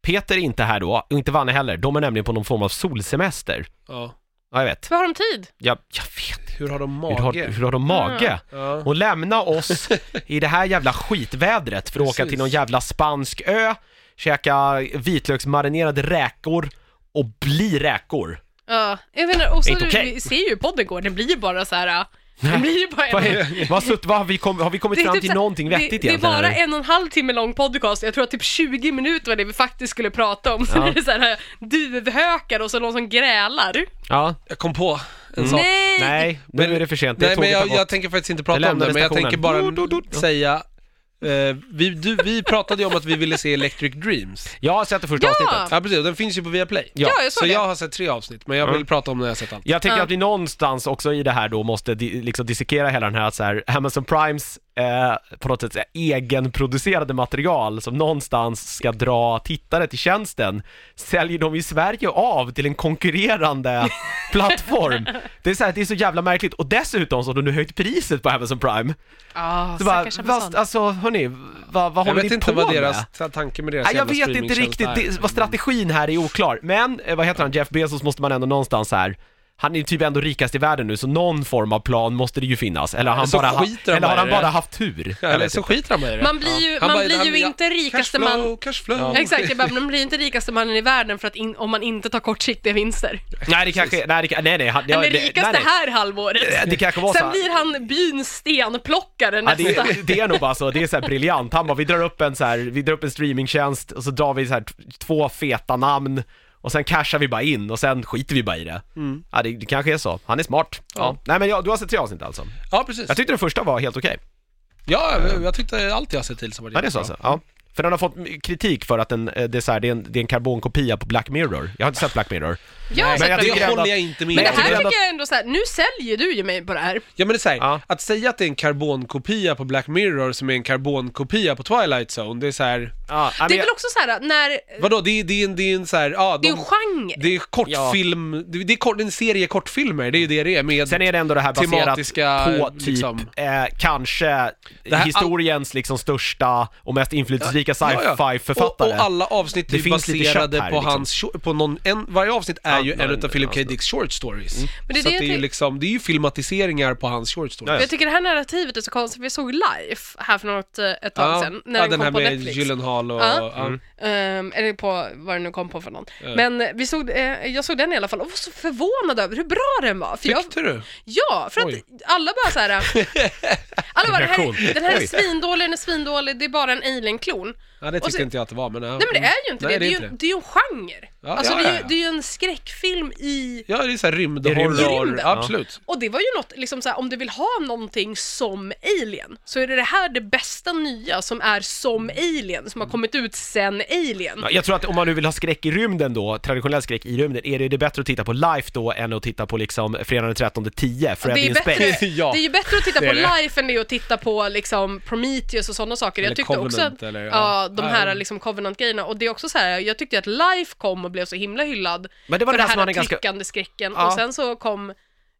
Peter är inte här då, och inte Vanne heller. De är nämligen på någon form av solsemester.
Ja.
Ja, jag vet.
Hur har de tid?
Jag, jag vet.
Hur har de
Hur
mage?
har, hur har de mage?
Ah,
Ja.
Och lämna oss i det här jävla skitvädret för att åka
Precis.
till någon jävla spansk ö, käka vitlöksmarinerade räkor och bli räkor.
Ja, jag menar, och så
Inte
du,
okej.
vi ser ju hur podden går, den blir ju bara så här. Den blir ju bara
Vad,
en,
är, vad, sutt- vad har, vi kom, har vi kommit
*laughs* Det är
fram
typ
till
så här-
någonting vettigt
det, det är
egentligen?
bara
eller?
en och en halv timme lång podcast, jag tror att typ 20 minuter var det vi faktiskt skulle prata om. *laughs* Så
Ja.
är det så här duvhökar och så någon som grälar.
Ja,
Jag kom på
Mm.
en sak.
Nej!
nej, nu är det för sent. Det
Nej,
är
men jag,
jag,
jag tänker faktiskt inte prata
Jag
om det,
lämnade
men jag
stationen.
tänker bara
Du, du, du, du.
säga... eh, vi, du, vi pratade ju om att vi ville se Electric Dreams.
jag har sett det första
Ja!
avsnittet.
Ja, precis. Och den finns ju på Viaplay.
Ja,
jag såg
Så
det.
jag har sett tre avsnitt, men jag vill prata om när jag har sett allt.
Jag tänker
Ja.
att vi någonstans också i det här då måste di- liksom dissekera hela den här, att så här Amazon Primes eh, på något sätt så här, egenproducerade material som någonstans ska dra tittare till tjänsten säljer de i Sverige av till en konkurrerande plattform. Det är så, här, det är så jävla märkligt och dessutom så har de nu höjt priset på Amazon Prime.
Ah,
Så bara,
stackars
fast,
Amazon.
alltså hörni, vad, vad
Jag
håller
vet
ni
inte
på
vad
med?
deras ta- tanke med deras
Nej, jag
Alltså, jävla
vet inte
streamingtjänst
riktigt,
är.
det, vad strategin här är oklar. Men, eh, vad heter han, Jeff Bezos måste man ändå någonstans här, han är ju typ ändå rikast i världen nu, så någon form av plan måste det ju finnas. Eller har han,
Så
bara, ha,
skiter han
eller har
bara
han
i det.
bara haft tur?
Ja, liksom.
Jag
Eller
vet
så
inte.
skiter han bara i det.
Man blir ju,
Han
man
bara-
blir
han-
ju
ja,
inte rikaste
cashflow,
man...
Cashflow,
Ja.
Exakt, jag bara, man blir inte rikaste mannen i världen för att in, om man inte tar kortsiktiga vinster.
typ- Nej, det kanske, nej, det, nej, nej, han, ja,
Han är
det-
rikaste
nej, nej.
här halvåret.
Det kanske var så
Sen
här-
blir han byns stenplockare
Ja,
nästa.
det, *laughs* det är nog bara så, det är så här briljant. Han bara, vi drar upp en så här, vi drar upp en streamingtjänst och så drar vi så här t- två feta namn och sen cashar vi bara in och sen skiter vi bara i det.
Mm.
Ja, det, det kanske är så. Han är smart. Ja. Nej men jag, du har sett tre avsnitt alltså?
Ja, precis.
Jag tyckte den första var helt okej.
Ja, jag, jag tyckte allt jag har sett till som var
Ja, det är så alltså. Ja. För den har fått m- kritik för att den, eh, det, är så här, det, är en, det är en karbonkopia på Black Mirror. Jag har inte sett Black Mirror.
Jag har
Men jag
sett
tycker
Det
det.
ändå
håller
att-
jag inte med
Men det
om.
jag tycker
här
ändå
tycker jag ändå såhär, nu säljer du ju mig på det här.
Ja men det är så här,
Ja.
att säga att det är en karbonkopia på Black Mirror som är en karbonkopia på Twilight Zone, det är så här,
Ja, nej,
Det
men
är väl också såhär, när...
vadå, det är, det är en, det är en så här, ja,
Det är
de,
en genre.
det är kortfilm, det, det är kort, en serie kortfilmer, det är ju det det är med...
jag, sen är det ändå det här
Tematiska,
baserat på typ,
liksom.
eh, kanske
här-
historiens liksom största och mest inflytelserika
Ja, ja.
sci-fi-författare.
Och, och alla avsnitt
Det
är ju
finns lite kött
baserade
här,
på
liksom.
hans, shor- på någon, en, varje avsnitt är ju
Annan-
en utav Philip K.
annan-
Dicks short stories.
Mm.
Men det är
så
det
att det är
jag
ju
tänk-
liksom, det är ju filmatiseringar på hans short stories.
Ja,
Men Jag tycker det här narrativet är så konstigt, vi såg Life här för något, eh, ett tag sedan, när
ja, den
den, kom
här
på
med
Netflix.
Gyllenhaal och...
Ja.
ja.
Mm.
Ehm, eller på vad det nu kom på för någon. Men eh, vi såg, eh, jag såg den i alla fall och var så förvånad över hur bra den var. För jag,
Tyckte du?
ja, för att
Oj.
alla bara såhär...
*laughs*
alla bara, den här,
Reaktion.
den här är
Oj.
svindålig, den är svindålig, det är bara en alien-klon.
Ja, det
Och
tyckte
så-
inte jag att det var, men...
Nej men det är ju inte
Nej,
det, det är ju,
inte
det är ju en genre.
Ja,
alltså
ja,
det, är
ja,
ju,
ja.
det är ju en skräckfilm i...
Ja, det är såhär
Det är
rymdhorror.
rymden.
Absolut.
Och det var ju något, liksom såhär, om du vill ha någonting som Alien, så är det det här det bästa nya som är som Alien,
Mm.
som har kommit ut sen Alien.
Ja, Jag tror att om man nu vill ha skräck i rymden då, traditionell skräck i rymden, är det, det bättre att titta på Life då än att titta på liksom Fredagen den 13 10,
Det
Freddy
är,
in
bättre,
Space? *laughs*
Ja.
det är ju bättre att titta
Det
på
är det.
Life än det är att titta på liksom, Prometheus och sådana saker.
Eller
jag tyckte också
Covenant,
att,
eller- ja.
ja. de här liksom, Covenant-grejerna, och det är också så här, jag tyckte att Life kom och blev så himla hyllad
Men det var
för
det
det
här som
här
hade ganska...
tryckande skräcken,
Ja.
och sen så kom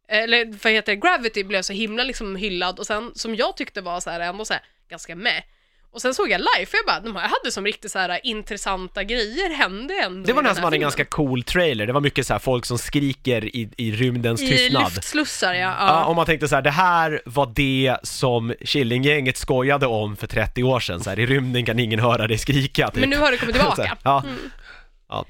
eller vad heter det, Gravity blev så himla liksom hyllad och sen som jag tyckte var så här ändå så här ganska med. Och sen såg jag Life och jag bara, de här hade som riktigt så här intressanta grejer hände ändå
Det var
i
den här som hade en
filmen.
ganska cool trailer, det var mycket så här folk som skriker i, i rymdens
I
tystnad.
luftslussar ja. ja.
Ja, om man tänkte så här, det här var det som Killinggänget skojade om för 30 år sedan, så här, i rymden kan ingen höra dig skrika. Typ.
Men nu har det
*laughs*
kommit
Så här,
tillbaka. Mm.
ja. ja.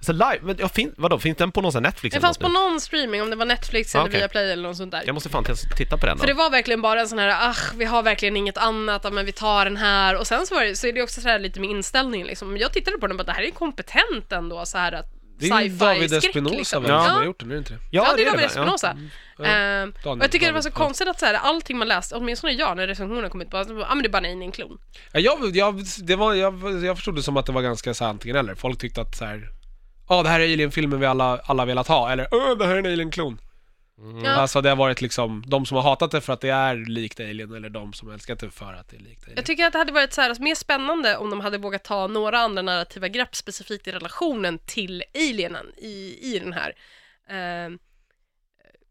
Så live, men ja, fin, vadå, finns den på någon sån här Netflix?
Det
eller
fanns på
något nu?
någon streaming, om det var Netflix
Ah,
Ja,
eller
okej.
Viaplay eller något sånt där.
Jag måste fan t- titta på den då.
För det var verkligen bara en sån här, ach, vi har verkligen inget annat, ja, men vi tar den här. Och sen så, var det, så är det också så här lite med inställningen liksom. Jag tittade på den och bara, det här är kompetent ändå så här att
Det är ju David
sci-fi-skräck,
Espinosa
liksom.
väl, som
Ja.
har gjort den, är det inte det?
Ja, det är
väl,
David Espinosa. Ehm, och jag tycker det var så
David, ja.
konstigt att så här, allting man läst, åtminstone jag när recensionen kom ut, bara, ja men det är bara nej, en klon.
Ja, jag, jag, det var, jag, jag förstod det som att det var ganska så här antingen eller. Folk tyckte att så här. Ja, det här är Alien-filmen vi alla, alla velat ha, eller Åh, det här är en Alien-klon.
Mm. Ja.
Alltså det har varit liksom, de som har hatat det för att det är likt Alien, eller de som älskat det för att det är likt Alien.
Jag tycker att det hade varit så här, alltså, mer spännande om de hade vågat ta några andra narrativa grepp specifikt i relationen till alienen i, i den här. Eh, Ehm,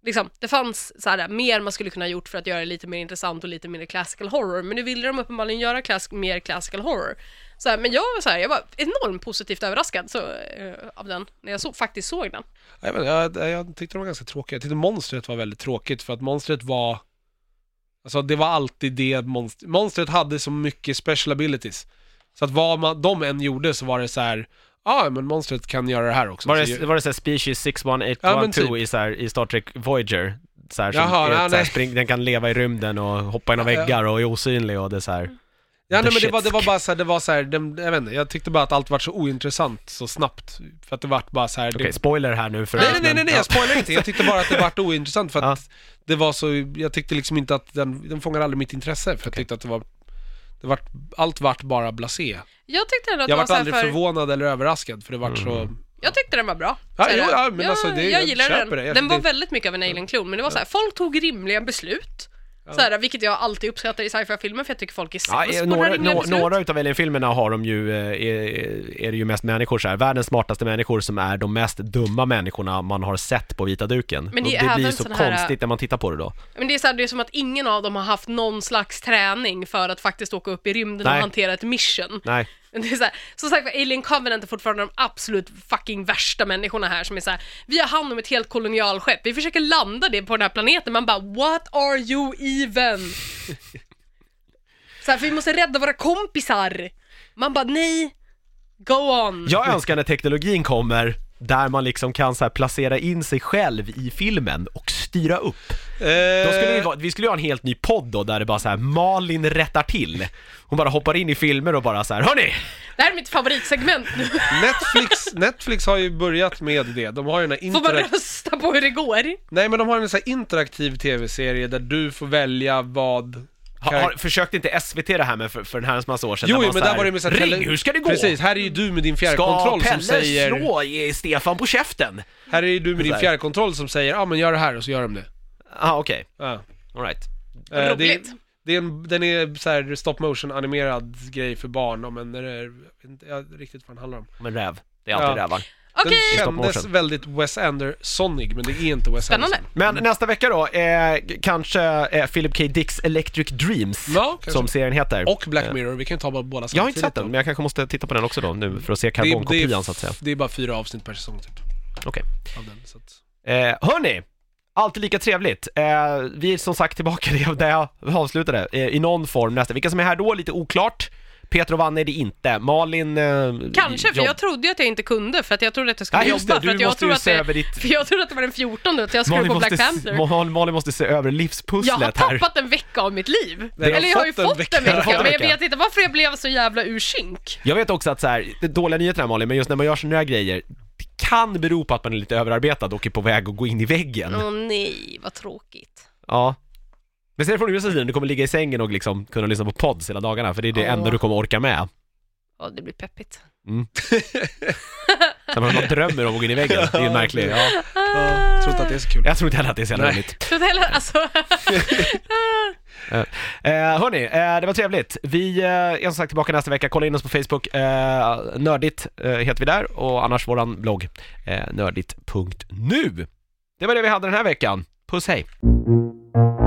liksom, det fanns så här, mer man skulle kunna ha gjort för att göra det lite mer intressant och lite mindre classical horror, men nu ville de uppenbarligen göra klass, mer classical horror. Så här, men jag var, så här, jag var enormt positivt överraskad så, eh, av den, när jag så, faktiskt såg den.
Jag, vet, inte, jag, jag tyckte de var ganska tråkiga. Jag tyckte monstret var väldigt tråkigt för att monstret var... Alltså det var alltid det monstret... Monstret hade så mycket special abilities. Så att vad man, de än gjorde så var det så här... Ja, ah, men monstret kan göra det här också.
Var
Så ju-
det, var det så här Species 61812
Ja, men typ.
i, så här, i Star Trek Voyager? Så här, som
Jaha,
är ett
ja,
så här,
nej.
spring, den kan leva i rymden och hoppa genom
Ja, ja.
väggar och är osynlig och det är så
Mm.
här.
Ja,
The
nej, men det
shit.
var, det var bara så här, det var så här, den- jag vet inte, jag tyckte bara att allt var så ointressant så snabbt. För att det vart bara så här...
Okej,
det,
spoiler här nu för
nej,
oss,
nej, nej, nej,
men-
nej, jag spoilar inte. Jag tyckte bara
*laughs*
att det vart ointressant för att det var så, jag tyckte liksom inte att den, den fångade aldrig mitt intresse. För jag tyckte att det var, det vart, allt vart bara blasé.
Jag tyckte ändå att
Jag
det var
vart
så här
aldrig
för...
förvånad eller överraskad för det vart så...
Mm.
Jag tyckte den var bra.
Ja,
Så här,
jo, ja, men alltså, det-
jag
jag
gillade den.
köper det. Jag-
Den var
det-
väldigt mycket av en alien klon, men det var så här, folk tog rimliga beslut. Så här, vilket jag alltid uppskattar i sci-fi-filmer, för jag tycker folk är
Ja,
sämst
eh,
på
några,
några rimliga
nå-
beslut.
några utav Alien-filmerna har de ju, eh, är, är det ju mest människor så här. världens smartaste människor som är de mest dumma människorna man har sett på vita duken.
Men det
Och
är
det blir
även
så
såna här-
konstigt när man tittar på det då.
Men det är, så här, det är som att ingen av dem har haft någon slags träning för att faktiskt åka upp i rymden
Nej.
och hantera ett mission.
Nej.
Men Det är så här, som sagt Alien Covenant är fortfarande de absolut fucking värsta människorna här som är så här, vi har hand om ett helt kolonialskepp, vi försöker landa det på den här planeten, man bara what are you even? så här, för vi måste rädda våra kompisar. Man bara nej, go on.
Jag önskar när teknologin kommer där man liksom kan så här placera in sig själv i filmen och styra upp. Då skulle
Eh.
vi, vara- vi skulle göra en helt ny podd då där det bara så här Malin rättar till. Hon bara hoppar in i filmer och bara så här, hörni!
Det här är mitt favoritsegment
*laughs*
nu.
Netflix, Netflix har ju börjat med det. De har ju den här
Får man
interakt-
rösta på hur det går?
Nej men de har en sån här interaktiv tv-serie där du får välja vad...
Har, har, försökte inte SVT det här med för, för en herrans massa år sedan?
Jo,
när
jo,
man
men
så
där var det med så här
Ring,
tele-
hur ska det gå?
Precis, här är ju du med din fjärrkontroll som säger...
slå i Stefan på käften?
Här är ju du med din
Sådär.
fjärrkontroll som säger ja ah, men gör det här och så gör de det.
Ja, ah, okej.
Ja.
Alright.
Eh, det är,
Roligt.
det är en, den är så här stop motion animerad grej för barn om en, eller, jag vet inte jag vet riktigt vad den handlar om.
Men räv. Det är alltid
Ja.
rävar.
Okej,
Den
Stop motion.
kändes väldigt Wes Andersonig men det är inte Wes
spännande.
Anderson.
Men nästa vecka då, eh, kanske eh, Philip K. Dicks Electric Dreams,
Ja, kanske.
som serien heter.
Och Black Mirror, vi kan ju ta bara båda samtidigt.
jag har inte sett den,
då.
men jag kanske måste titta på den också då nu för att se
Det är-
karbonkopian
det är f-
så att säga.
Det är bara fyra avsnitt per säsong typ.
Okej.
Av den, så att...
Eh, hörni! Alltid lika trevligt. Eh, vi är som sagt tillbaka *laughs* det- där jag avslutade, eh, i någon form nästa. Vilka som är här då, lite oklart. Peter och Vanna är det inte. Malin... Eh,
Kanske, för
jobb-
jag trodde ju att jag inte kunde för att jag trodde att jag skulle
Nej, just
jobba.
det,
för,
du
att jag
måste ju
trodde att
se över
det,
ditt...
*laughs* för jag trodde att det var den 14 att jag skulle på Black
måste,
Panther.
Malin, Malin måste se över
jag har
livspusslet här.
tappat en vecka av mitt liv.
Nej,
Eller jag har ju fått en vecka,
Du har fått en
men jag
vecka.
vet inte varför jag blev så jävla ur synk.
Jag vet också att så här, det är dåliga nyheter här Malin, men just när man gör såna här grejer, det kan bero på att man är lite överarbetad och är på väg att gå in i väggen.
Åh nej, vad tråkigt.
Ja. Men sen från USAs sida, du kommer ligga i sängen och liksom kunna lyssna på pods hela dagarna, för det är det
Ja.
enda du kommer orka med.
Ja, det blir peppigt.
Sen har man drömmer om att gå in i väggen, det är ju märkligt. Ja.
*laughs*
Ja, tror inte att det är så kul.
Jag tror inte heller att det är så jävla
Nej.
roligt.
Så det, heller- alltså, *laughs*
Eh, hörni, eh, det var trevligt. Vi eh, är som sagt tillbaka nästa vecka. Kolla in oss på Facebook. Eh, nördigt eh, heter vi där och annars våran blogg eh, nördigt.nu. Det var det vi hade den här veckan. Puss hej!